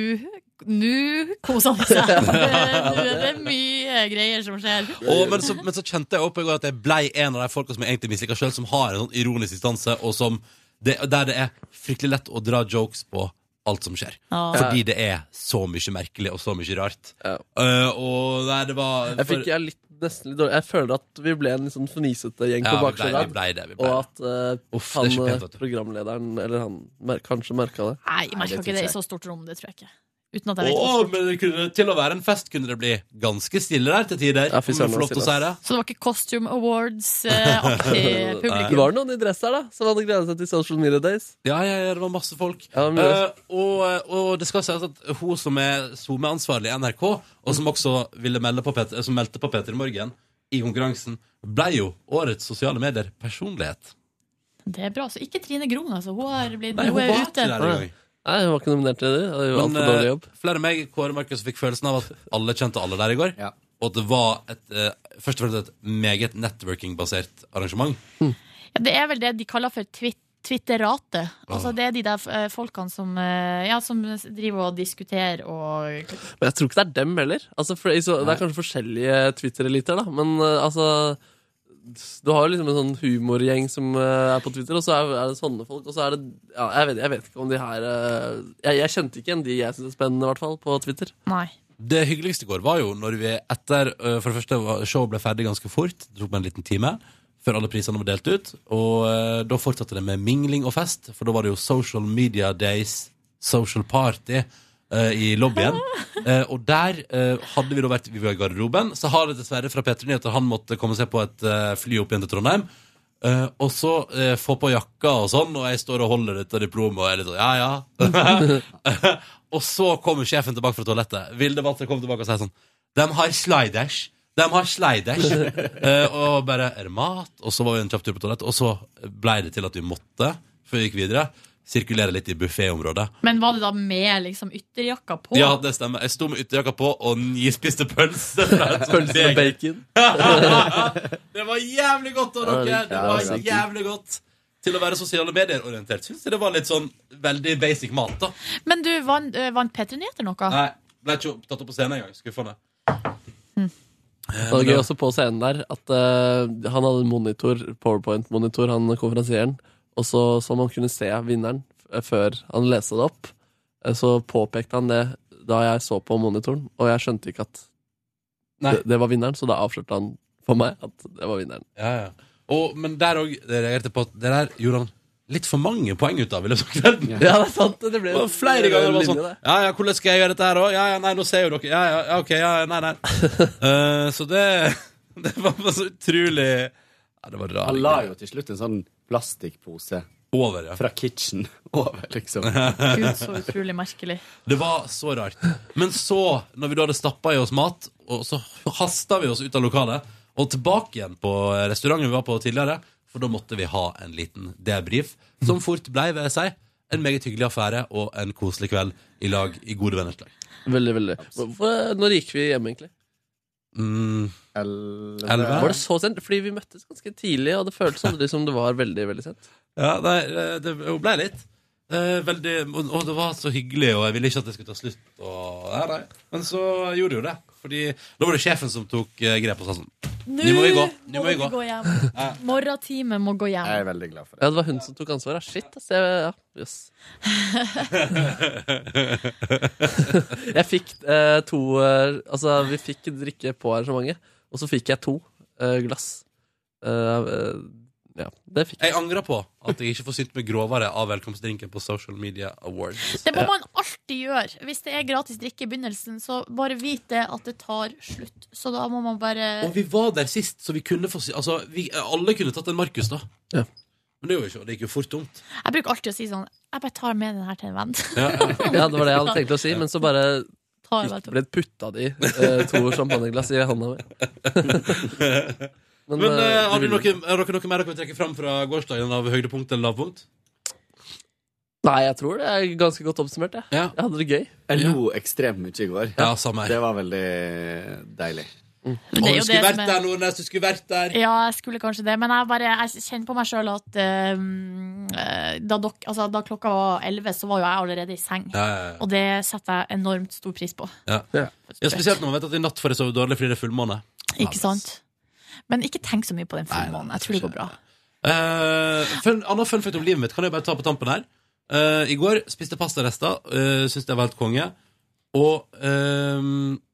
Speaker 3: nå koser han seg. Det, nå er det mye greier som skjer.
Speaker 2: Og, men, så, men så kjente jeg opp i går at jeg blei en av de folka som jeg egentlig misliker sjøl, som har en sånn ironisk distanse, og som det, der det er fryktelig lett å dra jokes på alt som skjer.
Speaker 4: Ja.
Speaker 2: Fordi det er så mye merkelig og så mye rart. Eh, og nei, det var
Speaker 4: Jeg fikk jeg er litt, nesten litt dårlig Jeg føler at vi ble en litt sånn fnisete gjeng
Speaker 2: Ja,
Speaker 4: på
Speaker 2: vi ble-
Speaker 4: baksida.
Speaker 2: vi ble det, vi ble
Speaker 4: Og at eh,
Speaker 2: Uff, det er
Speaker 4: han
Speaker 2: ikke pent, vet
Speaker 4: eh, programlederen, eller han, mer, kanskje merka det.
Speaker 3: Nei, jeg merka
Speaker 2: det
Speaker 3: ikke
Speaker 2: tror
Speaker 3: det Sånn-
Speaker 2: jeg.
Speaker 3: i så stort rom, det tror jeg ikke. Uten at jeg vet hvor
Speaker 2: Å, men det kunne, til å være en fest kunne det bli ganske stille der til tider.
Speaker 4: Ja,
Speaker 2: om
Speaker 4: fy
Speaker 2: jeg
Speaker 4: søren,
Speaker 2: får lov til å si det.
Speaker 3: stort. Så det var ikke Costume Awards-aktig
Speaker 4: Det
Speaker 3: publikum.
Speaker 4: var noen i dress der, da, som hadde gleda seg til Social Media Days.
Speaker 2: Ja, ja, ja, det var masse folk.
Speaker 4: Ja, det var mye.
Speaker 2: Eh, og, og det skal sies at hun som er SoMe-ansvarlig i NRK, og som også ville melde på Peter, som meldte på Peter i Morgen i konkurransen, ble jo årets sosiale medier personlighet.
Speaker 3: Det er bra. Så ikke Trine Grung, altså. Hun, har blitt,
Speaker 2: Nei, hun
Speaker 3: hun er
Speaker 2: var ikke
Speaker 3: ute.
Speaker 2: der engang.
Speaker 4: Nei, hun var ikke nominert til det. Det var
Speaker 2: Men
Speaker 4: altfor dårlig
Speaker 2: eh,
Speaker 4: jobb.
Speaker 2: flere enn meg, Kåre Markus, fikk følelsen av at alle kjente alle der i går. Og at det var et, eh, først og fremst et meget networking-basert arrangement.
Speaker 4: Hm.
Speaker 3: Ja, det er vel det de kaller for Twitter. Twitterate.
Speaker 2: Ah.
Speaker 3: Altså det er de der eh, folkene som, eh, ja, som driver og diskuterer og
Speaker 4: Men jeg tror ikke det er dem heller. Altså, for, i så, det er kanskje forskjellige Twitter-eliter, da. Men eh, altså Du har jo liksom en sånn humorgjeng som eh, er på Twitter, og så er, er det sånne folk. Og så er det ja, jeg, vet, jeg vet ikke om de her eh, jeg, jeg kjente ikke igjen de jeg syns er spennende, i hvert fall, på Twitter.
Speaker 3: Nei.
Speaker 2: Det hyggeligste i går var jo når vi etter eh, For det første var- showet ble ferdig ganske fort. Det tok meg en liten time før alle prisene var delt ut. Og eh, da fortsatte det med mingling og fest, for da var det jo Social Media Days, Social Party. eh, I lobbyen. Eh, og der eh, hadde vi da vært Vi var i garderoben. Så har det dessverre fra Petter Nyheter han måtte komme seg på et eh, fly opp igjen til Trondheim. Eh, og så eh, få på jakka og sånn, og jeg står og holder dette diplomet og er litt sånn ja, ja. og så kommer sjefen tilbake fra toalettet. Vilde Walter kom tilbake og sa sånn De har sliders. De har sliders. Eh, og bare Er det mat? Og så var vi en kjapp tur på toalettet, og så blei det til at vi måtte, før vi gikk videre, sirkulere litt i bufféområdet.
Speaker 3: Men var det da med liksom ytterjakka på?
Speaker 2: Ja, det stemmer. Jeg sto med ytterjakka på og nyspiste pølse. fra et sånt
Speaker 4: Pølse med
Speaker 2: beger.
Speaker 4: bacon.
Speaker 2: det var jævlig godt av dere!
Speaker 4: Ja,
Speaker 2: Det
Speaker 4: ja,
Speaker 2: var
Speaker 4: sant.
Speaker 2: jævlig godt. Til å være sosiale medier-orientert syns jeg det var litt sånn veldig basic mat, da.
Speaker 3: Men du, vant, eh, vant P3 Nyheter noe?
Speaker 2: Nei, ble ikke opp- tatt opp på scenen engang. Skuffende. Eh,
Speaker 4: Hm. Det var gøy også på scenen der at eh, han hadde en monitor, PowerPoint-monitor, han konferansieren, og så så man kunne se vinneren f- eh, før han leste det opp. Eh, Så påpekte han det da jeg så på monitoren, og jeg skjønte ikke at det, det var vinneren, så da avslørte han for meg at det var vinneren.
Speaker 2: Ja, ja. Og, men der òg reagerte jeg på at det der gjorde han litt for mange poeng ut av i løpet av kvelden.
Speaker 4: Ja, det er sant. Det ble
Speaker 2: Det var flere
Speaker 4: det ble
Speaker 2: ganger det var
Speaker 4: linje,
Speaker 2: sånn
Speaker 4: det.
Speaker 2: Ja, ja, hvordan skal jeg gjøre dette her òg? Ja, ja, nei, nå ser jo dere Ja, ja, ja, ok, ja, ja, nei, nei. Eh, så det Det var bare så utrolig Ja, det
Speaker 12: Han
Speaker 2: var rart.
Speaker 12: la jo til slutt en sånn plastikkpose
Speaker 2: Over, ja.
Speaker 12: fra kitchen over, liksom.
Speaker 3: Gud, så utrolig merkelig.
Speaker 2: Det var så rart. Men så, når vi da hadde stappa i oss mat, og så hasta vi oss ut av lokalet og tilbake igjen på restauranten vi var på tidligere, for da måtte vi ha en liten debrief, som fort blei, vil jeg si, en meget hyggelig affære og en koselig kveld i lag i gode venners lag.
Speaker 4: Veldig, veldig. Hvorfor- eh, Når gikk vi hjem, egentlig?
Speaker 2: Mm. Elleve?
Speaker 4: Var det så sent? Fordi vi møttes ganske tidlig, og det føltes aldri som det var veldig, veldig sent.
Speaker 2: Ja, nei, eh, det hun ble litt. Eh, veldig, og, og det var så hyggelig, og jeg ville ikke at det skulle ta slutt. Og, nei, nei. Men så gjorde det jo det. Fordi da var det sjefen som tok eh, grep og sa sånn Nå må vi gå. Nå må vi
Speaker 3: dere
Speaker 2: gå.
Speaker 3: hjem. Morgenteamet må gå hjem.
Speaker 2: er veldig glad altså, for
Speaker 4: Ja, det var hun som tok ansvaret. Shit, ass. Jeg, ja, jøss. jeg fikk eh, to eh, Altså, vi fikk drikke på arrangementet, og så fikk jeg to eh, glass. Eh, eh, ja, det fikk jeg.
Speaker 2: Jeg angrer på at jeg ikke får synt meg grovere av velkomstdrinken på Social Media Awards.
Speaker 3: Det må man alltid gjøre. Hvis det er gratis drikke i begynnelsen, så bare vit det at det tar slutt. Så da må man bare
Speaker 2: Og vi var der sist, så vi kunne få sy- Altså, vi, alle kunne tatt en Markus, da.
Speaker 4: Ja.
Speaker 2: Men det gjorde vi ikke, og det gikk jo fort tomt.
Speaker 3: Jeg bruker alltid å si sånn Jeg bare tar med den her til en venn.
Speaker 2: Ja,
Speaker 4: Ja, det var det jeg hadde tenkt å si, men så bare
Speaker 3: Ta i hvert fall.
Speaker 4: ble det putta de eh, to champagneglass i hånda mi.
Speaker 2: Men, eh, har, du noe, har dere noe mer dere vil trekke fram fra gårsdagen av høydepunkt eller lavpunkt?
Speaker 4: Nei, jeg tror det er ganske godt oppsummert, jeg.
Speaker 2: Ja.
Speaker 4: Jeg hadde det gøy.
Speaker 12: Jeg lo ekstremt mye i går.
Speaker 2: Ja, samme
Speaker 12: Det var veldig deilig.
Speaker 3: Men det er jo
Speaker 2: du skulle
Speaker 3: det som
Speaker 2: vært
Speaker 3: er-
Speaker 2: der, Nordnes. Du skulle vært der.
Speaker 3: Ja, jeg skulle kanskje det, men jeg, bare, jeg kjenner på meg sjøl at ehm, eh, da, dok, altså, da klokka var elleve, så var jo jeg allerede i seng.
Speaker 2: Ja, ja, ja.
Speaker 3: Og det setter jeg enormt stor pris på.
Speaker 2: Ja. Ja, spesielt når man vet at i natt får jeg sove dårlig fordi det er fullmåne.
Speaker 3: Ikke sant? Men ikke tenk så mye på den fullmånen. Jeg tror det går bra.
Speaker 2: Eh, fun, annen fun fact om livet mitt kan jeg bare ta på tampen her. Eh, I går spiste pastarester. Uh, Syns det var helt konge. Og eh,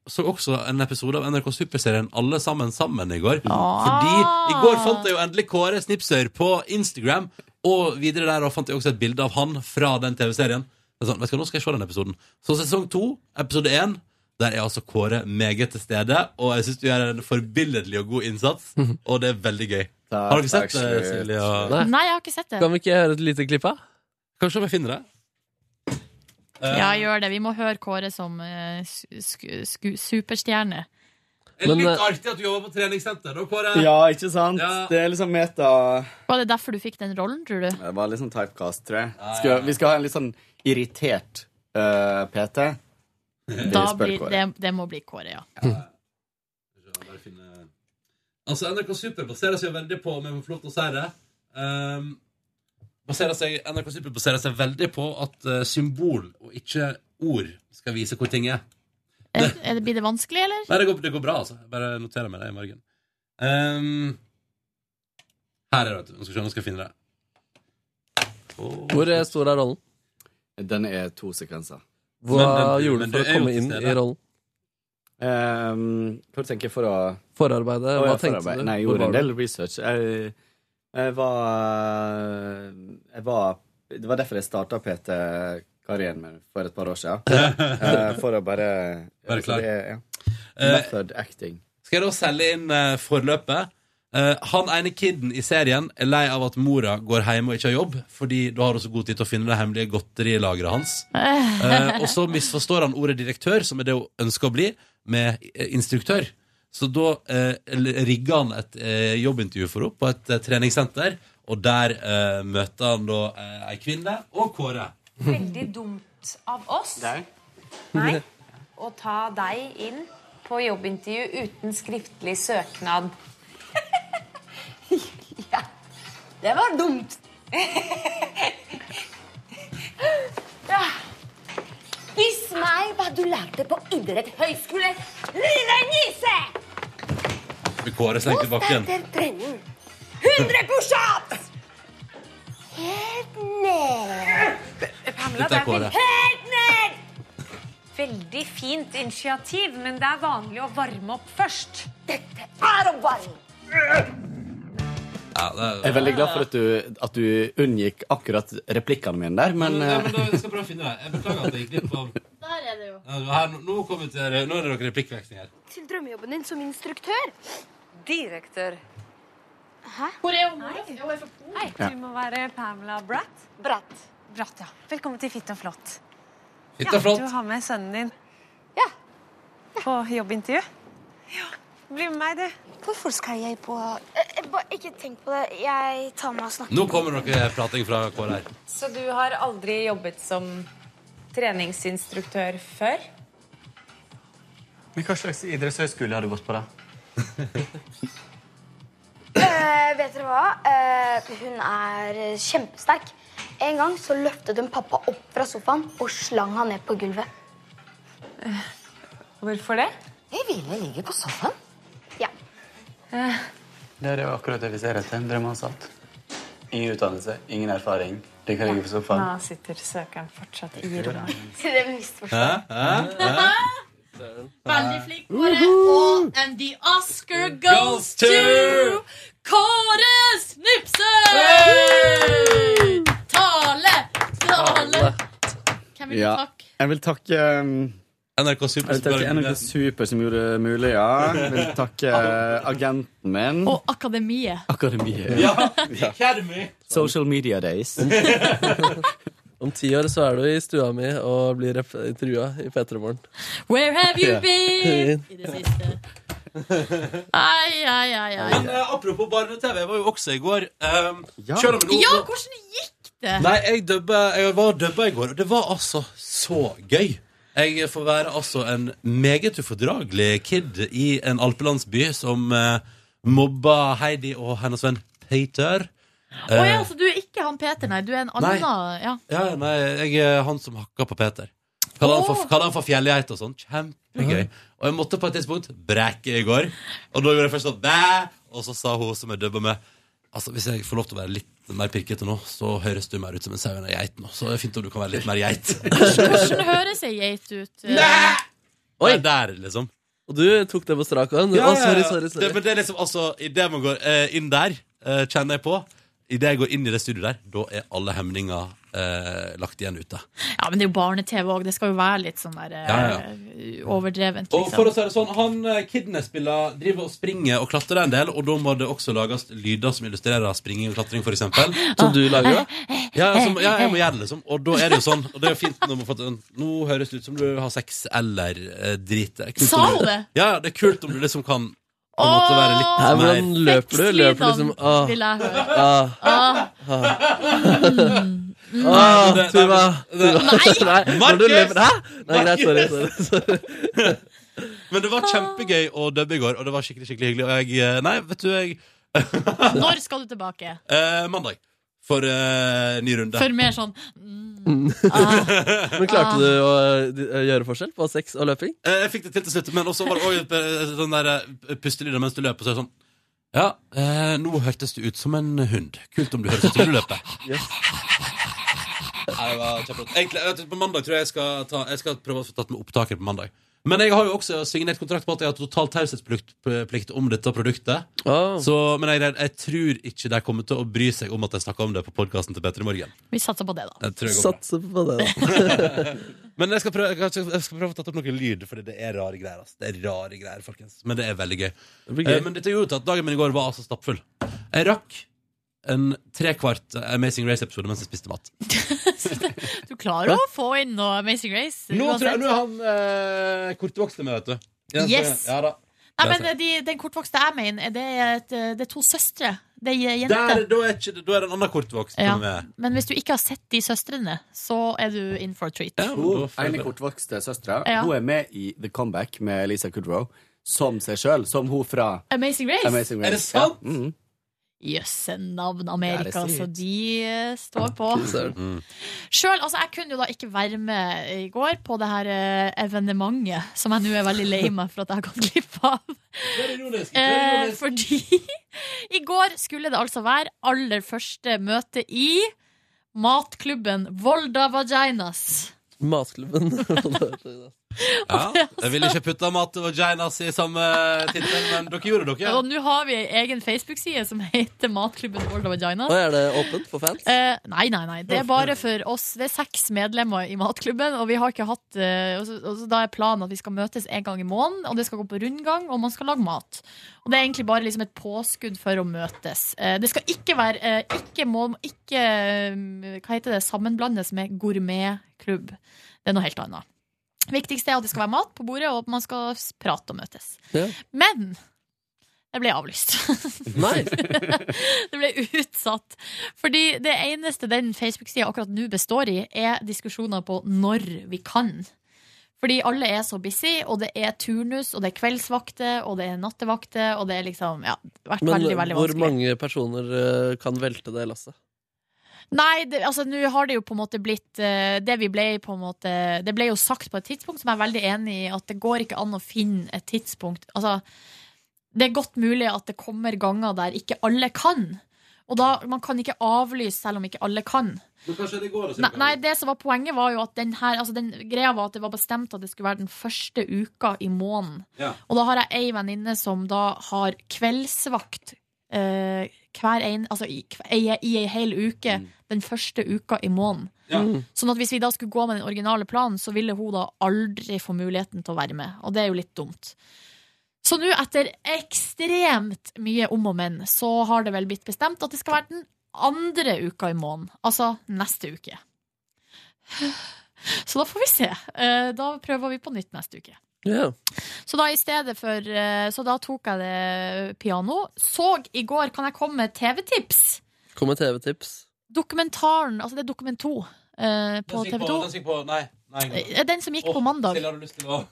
Speaker 2: så også en episode av NRK Superserien Alle sammen sammen i går. Fordi i går fant jeg jo endelig Kåre Snipsøyr på Instagram. Og videre der og fant jeg også et bilde av han fra den TV-serien. Det er Sånn, vet du hva, nå skal jeg se den episoden Så sesong to, episode én, der er altså Kåre meget til stede. Og jeg syns du gjør en forbilledlig og god innsats, og det er veldig gøy. Har dere sett det, Silje? og-
Speaker 3: Nei, jeg har ikke sett det.
Speaker 4: Kan vi ikke høre et lite klipp av?
Speaker 2: Kanskje om jeg finner det. Eh,
Speaker 3: Ja, gjør det. Vi må høre Kåre som eh, su- sku- sku- superstjerne.
Speaker 2: Det er
Speaker 4: eh,
Speaker 2: litt artig at du jobber på treningssenter. Da, Kåre.
Speaker 12: Ja, ikke sant? Det er liksom meta
Speaker 3: Var det derfor du fikk den rollen, tror du?
Speaker 12: Det var litt sånn typecast, tror jeg. Skal, vi skal ha en litt sånn irritert eh, PT. Vi
Speaker 3: Da
Speaker 12: spør
Speaker 3: blir,
Speaker 12: Kåre.
Speaker 3: det, det må bli Kåre, ja.
Speaker 2: Altså, NRK Super baserer seg jo veldig på, om jeg får lov til å si det, ehm, baserer seg, NRK Super baserer seg veldig på at eh, symbol og ikke ord skal vise hvor ting er.
Speaker 3: Er, er det, blir det vanskelig, eller?
Speaker 2: Nei, det går, det går bra, altså. Jeg Bare noterer meg det i morgen. Ehm, her er det, vet du. Nå skal vi se, nå skal jeg finne det.
Speaker 4: Hvor eh, stor er rollen?
Speaker 12: Den er to sekvenser.
Speaker 4: Hva gjorde du for å komme inn i rollen?
Speaker 12: Um, hva tenker jeg for å
Speaker 4: Forarbeidet?
Speaker 12: Å, ja,
Speaker 4: Hva tenkte
Speaker 12: forarbeid.
Speaker 4: du?
Speaker 12: Nei, jeg
Speaker 4: Hvor
Speaker 12: gjorde en
Speaker 4: var
Speaker 12: del
Speaker 4: du?
Speaker 12: research. Jeg, jeg var eh, Jeg var Det var derfor jeg starta PT-karrieren min for et par år siden. Eh, for å bare
Speaker 2: Være
Speaker 12: Altså,
Speaker 2: klar.
Speaker 12: det er- ja.
Speaker 2: Eh,
Speaker 12: Method acting.
Speaker 2: Skal jeg da selge inn eh, forløpet? Eh, han ene kiden i serien er lei av at mora går hjem og ikke har jobb, fordi da har hun så god tid til å finne det hemmelige godterilageret hans. Eh, og så misforstår han ordet direktør, som er det hun ønsker å bli, med eh, instruktør. Så da eh, rigger han et eh, jobbintervju for henne på et eh, treningssenter, og der eh, møter han da eh, ei kvinne og Kåre.
Speaker 10: Veldig dumt av oss
Speaker 2: Nei.
Speaker 10: å ta deg inn på jobbintervju uten skriftlig søknad. ja, det var dumt.
Speaker 8: Ja. Vis meg hva du lærte på idrettshøyskole. Lille nise!
Speaker 2: Blir Kåre slengt i bakken.
Speaker 8: Etter trening. 100 pushups! Helt ned.
Speaker 10: Pamela,
Speaker 2: Dette er Kåre.
Speaker 10: Helt ned! Veldig fint initiativ, men det er vanlig å varme opp først. Dette er å varme
Speaker 12: Jeg er veldig glad for at du, at du unngikk akkurat replikkene mine der, men
Speaker 2: Nei, men
Speaker 12: eh,
Speaker 2: da skal jeg prøve å finne det. Jeg beklager at jeg gikk glipp av
Speaker 8: Der er det jo.
Speaker 2: Ja, Her, nå- nå, kommer vi til, nå er det noen replikkveksling her.
Speaker 8: Til drømmejobben din som instruktør. Direktør. Hæ?
Speaker 3: Hvor er hun? Hei.
Speaker 10: Hei,
Speaker 2: Ja.
Speaker 10: du må være Pamela Bratt. Bratt. ja. Velkommen til Fitt og flott.
Speaker 2: Fitt og flott.
Speaker 10: Ja, du har med sønnen din. Ja. På jobbintervju. Ja. Bli med meg, du.
Speaker 14: Hvorfor skal jeg på eh, bare Ikke tenk på det. Jeg tar meg og snakker.
Speaker 2: Nå kommer noe prating fra Kåre her.
Speaker 10: Så du har aldri jobbet som treningsinstruktør før?
Speaker 15: Men Hva slags idrettshøyskole har du gått på? da?
Speaker 14: Eh, vet dere hva? Eh, hun er eh, kjempesterk. En gang så løftet hun pappa opp fra sofaen og slang han ned på gulvet.
Speaker 10: Hvorfor det?
Speaker 14: Jeg ville ligge på sofaen.
Speaker 15: Det er jo akkurat det vi ser etter. en Drømmeansatt. Ingen utdannelse, ingen erfaring. Det kan ligge på sofaen.
Speaker 10: Nå sitter søkeren fortsatt i rommet.
Speaker 14: Dere misforstår.
Speaker 3: Veldig flink, Kåre. Og and the Oscar goes
Speaker 2: Goes to-
Speaker 3: to Kåre Snipse! Tale! Tale! Hvem vil du
Speaker 12: ja.
Speaker 3: takke?
Speaker 12: Jeg vil takke um,
Speaker 2: NRK Super,
Speaker 12: jeg vil takke NRK Super som gjorde det mulig, ja. Jeg vil takke eh, agenten min.
Speaker 3: Og Akademiet.
Speaker 12: Akademiet. Social Media Days.
Speaker 4: Om ti år så er du i stua mi og blir rep- intervjua i P3 Morgen.
Speaker 3: Where have you
Speaker 4: Ja.
Speaker 3: been? I det siste. Ai, ai, ai, ai.
Speaker 2: Men eh, apropos barne-TV, jeg var jo også i går. Um, Selv om nå-
Speaker 3: Ja, hvordan gikk det?
Speaker 2: Nei, jeg, dubba, jeg var dubba i går, og det var altså så gøy. Jeg får være altså en meget ufordragelig kid i en alpelandsby som eh, mobba Heidi og hennes venn Peter.
Speaker 3: Å ja,
Speaker 2: Eh,
Speaker 3: så du er ikke han Peter, nei. Du er en
Speaker 2: Nei.
Speaker 3: annen. Ja.
Speaker 2: ja, nei, jeg er han som hakka på Peter. Kaller han for, kaller han for fjellgeit og sånn. Kjempegøy. Og jeg måtte på et tidspunkt breke i går. Og da gjorde jeg først sånn bæ, og så sa hun som jeg dubba med Altså, Hvis jeg får lov til å være litt mer pirkete nå, så høres du mer ut som en sau enn ei geit nå. Så det er fint om du kan være litt mer geit.
Speaker 3: Hvordan høres ei geit ut? Nei!
Speaker 2: Oi. Der, liksom.
Speaker 4: Og du tok det på strak arm? Å, sorry, sorry, sorry.
Speaker 2: Det, men det er liksom, altså, Idet man går eh, inn der, eh, kjenner jeg på Idet jeg går inn i det studioet der, da er alle hemninger eh, lagt igjen ute.
Speaker 3: Ja, men det er jo barne-TV òg. Det skal jo være litt sånn der eh,
Speaker 2: Ja, ja.
Speaker 3: overdrevent,
Speaker 2: Og for å
Speaker 3: liksom.
Speaker 2: si det sånn, han eh, kidney-spiller driver og springer og klatrer en del, og da må det også lages lyder som illustrerer springing og klatring, for eksempel.
Speaker 3: Ah.
Speaker 4: Som du lager, da?
Speaker 2: Ja, som, ja, jeg må gjøre det, liksom. Og da er det jo sånn. Og det er jo fint når man får til Nå høres det ut som du har sex eller eh, driter. Det er kult
Speaker 3: Sa
Speaker 2: om
Speaker 3: hun
Speaker 2: du-
Speaker 3: det?
Speaker 2: Ja, ja, det er kult om du liksom kan på en måte være litt
Speaker 4: Nei,
Speaker 2: mer
Speaker 4: hvordan løper du? Løper du liksom ah,
Speaker 3: vil jeg høre.
Speaker 4: ah,
Speaker 3: Ah.
Speaker 4: ah.
Speaker 2: Nei,
Speaker 4: Ah,
Speaker 2: det-
Speaker 4: Tuva!
Speaker 2: det-
Speaker 4: Tuva. Nei, når du løper- Hæ? Nei, greit, sorry, sorry.
Speaker 2: Men det var kjempegøy å dubbe i går, og det var skikkelig skikkelig hyggelig. Og jeg eh, Nei, vet du, jeg
Speaker 3: Når skal liksom. du tilbake?
Speaker 2: eh, Mandag. for eh, ny runde.
Speaker 3: For mer sånn
Speaker 4: Mm. Men klarte du å eh, di- eh, gjøre forskjell på sex og løping?
Speaker 2: Eh, Jeg fikk det til til slutt, men også var det også eh, den der eh, pustelyden mens du løper. Så er det sånn Ja, eh, nå hørtes du ut som en hund. Kult om du høres ut som du løper. Nei, det var kjempeflott. Egentlig, vet du, på mandag tror jeg jeg skal, ta, jeg skal prøve å få tatt med opptaket på mandag. Men jeg har jo også signert kontrakt på at jeg har total taushetsplikt plikt om dette produktet.
Speaker 4: Ah.
Speaker 2: Så, men jeg, jeg tror ikke de kommer til å bry seg om at jeg snakker om det på podkasten til Petter i morgen.
Speaker 3: Vi satser på det, da.
Speaker 2: Jeg tror jeg går bra.
Speaker 4: Satser på det, da.
Speaker 2: Men jeg skal prøve, jeg skal, jeg skal prøve å ta opp noen lyd, Fordi det er rare greier. ass. Det er rare greier, folkens. Men det er veldig gøy.
Speaker 4: blir gøy.
Speaker 2: Eh, men dette gjorde til at dagen min i går var altså stappfull. Jeg rakk en trekvart eh, Amazing Race-episode mens jeg spiste mat.
Speaker 3: Du klarer å få inn noe Amazing Race.
Speaker 2: Nå tror
Speaker 3: uansett.
Speaker 2: jeg- nå er han eh, kortvokste med, vet du. Ja, så-
Speaker 3: Yes.
Speaker 2: Ja, da.
Speaker 3: Nei, men de, Den kortvokste jeg mener, det er, et, eh, det er to søstre. Det er
Speaker 2: Der,
Speaker 3: jenter.
Speaker 2: da, er ikke, det- da er det en annen kortvokst
Speaker 3: Ja.
Speaker 2: som er
Speaker 3: Men hvis du ikke har sett de søstrene, så er du in for a treat.
Speaker 12: Hun ene kortvokste søstera
Speaker 3: Ja.
Speaker 12: Hun er med i The Comeback med Lisa Kudrow som seg sjøl, som hun fra
Speaker 3: Amazing Race?
Speaker 12: Amazing Race.
Speaker 3: Er det sant?
Speaker 12: Ja. Mhm.
Speaker 3: Jøsse navn,
Speaker 12: Ja, det
Speaker 3: Amerika.
Speaker 12: ser
Speaker 3: Så
Speaker 12: ut.
Speaker 3: de eh, står på. Selv, altså, jeg kunne jo da ikke være med i går på det her eh, evenementet, som jeg nå er veldig lei meg for at jeg har gått glipp av. Eh, fordi i går skulle det altså være aller første møte i matklubben Volda Vaginas.
Speaker 4: Matklubben.
Speaker 2: Ja, jeg ville ikke putta mat og vaginas i samme tittel, men dere gjorde det, dere.
Speaker 3: Og nå har vi ei egen Facebook-side som heter Matklubben Volda Vaginas.
Speaker 4: Og er det åpent for fans?
Speaker 3: Eh, nei, nei, nei. Det er bare for oss. Det er seks medlemmer i matklubben, og vi har ikke hatt eh, og så, og så Da er planen at vi skal møtes en gang i måneden, og det skal gå på rundgang, og man skal lage mat. Og det er egentlig bare liksom et påskudd for å møtes. Eh, det skal ikke være eh, Ikke må ikke eh, Hva heter det? Sammenblandes med gourmetklubb. Det er noe helt annet. Viktigste er at det skal være mat på bordet, og at man skal s- prate og møtes.
Speaker 4: Ja.
Speaker 3: Men det ble avlyst.
Speaker 4: Nei.
Speaker 3: det ble utsatt. Fordi det eneste den Facebook-sida akkurat nå består i, er diskusjoner på når vi kan. Fordi alle er så busy, og det er turnus, og det er kveldsvakter, og det er nattevakter, og det er liksom Ja, det har vært
Speaker 4: Men
Speaker 3: veldig, veldig
Speaker 4: hvor
Speaker 3: vanskelig.
Speaker 4: mange personer eh, kan velte det lasset?
Speaker 3: Nei, det, altså nå har det jo på en måte blitt eh, Det vi ble på en måte Det ble jo sagt på et tidspunkt som jeg er veldig enig i, at det går ikke an å finne et tidspunkt. Altså, det er godt mulig at det kommer ganger der ikke alle kan. Og da, man kan ikke avlyse selv om ikke alle kan.
Speaker 2: Men kanskje det går,
Speaker 3: Nei, nei, det som var poenget var jo at den her altså den greia var at det var bestemt at det skulle være den første uka i måneden.
Speaker 2: Ja.
Speaker 3: Og da har jeg ei venninne som da har kveldsvakt eh, hver en, altså i, kve- i, i ei hel uke den første uka i måneden.
Speaker 2: Mm. Ja.
Speaker 3: Sånn at hvis vi da skulle gå med den originale planen, så ville hun da aldri få muligheten til å være med. Og det er jo litt dumt. Så nå, etter ekstremt mye om og men, så har det vel blitt bestemt at det skal være den andre uka i måneden. Altså neste uke. Så da får vi se. Eh, Da prøver vi på nytt neste uke.
Speaker 4: Ja.
Speaker 3: Så da i stedet for eh, Så da tok jeg det piano. Så i går kan jeg komme med TV-tips.
Speaker 4: Kom med TV-tips.
Speaker 3: Dokumentaren, altså det er dokument 2 eh, på TV 2.
Speaker 2: Den som gikk på Nei. nei.
Speaker 3: Eh, Den som gikk på
Speaker 2: Åh,
Speaker 3: mandag.
Speaker 2: Silje, har du lyst til å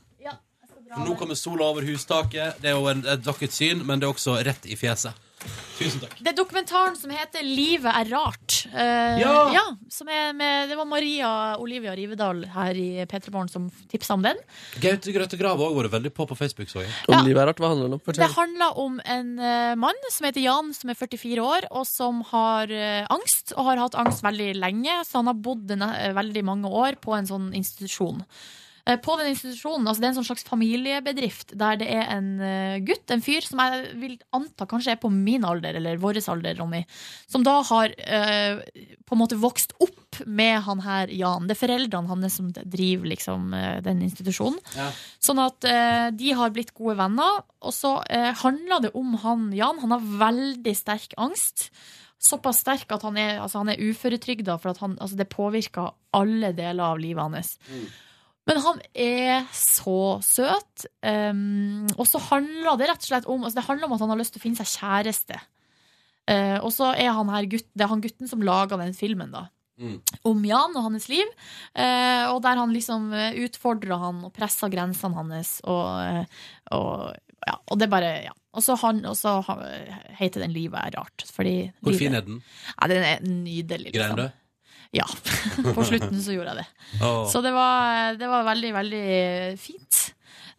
Speaker 2: Nå kommer sola over hustaket. Det er jo en, et vakkert syn, men det er også rett i fjeset. Tusen takk.
Speaker 3: Det er dokumentaren som heter 'Livet er rart'. Eh,
Speaker 2: Ja!
Speaker 3: som er med, det var Maria Olivia Rivedal her i P3 Morgen som tipsa om den.
Speaker 2: Gaute Grøtte Grav har også vært veldig på på Facebook. Så jeg.
Speaker 3: Om Ja. livet
Speaker 4: er rart, hva handler det om?
Speaker 3: Det handler om en eh, mann som heter Jan, som er 44 år, og som har eh, angst, og har hatt angst veldig lenge. Så han har bodd en, eh, veldig mange år på en sånn institusjon. Eh, På den institusjonen, altså Det er en sånn slags familiebedrift der det er en eh, gutt, en fyr, som jeg vil anta kanskje er på min alder, eller vår alder, Ronny, som da har eh, på en måte vokst opp med han her Jan. Det er foreldrene hans som driver liksom, eh, den institusjonen. Sånn at eh, de har blitt gode venner. Og så eh, handler det om han Jan. Han har veldig sterk angst. Såpass sterk at han er, altså, han er uføretrygda, for at han, altså, det påvirker alle deler av livet hans. Men han er så søt. Um, og så handler det rett og slett om altså Det handler om at han har lyst til å finne seg kjæreste. Eh, og så er han her gutt, det er han gutten som laga den filmen, da om Jan og hans liv. eh, og der han liksom eh, utfordrer han og presser grensene hans. Og, eh, og, ja, og det er bare ja, Og så han, og så han, heter den 'Livet er rart'. Fordi
Speaker 2: Hvor
Speaker 3: livet-
Speaker 2: fin er den?
Speaker 3: Ja, den er nydelig. liksom.
Speaker 2: Grein du?
Speaker 3: Ja. På slutten så gjorde jeg det.
Speaker 2: Åh.
Speaker 3: Så det var, det var veldig, veldig fint.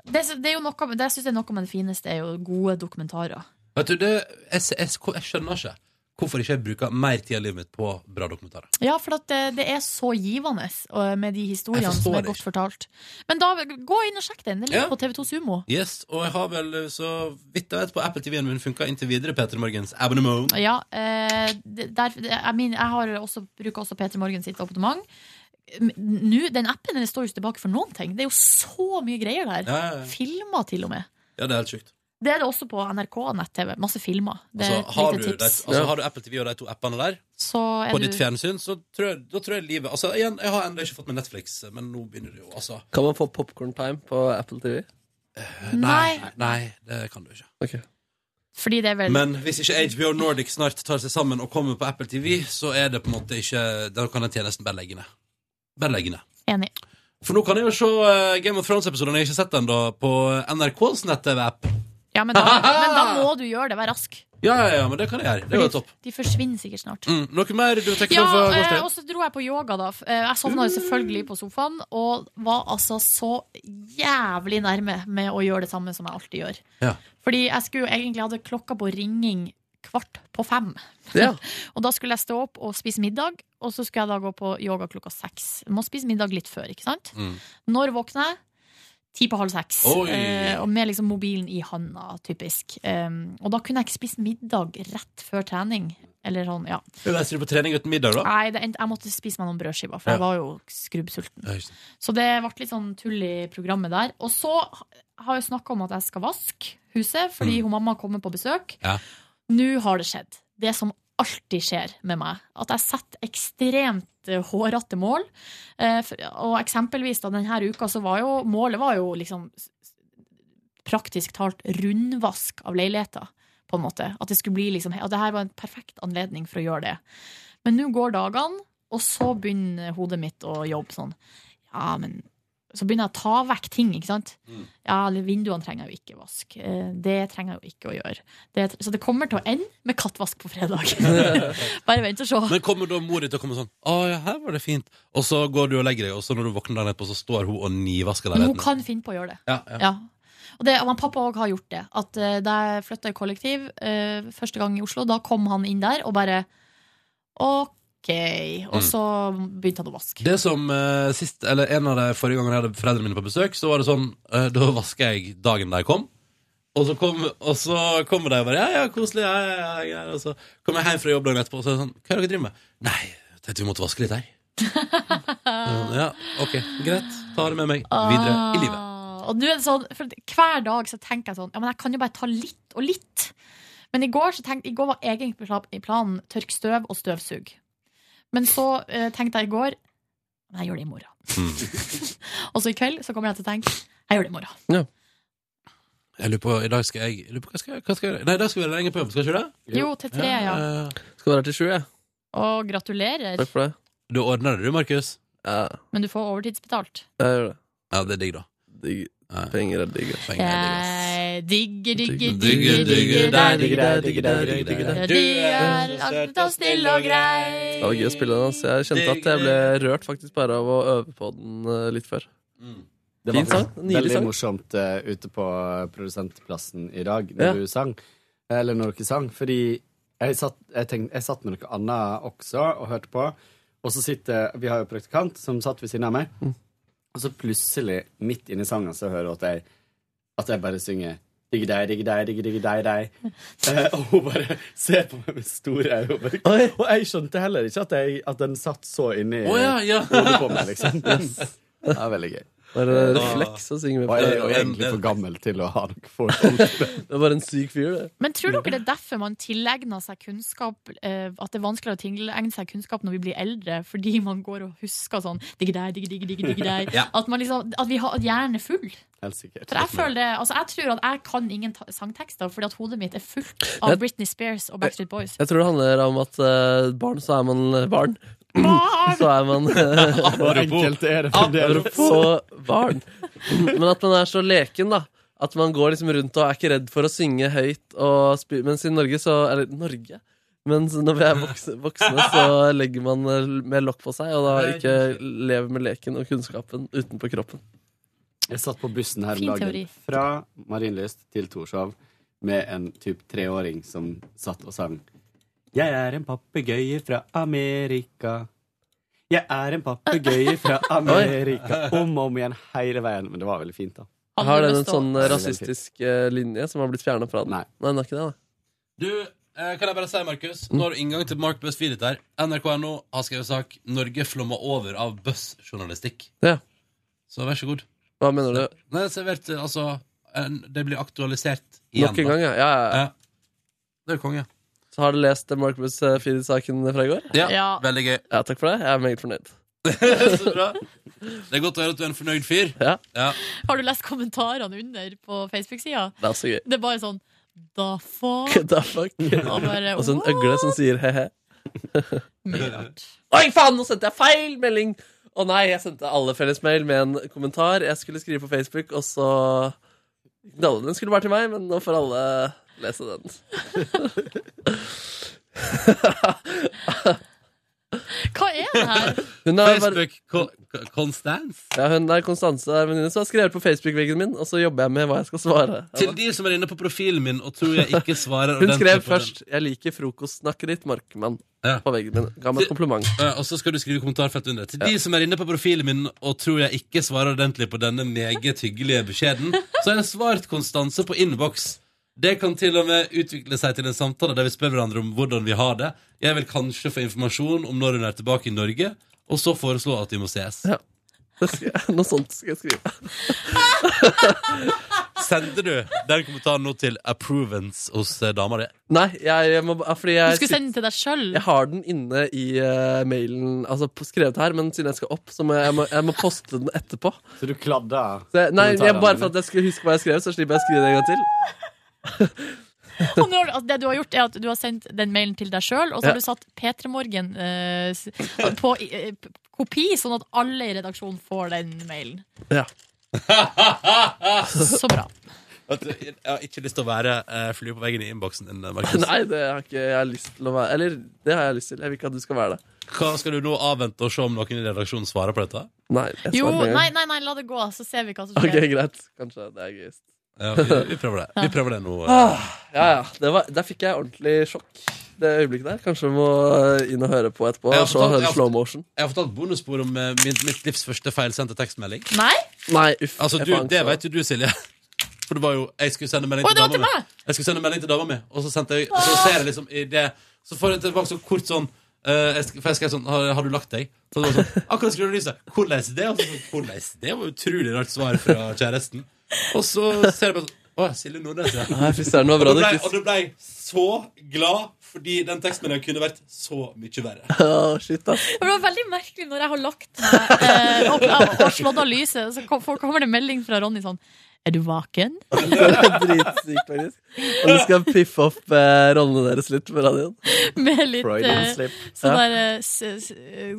Speaker 3: Det, det er jo noe, det synes jeg er noe av det fineste er jo gode dokumentarer.
Speaker 2: Vet du, det, jeg, jeg, jeg skjønner ikke hvorfor ikke jeg bruker mer tid av livet mitt på bra dokumentarer.
Speaker 3: Ja, for at det, det er så givende og med de historiene
Speaker 2: Jeg forstår
Speaker 3: som er
Speaker 2: det
Speaker 3: godt fortalt. Men da, gå inn og sjekk den. Den ligger på TV2 Sumo.
Speaker 2: Yes, og jeg har vel eh, så vidt jeg vet på Apple TV-en min funka inntil videre Peter Morgens abonnement.
Speaker 3: Ja, eh, det- der, det- jeg, min, jeg har også, bruker også Peter Morgen sitt abonnement. M- Nå, den appen den står jo ikke tilbake for noen ting. Det er jo så mye greier der.
Speaker 2: Ja, ja, ja.
Speaker 3: Filmer til og med.
Speaker 2: Ja, det er helt sjukt.
Speaker 3: Det er det også på NRK nett-TV. Masse filmer. Det er
Speaker 2: Altså, har,
Speaker 3: et
Speaker 2: du,
Speaker 3: lite
Speaker 2: de,
Speaker 3: tips.
Speaker 2: altså, har du Apple TV og de to appene der
Speaker 3: Så er
Speaker 2: på
Speaker 3: du-
Speaker 2: ditt fjernsyn, så tror jeg, da tror jeg livet Altså, igjen, jeg har ennå ikke fått med Netflix, men nå begynner det jo, altså.
Speaker 4: Eh,
Speaker 2: Eh,
Speaker 4: Kan man få popcorn time på Apple TV?
Speaker 2: Nei. Nei, det kan du ikke.
Speaker 3: Fordi det er vel
Speaker 2: Men hvis ikke HBO Nordic snart tar seg sammen og kommer på Apple TV, så er det på en måte ikke Da kan den tjenesten bare legge ned. Bare legge ned.
Speaker 3: Enig.
Speaker 2: For nå kan jeg jo se eh, Game of Thrones-episoden jeg ikke har sett ennå, på NRKs nett-TV-app.
Speaker 3: Ja, men da, men da må du gjøre det. Vær rask.
Speaker 2: Ja, ja, ja, men det kan jeg gjøre. Det går topp.
Speaker 3: De forsvinner sikkert snart.
Speaker 2: Mm, noe mer du tenker
Speaker 3: Ja,
Speaker 2: på fra
Speaker 3: eh,
Speaker 2: gårsdagen?
Speaker 3: og så dro jeg på yoga, da. F- eh, Jeg sovna
Speaker 2: Mm.
Speaker 3: jo selvfølgelig på sofaen, og var altså så jævlig nærme med å gjøre det samme som jeg alltid gjør.
Speaker 2: Ja.
Speaker 3: Fordi jeg skulle jo egentlig hadde klokka på ringing kvart på fem.
Speaker 2: Ja.
Speaker 3: og da skulle jeg stå opp og spise middag, og så skulle jeg da gå på yoga klokka seks. Jeg må spise middag litt før, ikke sant?
Speaker 2: Mm.
Speaker 3: Når våkner jeg? Ti på halv seks.
Speaker 16: Oi.
Speaker 3: Eh, og med liksom mobilen i handa, typisk. Um, og da kunne jeg ikke spise middag rett før trening. Eller sånn, ja.
Speaker 2: Reiser du på trening uten middag, da?
Speaker 3: Nei, det endte, jeg måtte spise meg noen brødskiver, for
Speaker 2: Ja.
Speaker 3: jeg var jo skrubbsulten.
Speaker 2: Ja, ikke sant.
Speaker 3: Så det ble litt sånn tull i programmet der. Og så har jeg snakka om at jeg skal vaske huset, fordi
Speaker 2: Mm.
Speaker 3: hun mamma kommer på besøk.
Speaker 2: Ja.
Speaker 3: Nå har det skjedd. Det som alltid skjer med meg. At jeg setter ekstremt eh, hårete mål. Eh, for- Og eksempelvis da denne uka så var jo målet var jo liksom s- s- praktisk talt rundvask av leiligheter. På en måte. At det skulle bli liksom At det her var en perfekt anledning for å gjøre det. Men nå går dagene, og så begynner hodet mitt å jobbe sånn. Ja, men Så begynner jeg å ta vekk ting, ikke sant? Ja, eller vinduene trenger jeg jo ikke vask. Eh, Det trenger jeg jo ikke å gjøre. Det, så det kommer til å ende med kattvask på fredag. Bare vent og se.
Speaker 2: Men kommer da mor di til å komme sånn Å ja, her var det fint. Og så går du og legger deg, og så når du våkner der nedpå, så står hun og nivasker
Speaker 3: Men hun
Speaker 2: leiligheten.
Speaker 3: kan finne på å gjøre det.
Speaker 2: Ja, ja.
Speaker 3: Ja. Og, det, og han pappa òg har gjort det. At eh, Da jeg flytta i kollektiv eh, første gang i Oslo, da kom han inn der og bare OK.
Speaker 2: Mm.
Speaker 3: Og så begynte han å vaske.
Speaker 2: Det som eh, sist, eller En av de forrige gangene jeg hadde foreldrene mine på besøk, Så var det sånn eh, Da vasker jeg dagen de kom. Og så, kom, og så kommer de og bare Ja, ja, koselig. Ja, ja, ja, ja. Og så kommer jeg hjem fra jobb dagen etterpå, og så er det sånn Hva er det dere driver med? Nei, jeg tenkte vi måtte vaske litt her. Mm, ja, OK. Greit. Tar det med meg videre
Speaker 3: Ah.
Speaker 2: i livet.
Speaker 3: Og nå er det sånn, for Hver dag så tenker jeg sånn Ja, men jeg kan jo bare ta litt og litt. Men i går, så tenkte, i går var egentlig pla- i planen tørk støv og støvsug. Men så eh, tenkte jeg i går Men jeg gjør det i morgen.
Speaker 2: Hmm.
Speaker 3: Og så i kveld så kommer jeg til å tenke Jeg gjør det i morgen.
Speaker 2: Jeg lurer på, i dag skal jeg, jeg lurer på, hva skal jeg, hva skal jeg gjøre? Nei, i dag skal vi være lenge på jobb, skal vi ikke det? Eh,
Speaker 3: Jo, til tre, ja.
Speaker 2: Skal være her til sju, jeg.
Speaker 3: Og gratulerer.
Speaker 2: for det. Du ordner det, du, Markus. Ja,
Speaker 3: Men du får overtidsbetalt.
Speaker 2: jeg gjør det. Ja, det er digg, da. Penger er digg.
Speaker 3: Eh, Digge, digge, digge,
Speaker 2: Digge, digge,
Speaker 3: digge
Speaker 2: der,
Speaker 3: deg.
Speaker 2: digge, der, digge, der, digge, digge, der.
Speaker 3: Du eh, er alt og snill og grei.
Speaker 4: Det var gøy å spille den. ass. Jeg kjente at jeg ble rørt faktisk bare av å øve på den eh, litt før.
Speaker 2: Mm.
Speaker 12: Det
Speaker 4: Fin
Speaker 12: var
Speaker 4: sang. Nydelig
Speaker 12: veldig
Speaker 4: sang.
Speaker 12: morsomt eh, ute på produsentplassen i dag
Speaker 4: Ja.
Speaker 12: når du sang. Eller når dere sang. Fordi jeg satt, jeg, tenkte, jeg satt med noe annet også og hørte på. Og så sitter Vi har jo praktikant som satt ved siden av meg.
Speaker 4: Mm.
Speaker 12: Og så plutselig, midt inni sangen, så hører hun at jeg, at jeg bare synger Digge deg, digge deg, digge, digge deg, deg. Eh, og hun bare ser på meg med store øyne. og bare- Og jeg skjønte heller ikke at, jeg, at den satt så inni
Speaker 2: Å, ja, ja.
Speaker 12: hodet på meg, liksom.
Speaker 2: Yes.
Speaker 12: Det er veldig gøy.
Speaker 4: Bare refleks å synge med på.
Speaker 12: Og jeg er jo egentlig for gammel til å ha noe forhold til det.
Speaker 4: Det var en syk fyr, det.
Speaker 3: Men tror dere det er derfor man tilegner seg kunnskap eh, At det er vanskeligere å tilegne seg kunnskap når vi blir eldre, fordi man går og husker sånn digge deg, digge, digge, digge, digge deg.
Speaker 12: Ja.
Speaker 3: At, man liksom, at vi har at hjernen er full.
Speaker 12: Helt sikkert.
Speaker 3: For jeg føler det, altså jeg tror at jeg kan ingen ta sangtekster, fordi at hodet mitt er fullt av
Speaker 4: Jeg-
Speaker 3: Britney Spears og Backstreet Boys.
Speaker 4: Jeg tror det handler om at eh, barn, så er man eh, barn. Så er man eh,
Speaker 12: Hvor enkelt er det fremdeles?
Speaker 4: Apropos barn. Men at man er så leken, da. At man går liksom rundt og er ikke redd for å synge høyt. Og spy, mens i Norge så Eller Norge? Mens når vi er voksne, voksne så legger man eh, mer lokk på seg, og da ikke lever med leken og kunnskapen utenpå kroppen.
Speaker 12: Jeg satt på bussen her om
Speaker 4: Fin
Speaker 12: dagen
Speaker 4: teori.
Speaker 12: fra Marienlyst til Torshov med en typ treåring som satt og sang. Jeg er en papegøye fra Amerika. Jeg er en papegøye fra Amerika. Om og om igjen hele veien. Men det var veldig fint, da.
Speaker 4: Har den en sånn eh, rasistisk eh, linje som har blitt fjerna fra den? Nei. den har ikke det, da.
Speaker 2: Du, eh, kan jeg bare si, Markus Nå har du inngang til Mark Buzz feedet der NRK.no har skrevet sak 'Norge flommer over av Buzz-journalistikk'.
Speaker 4: Ja.
Speaker 2: Så vær så god.
Speaker 4: Hva mener du?
Speaker 2: Nei, servert, eh, altså en- Det blir aktualisert igjen.
Speaker 4: Nok en
Speaker 2: da.
Speaker 4: gang, ja. ja, ja.
Speaker 2: Det er konge.
Speaker 4: Så har du lest eh, Mark Buzz eh, Feed-saken fra i går?
Speaker 2: Ja, Veldig gøy.
Speaker 4: Ja, takk for det. Jeg er meget fornøyd.
Speaker 2: så bra. Det er godt å høre at du er en fornøyd fyr.
Speaker 4: Ja.
Speaker 3: Har du lest kommentarene under på Facebook-sida?
Speaker 4: Det er så gøy.
Speaker 3: Det er bare sånn Da faen.
Speaker 4: Da fuck.
Speaker 3: Og bare,
Speaker 4: Og så en øgle som sier he-he. Oi, faen, nå sendte jeg feil melding! Å nei, jeg sendte alle felles mail med en kommentar jeg skulle skrive på Facebook, og så Dalle, Den skulle vært til meg, men nå får alle lese den.
Speaker 3: Hva er det her?
Speaker 4: Hun er bare-
Speaker 2: Facebook-Konstans?
Speaker 4: Ja, hun er Konstanse, en venninne som har skrevet på Facebook-veggen min, og så jobber jeg med hva jeg skal svare.
Speaker 2: Til de som er inne på profilen min og tror jeg ikke svarer
Speaker 4: Hun
Speaker 2: ordentlig
Speaker 4: skrev
Speaker 2: på den.
Speaker 4: først 'Jeg liker frokostsnakket ditt, Markmann',
Speaker 2: Ja.
Speaker 4: på veggen min. Ga meg et kompliment.
Speaker 2: Eh, Og så skal du skrive kommentarfelt under. Til de som er inne på profilen min og tror jeg ikke svarer ordentlig på denne meget hyggelige beskjeden, så har jeg svart Konstanse på innboks. Det kan til og med utvikle seg til en samtale der vi spør hverandre om hvordan vi har det. Jeg vil kanskje få informasjon om når hun er tilbake i Norge, og så foreslå at vi må ses.
Speaker 4: Ja. Det skal jeg, noe sånt skal jeg skrive.
Speaker 2: Sender du den kommentaren nå til approvance hos eh, dama di?
Speaker 4: Nei, jeg, jeg må ba- fordi
Speaker 3: Du
Speaker 4: jeg
Speaker 3: skulle sende den til deg sjøl.
Speaker 4: Jeg har den inne i eh, mailen, altså på- skrevet her, men siden jeg skal opp, så må jeg, jeg, må, jeg må poste den etterpå.
Speaker 12: Så du kladda?
Speaker 4: Så jeg, nei, jeg,
Speaker 12: kommentarene
Speaker 4: bare for at jeg skulle huske hva jeg skrev, så slipper jeg å skrive det en gang til.
Speaker 3: Og nå har du- altså, det du har gjort, er at du har sendt den mailen til deg sjøl, og så
Speaker 4: Ja.
Speaker 3: har du satt P3 Morgen eh, s- på eh, p- kopi, sånn at alle i redaksjonen får den mailen.
Speaker 4: Ja.
Speaker 3: Så bra.
Speaker 2: Vet du, Jeg har ikke lyst til å være eh, flue på veggen i innboksen din, eh, Markus.
Speaker 4: Nei, det har ikke jeg lyst til å være. Eller, det har jeg lyst til. Jeg vil ikke at du skal være det.
Speaker 2: Hva Skal du nå avvente og se om noen i redaksjonen svarer på dette?
Speaker 4: Nei, jeg
Speaker 3: Jo,
Speaker 4: svarer med en
Speaker 3: nei,
Speaker 4: gang.
Speaker 3: nei, nei, la det gå, så ser vi hva som
Speaker 4: Ok,
Speaker 3: skjer.
Speaker 4: greit. Kanskje det er gøyest.
Speaker 2: Ja, vi, vi prøver det. Vi prøver det nå. eh.
Speaker 4: Ah, ja, ja. Det var, der fikk jeg ordentlig sjokk. Det øyeblikket der. Kanskje vi må eh, inn og høre på etterpå.
Speaker 2: Jeg har
Speaker 4: Og se,
Speaker 2: fortalt- jeg
Speaker 4: høre
Speaker 2: har
Speaker 4: slow
Speaker 2: fortalt-
Speaker 4: motion.
Speaker 2: Jeg har fortalt bonusspor om eh, mitt, mitt livs første feilsendte tekstmelding.
Speaker 3: Nei?
Speaker 4: Nei, uff.
Speaker 2: Altså,
Speaker 4: jeg
Speaker 2: du,
Speaker 4: får angst
Speaker 2: det
Speaker 4: nå.
Speaker 2: vet jo du, Silje. For det var jo Jeg skulle sende melding
Speaker 4: Oi,
Speaker 2: til
Speaker 4: det var
Speaker 2: dama
Speaker 4: til
Speaker 2: mi. Jeg skulle sende melding til dama mi, og så sendte jeg og Så ser jeg liksom i det Så får jeg tilbake sånn kort sånn eh, jeg sk- For jeg skrev sånn Har, har du lagt deg? Så det var sånn Akkurat skrev du lyset. Hvordan det? Og så sånn, Hvordan det? var utrolig rart svar fra kjæresten. Og så ser jeg bare sånn Å, Silje Nordnes, ja.
Speaker 4: Nei, fy søren, det var bra
Speaker 2: og da
Speaker 4: du
Speaker 2: ble,
Speaker 4: ikke-
Speaker 2: og da ble jeg så glad, fordi den tekstmeldingen kunne vært så mye verre.
Speaker 4: Å, Ah, shit, ass.
Speaker 3: Det var veldig merkelig når jeg har lagt meg eh, og, og slått av lyset, så kom- kommer det melding fra Ronny sånn Er du vaken?
Speaker 4: Dritsykt, faktisk. Og du skal piffe opp eh, rollene deres litt på radioen.
Speaker 3: Med litt
Speaker 4: Freudian
Speaker 3: eh,
Speaker 4: slip.
Speaker 3: sånn
Speaker 4: Ja.
Speaker 3: der eh, s- s- eh,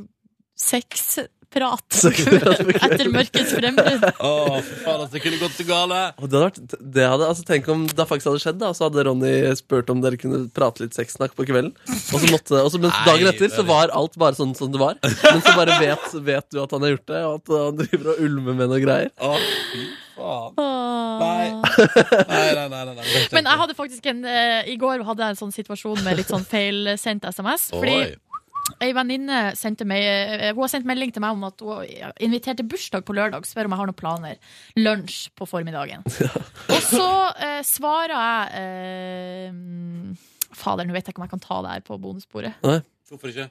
Speaker 3: sexprat
Speaker 4: Sexprat, ok.
Speaker 3: etter mørkets frembrudd.
Speaker 2: Å, for faen, altså, det kunne gått så gale.
Speaker 4: Og det hadde vært, det hadde, altså Tenk om det faktisk hadde skjedd, da, og så hadde Ronny spurt om dere kunne prate litt sexsnakk på kvelden. Og så måtte, og så, mens
Speaker 2: Nei,
Speaker 4: dagen etter så
Speaker 2: veldig.
Speaker 4: var alt bare sånn som det var. Men så bare vet, vet du at han har gjort det, og at han driver og ulmer med noe greier.
Speaker 2: Å, fy faen.
Speaker 3: Nei.
Speaker 2: Nei, nei, nei, nei, nei.
Speaker 3: Men jeg hadde faktisk en eh, I går hadde jeg en sånn situasjon med litt sånn feilsendt SMS. Fordi
Speaker 2: Oi.
Speaker 3: ei venninne sendte meg eh, Hun har sendt melding til meg om at hun inviterte bursdag på lørdag. Spør om jeg har noen planer. Lunsj på formiddagen. Og så eh, svarer jeg eh, Fader, nå vet jeg ikke om jeg kan ta det her på bonussporet.
Speaker 4: Nei.
Speaker 2: Hvorfor ikke?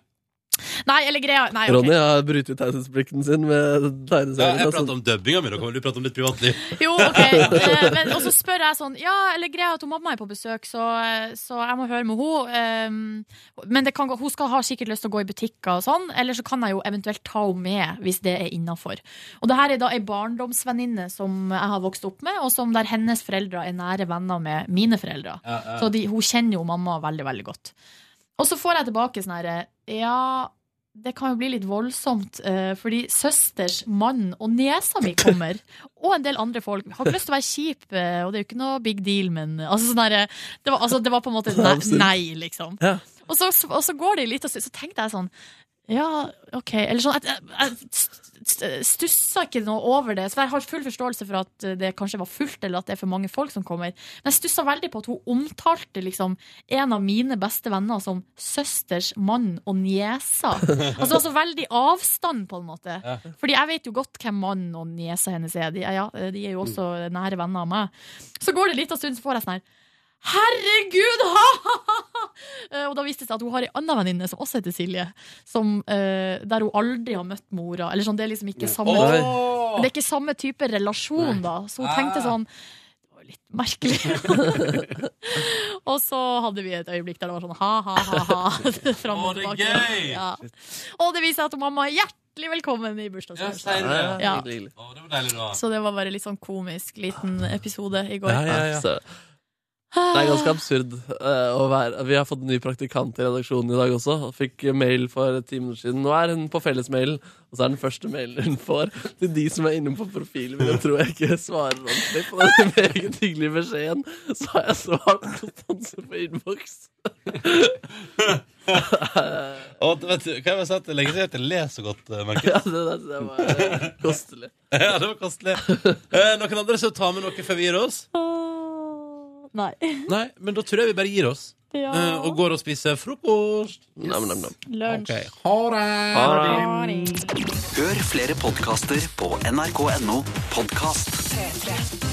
Speaker 3: Nei, eller greia Nei, ok.
Speaker 4: Ronny har brytet taushetsplikten sin med
Speaker 2: Ja,
Speaker 4: tegneserien.
Speaker 2: jeg
Speaker 4: og sånn.
Speaker 2: prater om dubbinga mi, da kan vel du prate om ditt privatliv?
Speaker 3: Jo, ok eh, men, Og så spør jeg sånn Ja, eller greia er at hun mamma er på besøk Så, eh, så jeg må høre med henne Men det kan, gå- hun skal ha sikkert lyst til å gå i butikker og sånn Eller så kan jeg jo eventuelt ta henne med Hvis det er innenfor Og det her er da en barndomsvenninne Som jeg har vokst opp med Og som der hennes foreldre er nære venner med mine foreldre
Speaker 16: Ja, ja.
Speaker 3: Så de, hun kjenner jo mamma veldig, veldig godt Og så får jeg tilbake sånn her Ja, det kan jo bli litt voldsomt, eh, fordi søsters mann og niesa mi kommer. Og en del andre folk. Har ikke lyst til å være kjip, eh, og det er jo ikke noe big deal, men eh, altså, sånn der, eh, det, var, altså, det var på en måte nei,
Speaker 16: Absolutt.
Speaker 3: nei liksom. Og, så, og så går det litt, og så, så tenkte jeg sånn ja, OK. Eller sånn, jeg, jeg, jeg stussa ikke noe over det. Så jeg har full forståelse for at det kanskje var fullt, eller at det er for mange folk som kommer. Men jeg stussa veldig på at hun omtalte liksom en av mine beste venner som søsters mann og niesa. Altså, altså veldig avstand, på en måte.
Speaker 16: Ja.
Speaker 3: Fordi jeg vet jo godt hvem mannen og niesa hennes er. De, er- ja, de er jo også nære venner av meg. Så går det litt av stund, så får jeg sånn her Herregud, ha, ha, ha, ha! Eh, Og da viste det seg at hun har ei anna venninne som også heter Silje, som, eh, der hun aldri har møtt mora. Eller sånn, det er liksom ikke samme
Speaker 16: Åh!
Speaker 3: Det er ikke samme type relasjon, da. Så hun tenkte sånn det var litt merkelig. og så hadde vi et øyeblikk der det var sånn ha-ha-ha. Fram og tilbake.
Speaker 2: gøy!
Speaker 3: Ja. Og det viser seg at mamma er hjertelig velkommen i bursdagsdagen. Ja.
Speaker 2: Å, det var deilig, da.
Speaker 3: Så det var bare litt sånn komisk liten episode i går.
Speaker 4: Ja, ja, ja. Så- Det er ganske absurd eh, å være Vi har fått en ny praktikant i redaksjonen i dag også. Og fikk mail for ti minutter siden. Nå er hun på fellesmailen, og så er den første mailen hun får til de som er inne på profilen min, og tror jeg ikke svarer ordentlig på den meget hyggelige beskjeden. Så har jeg svart konstanse på innboks.
Speaker 2: Og, vet du, kan jeg bare si at det legger seg at jeg leser godt, eh, Markus.
Speaker 4: Ja, det, der- det var eh, kostelig.
Speaker 2: ja, det var kostelig. Eh, noen andre som tar med noe før vi gir oss?
Speaker 3: Nei.
Speaker 2: Nei, men da tror jeg vi bare gir oss.
Speaker 3: Ja.
Speaker 2: Eh, og går og spiser frokost.
Speaker 3: Lunsj.
Speaker 2: Ok, Ha det!
Speaker 1: Ha Hør flere podkaster på nrk.no podkast.
Speaker 5: 3-3.